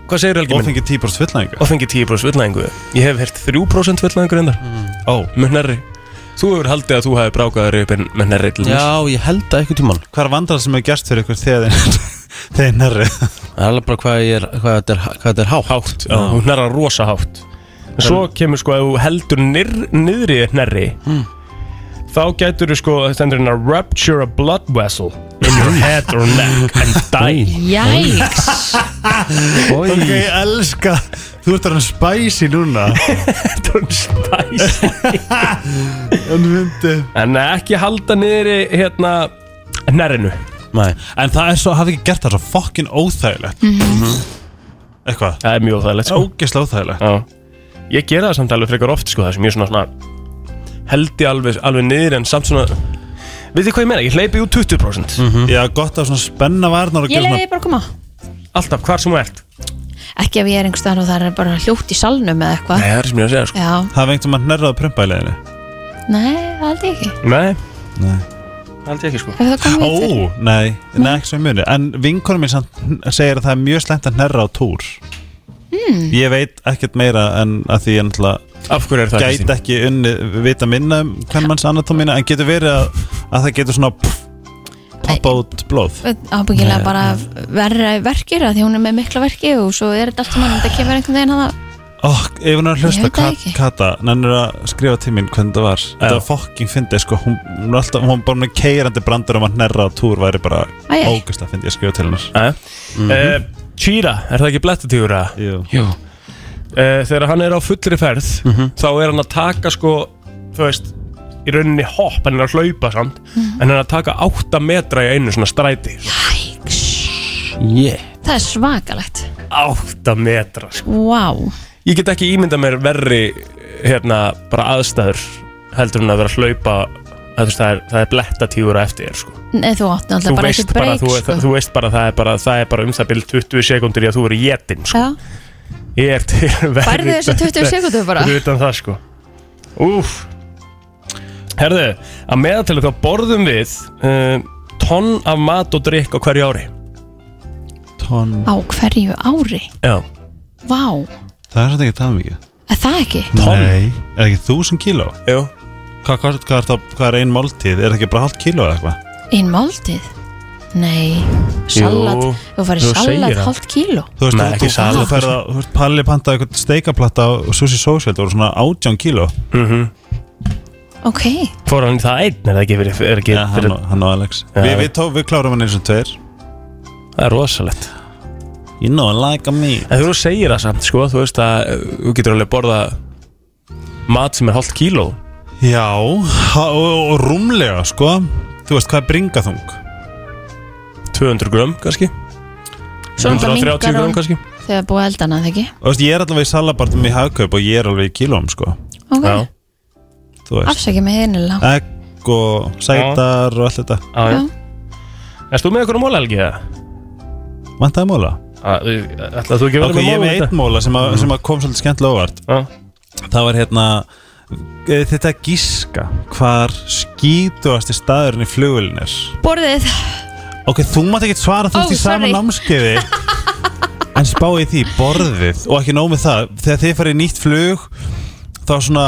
Hvað segir Helgi minn? Og fengið 10% villæðingu Og fengið 10% villæðingu Ég hef hert 3% villæðingu reyndar Ó, með nerri Þú hefur haldið að þú hefði brákaða rifbein með nerri til dæmis.
ég held að eitthvað tímann
Hvað er vandrar sem er gert fyrir ykkur þegar þeir- <laughs> þeir nærri?
Það er alveg bara hvað, ég er, hvað þetta er, hvað þetta er hátt
Hátt, já, hún er að rosa hátt En Hmm. svo kemur sko að þú heldur nir, niðri nærri Þá gætur þú sko, það stendur hérna Rupture a blood vessel in your head or neck <laughs> and die
Jæks
Ok, ég elska Þú ert orðin spæsi núna
Þú ert spæsi
En myndi
En ekki halda niðri hérna nærinu
Nei.
En það er svo, hafði ekki gert það svo fokkin óþægilegt Eitthvað
Það er mjög óþægilegt sko
Ógislega óþægilegt
Já. Ég gera það samt alveg frekar oft sko, það sem ég svona, svona heldi alveg, alveg niður en samt svona Veitir hvað ég meina, ég hleypi út 20%
Já, gott að svona spenna varnar og
ég
gera
leiði bara að koma
svona Alltaf, hvar sem þú ert
Ekki ef ég er einhver staðar og það er bara hljótt í salnum eða eitthvað
það er sem ég að segja sko.
Já,
Það vengt um að nærraða prumpa í leiðinni
nei, það held ég ekki
Nei
Nei
Held ég ekki sko
Hefur það komið upp fyrir?
Ó, nei, nei, ekki svo mjög En vinkonum minn samt segir að það er mjög slæmt að nærra á túr
mm.
Ég veit ekkert meira en að því ég náttúrulega
Af hverju er það,
Gæti
Kristín?
ekki unni vita minna um hvern manns anatómina En getur verið að, að það getur svona pff, poppa út blóð
Ábyggilega
Nei,
bara verra verkir að því hún er með mikla verki og svo er þetta allt saman þetta kemur einhvern veginn hana
Ó, ef hún er að hlusta
Ég veit það
Kat,
ekki.
Kata Nennir að skrifa til mín hvernig það var Þetta var fokking fyndið sko Hún, hún, er alltaf, hún bara með keirandi brandur um að nærra á túr væri bara
Æ, æ.
ógust að fyndi að skrifa til hennar
Jæja. Eh, Chira, er það ekki blettatýgur að?
Jú.
Eh, Þegar hann er á fullri ferð þá er hann að taka sko þú veist, í rauninni hopp hann er að hlaupa samt,
Mhm.
en hann er að taka 8 metra í einu svona stræti yeah.
Það er svakalegt
8 metra sko.
Vá
Ég get ekki ímynda mér verri hérna, bara aðstæður heldur en að vera að hlaupa að þú veist, það er, það er blettatígur að eftir þér sko.
Nei, þú átt
þú
náttúrulega bara sko.
veist
ekkert
bara,
breyk
þú, það, þú veist bara, það er bara það er bara um það byrjum 20 sekundir í að þú eru jetin sko.
Já,
ég er til verri
Færðu þessu 20 sekúndur bara?
Fyrir utan það sko úf herðu, að meðatölu þá borðum við uh, tonn af mat og drikk á hverju ári
Tón
á hverju ári
já,
Vá,
Það er þetta ekki það mikið
er það ekki?
Nei, er það ekki þúsund kíló?
Jú
Hvað, hvað, hvað, er, það, hvað er ein máltíð? Er það ekki bara hálft kíló eða eitthvað?
Einn máltið? Nei, salat
Jú,
Þú farið
þú segir
salat
það.
hálft kíló
Þú veist,
Nei,
þú-
ekki
þú-
salat.
þú ferð að þú veist, Palli pantaði eitthvað steikaplatta og sushi social Það voru svona átján kíló
mm -hmm.
Ok,
fór hann í það einn er það ekki fyrir, er ekki
Já, hann og- hann og Alex
Já.
Við, við, tó, við klárum hann eins og tveir
það er rosalegt
You know, like a me
en þú segir það samt sko, þú veist að eh, þú getur alveg borða mat sem er hálft kíló
Já, ha- og, og rúmlega sko Þú veist hvað er bringaþung?
200 grömm kannski
Svo náttúrulega
130
minnkar
gram
hún
kannski.
Þegar búið að elda hana, þegar ekki
Þú veist, ég er allavega í salabartum í hagkaup og ég er alveg í kílóm, sko
Ok.
Þú veist
Afsækja mig heinilega
Egg og sætar og allt þetta
Já, já. Erst þú með eitthvað móla, Helgi? eða?
Vantaði móla?
Ætlaðu þú ekki að vera
Ok,
með móla þetta? Mhm.
ég er með einn móla sem, að, sem að kom svolítið skemmtilega óvart Það var hérna eh, Þetta að gíska hvar skítuasti staðurinn í flugulinn er
Borðið
Ok, þú mátt ekki svara
Ó,
þú ert í sama
sorry.
námskeiði
<laughs>
En spáði því borðið Og ekki nóg með það Þegar þið farið í nýtt flug Þá svona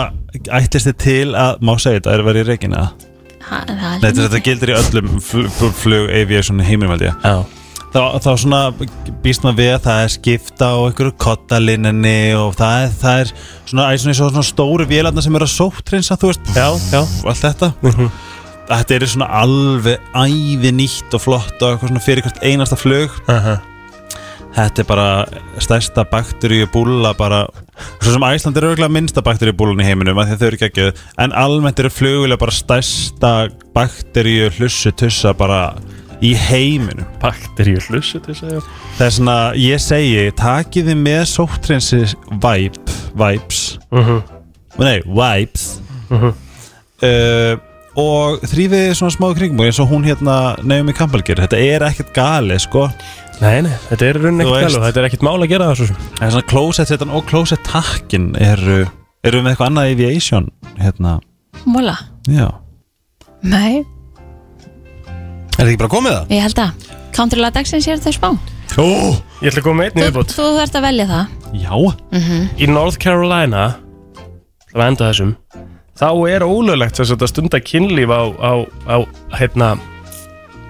ætlist þið til að Má segja þetta er að vera í reikina
Ha, það er
Nei, þetta, þetta gildir í öllum flug, flug, flug aviation heiminum held ég þá, þá svona býst maður við að það er skipta á einhverju kottalinninni og það er, það er svona, æ, svona, svona, svona stóru vélarna sem eru að sóttrinsa þú veist, já, já. Mhm. allt þetta þetta eru svona alveg æði nýtt og flott og eitthvað svona fyrir hvert einasta flug Þetta er bara stærsta bakteríubúla bara, svo sem Æsland er auðvitað minnsta bakteríubúlan í heiminum að því að þau eru geggjöð, en almennt eru flugulega bara stærsta bakteríu hlussu tussa bara í heiminum Bakteríu hlussu tussa, já Það er svona, ég segi, takiði með sóttrensis væp, væps Nei, væps uh, og þrýfið svona smá kringum eins og hún hérna nefnum í kampalgir þetta er ekkert gali sko Nei, nei, þetta er raunin
ekkert gali og
þetta er ekkert mála að gera það svo sem Það er svona klósett þetta og klósett takkin eru, eru við með eitthvað annað aviation hérna,
Móla
já
Nei,
Er þetta ekki bara komið það?
ég held að Countrylað dagsins ég er þau spá
Ó, ég ætla að koma með einn
Þú,
yfirbót
þú þarft að velja það
Já
mm
Í North Carolina Það var enda þessum Þá er ólöglegt þess að þetta stunda kynlíf á, á, á hérna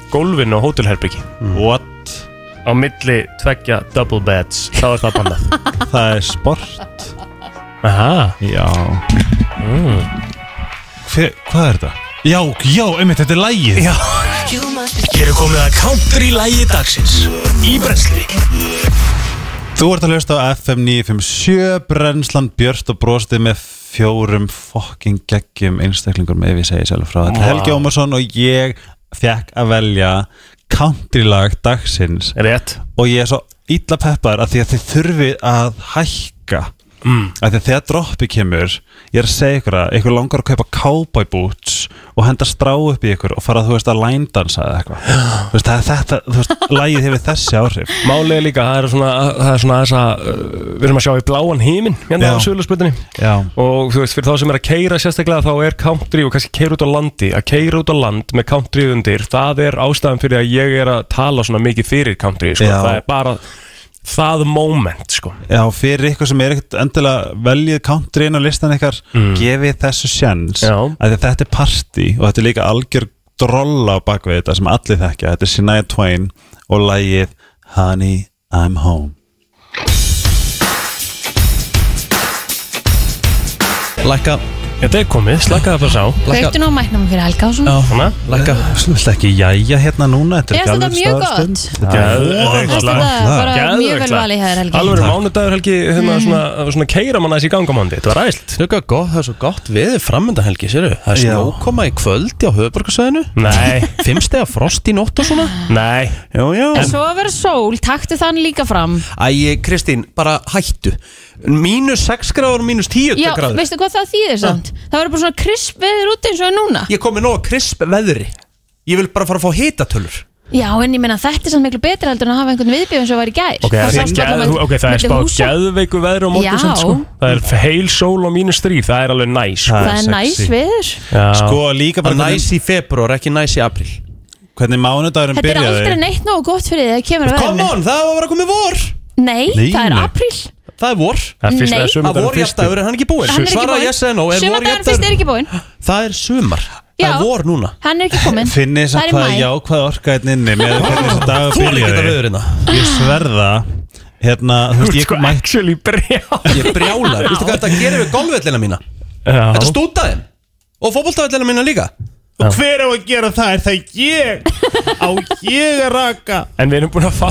gólfinu á hótelherbyggi
What?
Á milli tveggja double beds Þá er það
<laughs>
bannað
Það er sport
Aha.
Já mm. Hver, Hvað er þetta? Já, já, einmitt, þetta er lægið Já
Hér er komið að country lægi dagsins Í brensli
Þú ert að hlusta á FM 957 Brennslan Björst og brostið með fjórum fokking geggjum einstaklingum ef ég segi sjálf frá þetta
Vá.
wow. Helgi Ómarsson og ég fekk að velja countrylag dagsins
Rétt
Og ég er svo illa peppar að því að þið þurfið að hækka mm. að því að þegar droppi kemur ég er að segja ykkur að ykkur langar að kaupa cowboy boots og henda strá upp í ykkur og fara þú veist að lændansa eða eitthvað Þú veist, það er þetta, þú veist, lagið hefur þessi áhrif
Málið er líka, það er svona, það er svona þess að uh, við erum að sjá í bláan heiminn hérna
Já.
á sögulegspöldinni
Já
og þú veist, fyrir þá sem er að keira sérstaklega þá er country og kannski keira út á landi að keira út á land með country undir það er ástæðan fyrir að ég er að tala svona mikið fyrir country, sko,
Já.
það er bara það moment, sko
Já, fyrir ykkur sem er ekkert endilega veljið country inn á listan ykkar gefið þessu sjans að þetta er party og þetta er líka algjör drolla á bakvið þetta sem allir þekkja þetta er Shania Twain og lagið Honey, I'm Home
Lækka
Þetta er komið, slakaði bara sá
Kveiktu nú á mæknum fyrir Helga og svona
Svona,
lækka Þú vilt ekki jæja hérna núna Þetta
Ég
er
finnst þetta
ekki
mjög
alveg
gott
staðarstund. Þetta er
Geðveikt
voða
Þetta
gott
er
lag.
bara mjög vel
lag.
valið hér Helgi Mm.
Alveg mánudagur helgi, hérna svona, svona keira manna þessi gangamándi, þetta var ræðilt
Það er gott, það er svo gott við framönda helgi, séru Það er
Já.
snjókoma í kvöldi á höfuborgarsæðinu
<laughs>
Nei
Fimm stega frost í nótt og svona
Nei
Já, já
En svo að vera sól, taktu þann líka fram
Æ, Kristín, bara hættu Mínus 6 gráður, mínus 10
Já,
gráður
veistu hvað það þýðir samt? Það verður bara svona krisp veður út eins og er núna
Ég kom með nóg krisp veðri Ég vil bara fara að fá hitatölur
Já, en ég meina þetta er samt miklu betra heldur en að hafa einhvern viðbjöð eins og var í gær
Ok, það,
sást
það,
bara
geð,
með-
ok, það er
milli
spáð
húsa.
geðveiku veður á
Já.
móti samt, sko. Það er heil sól og mínus þrýr, það er alveg næs sko.
Það er næs veður
Sko líka bara
Næs í februar, ekki næs í april
Hvernig mánudagurinn
Þetta er aldrei neitt nógu gott fyrir þið að kemur að
Come on, það var bara komið vor
Nei,
Nei,
það er
nei.
apríl
Það er vor
Það er fyrsta- Nei. það er sumardagurinn
Það vor
fyrsti.
jafndagur, er hann ekki búinn?
Hann er ekki
Svara
búinn.
yes eða no, er vor
Sumardagurinn
jafndagur-
fyrst er ekki búinn
Það er sumar
Já,
Það er vor núna
hann er ekki kominn
Finnið
Það
samt
er í
hvað
maí.
jákvæð orka hérna inni með hvernig þessi dagur
Þú er ekki þetta veður hérna.
Ég sverða Hérna, þú veist, ég mætti
sko actually brjál
Ég brjálar, veistu hvað þetta gerir við golfvellina mína
Já.
Þetta stútaði og fótboltavellina mína líka
Já.
Og hver á að gera það? Er það ég? Á ég að raka?
En við erum búin að fá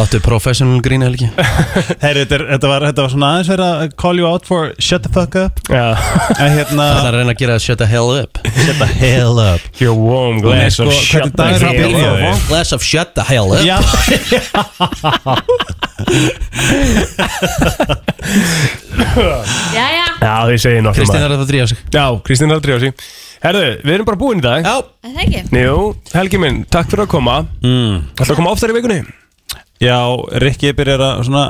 Láttu professional grína helgi
Herri, þetta, er- þetta, var, þetta var svona aðeins verið að call you out for shut the fuck up
Já
En hérna
Það er að reyna að gera shut the hell up Shut the hell up
Your warm glass of shut the
Hvernig
hell
dagur
up.
byrjaði? Warm glass of shut the hell up
Já.
Jæja
Já, þið segir nokkuð
Kristín
er
að drífa sig
Já, Kristín er að drífa sig Herðu, við erum bara búin í dag
Já
Er Það ekki
Jú, Helgi minn, takk fyrir að koma mm. Ætla að koma oftar í vikunni?
Já, Rikki byrjar að svona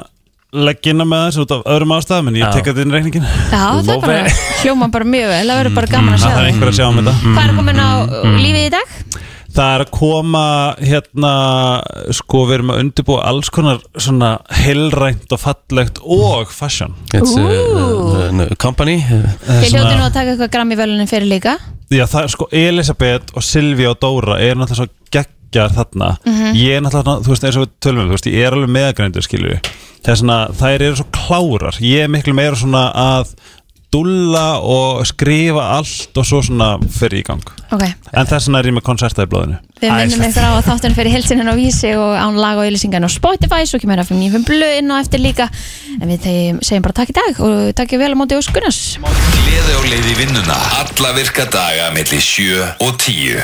leggja inn á með þessu út af öðrum ástæðum en ég tek að inn reikningin
Já, það er bara, hljóma bara mjög vel Það
Mm,
verður bara gaman að sjá
Það er
það
einhver að sjá um þetta
Hvað er komin á uh, lífið í dag?
Það er að koma hérna sko við erum að undirbúa alls konar svona heilrænt og fallegt og fashion
It's a, uh, uh, company
Við hljóttum nú að taka eitthvað gram í velunin fyrir líka
Já, það er sko Elisabeth og Silvia og Dóra er náttúrulega svo geggjar þarna
Mhm.
Ég er náttúrulega, þú veist, eins og við tölum um, þú veist, ég er alveg meðagrændur, skilur við Það er svona, þær eru svo klárar Ég er miklu meira svona að dúlla og skrifa allt og svo svona fyrir í gang
Ok,
En þess vegna er ég með koncerta í blóðinu
við minnum ykkur á að þáttun fyrir hilsinin á Vísi og án lag og ylisingan á Spotify svo kemur það fyrir nýfum blöð inn og eftir líka en við þeim, segjum bara takk í dag og takk ég vel á móti Óskunars
Gleði á leið í vinnuna Alla virka daga melli 7 og 10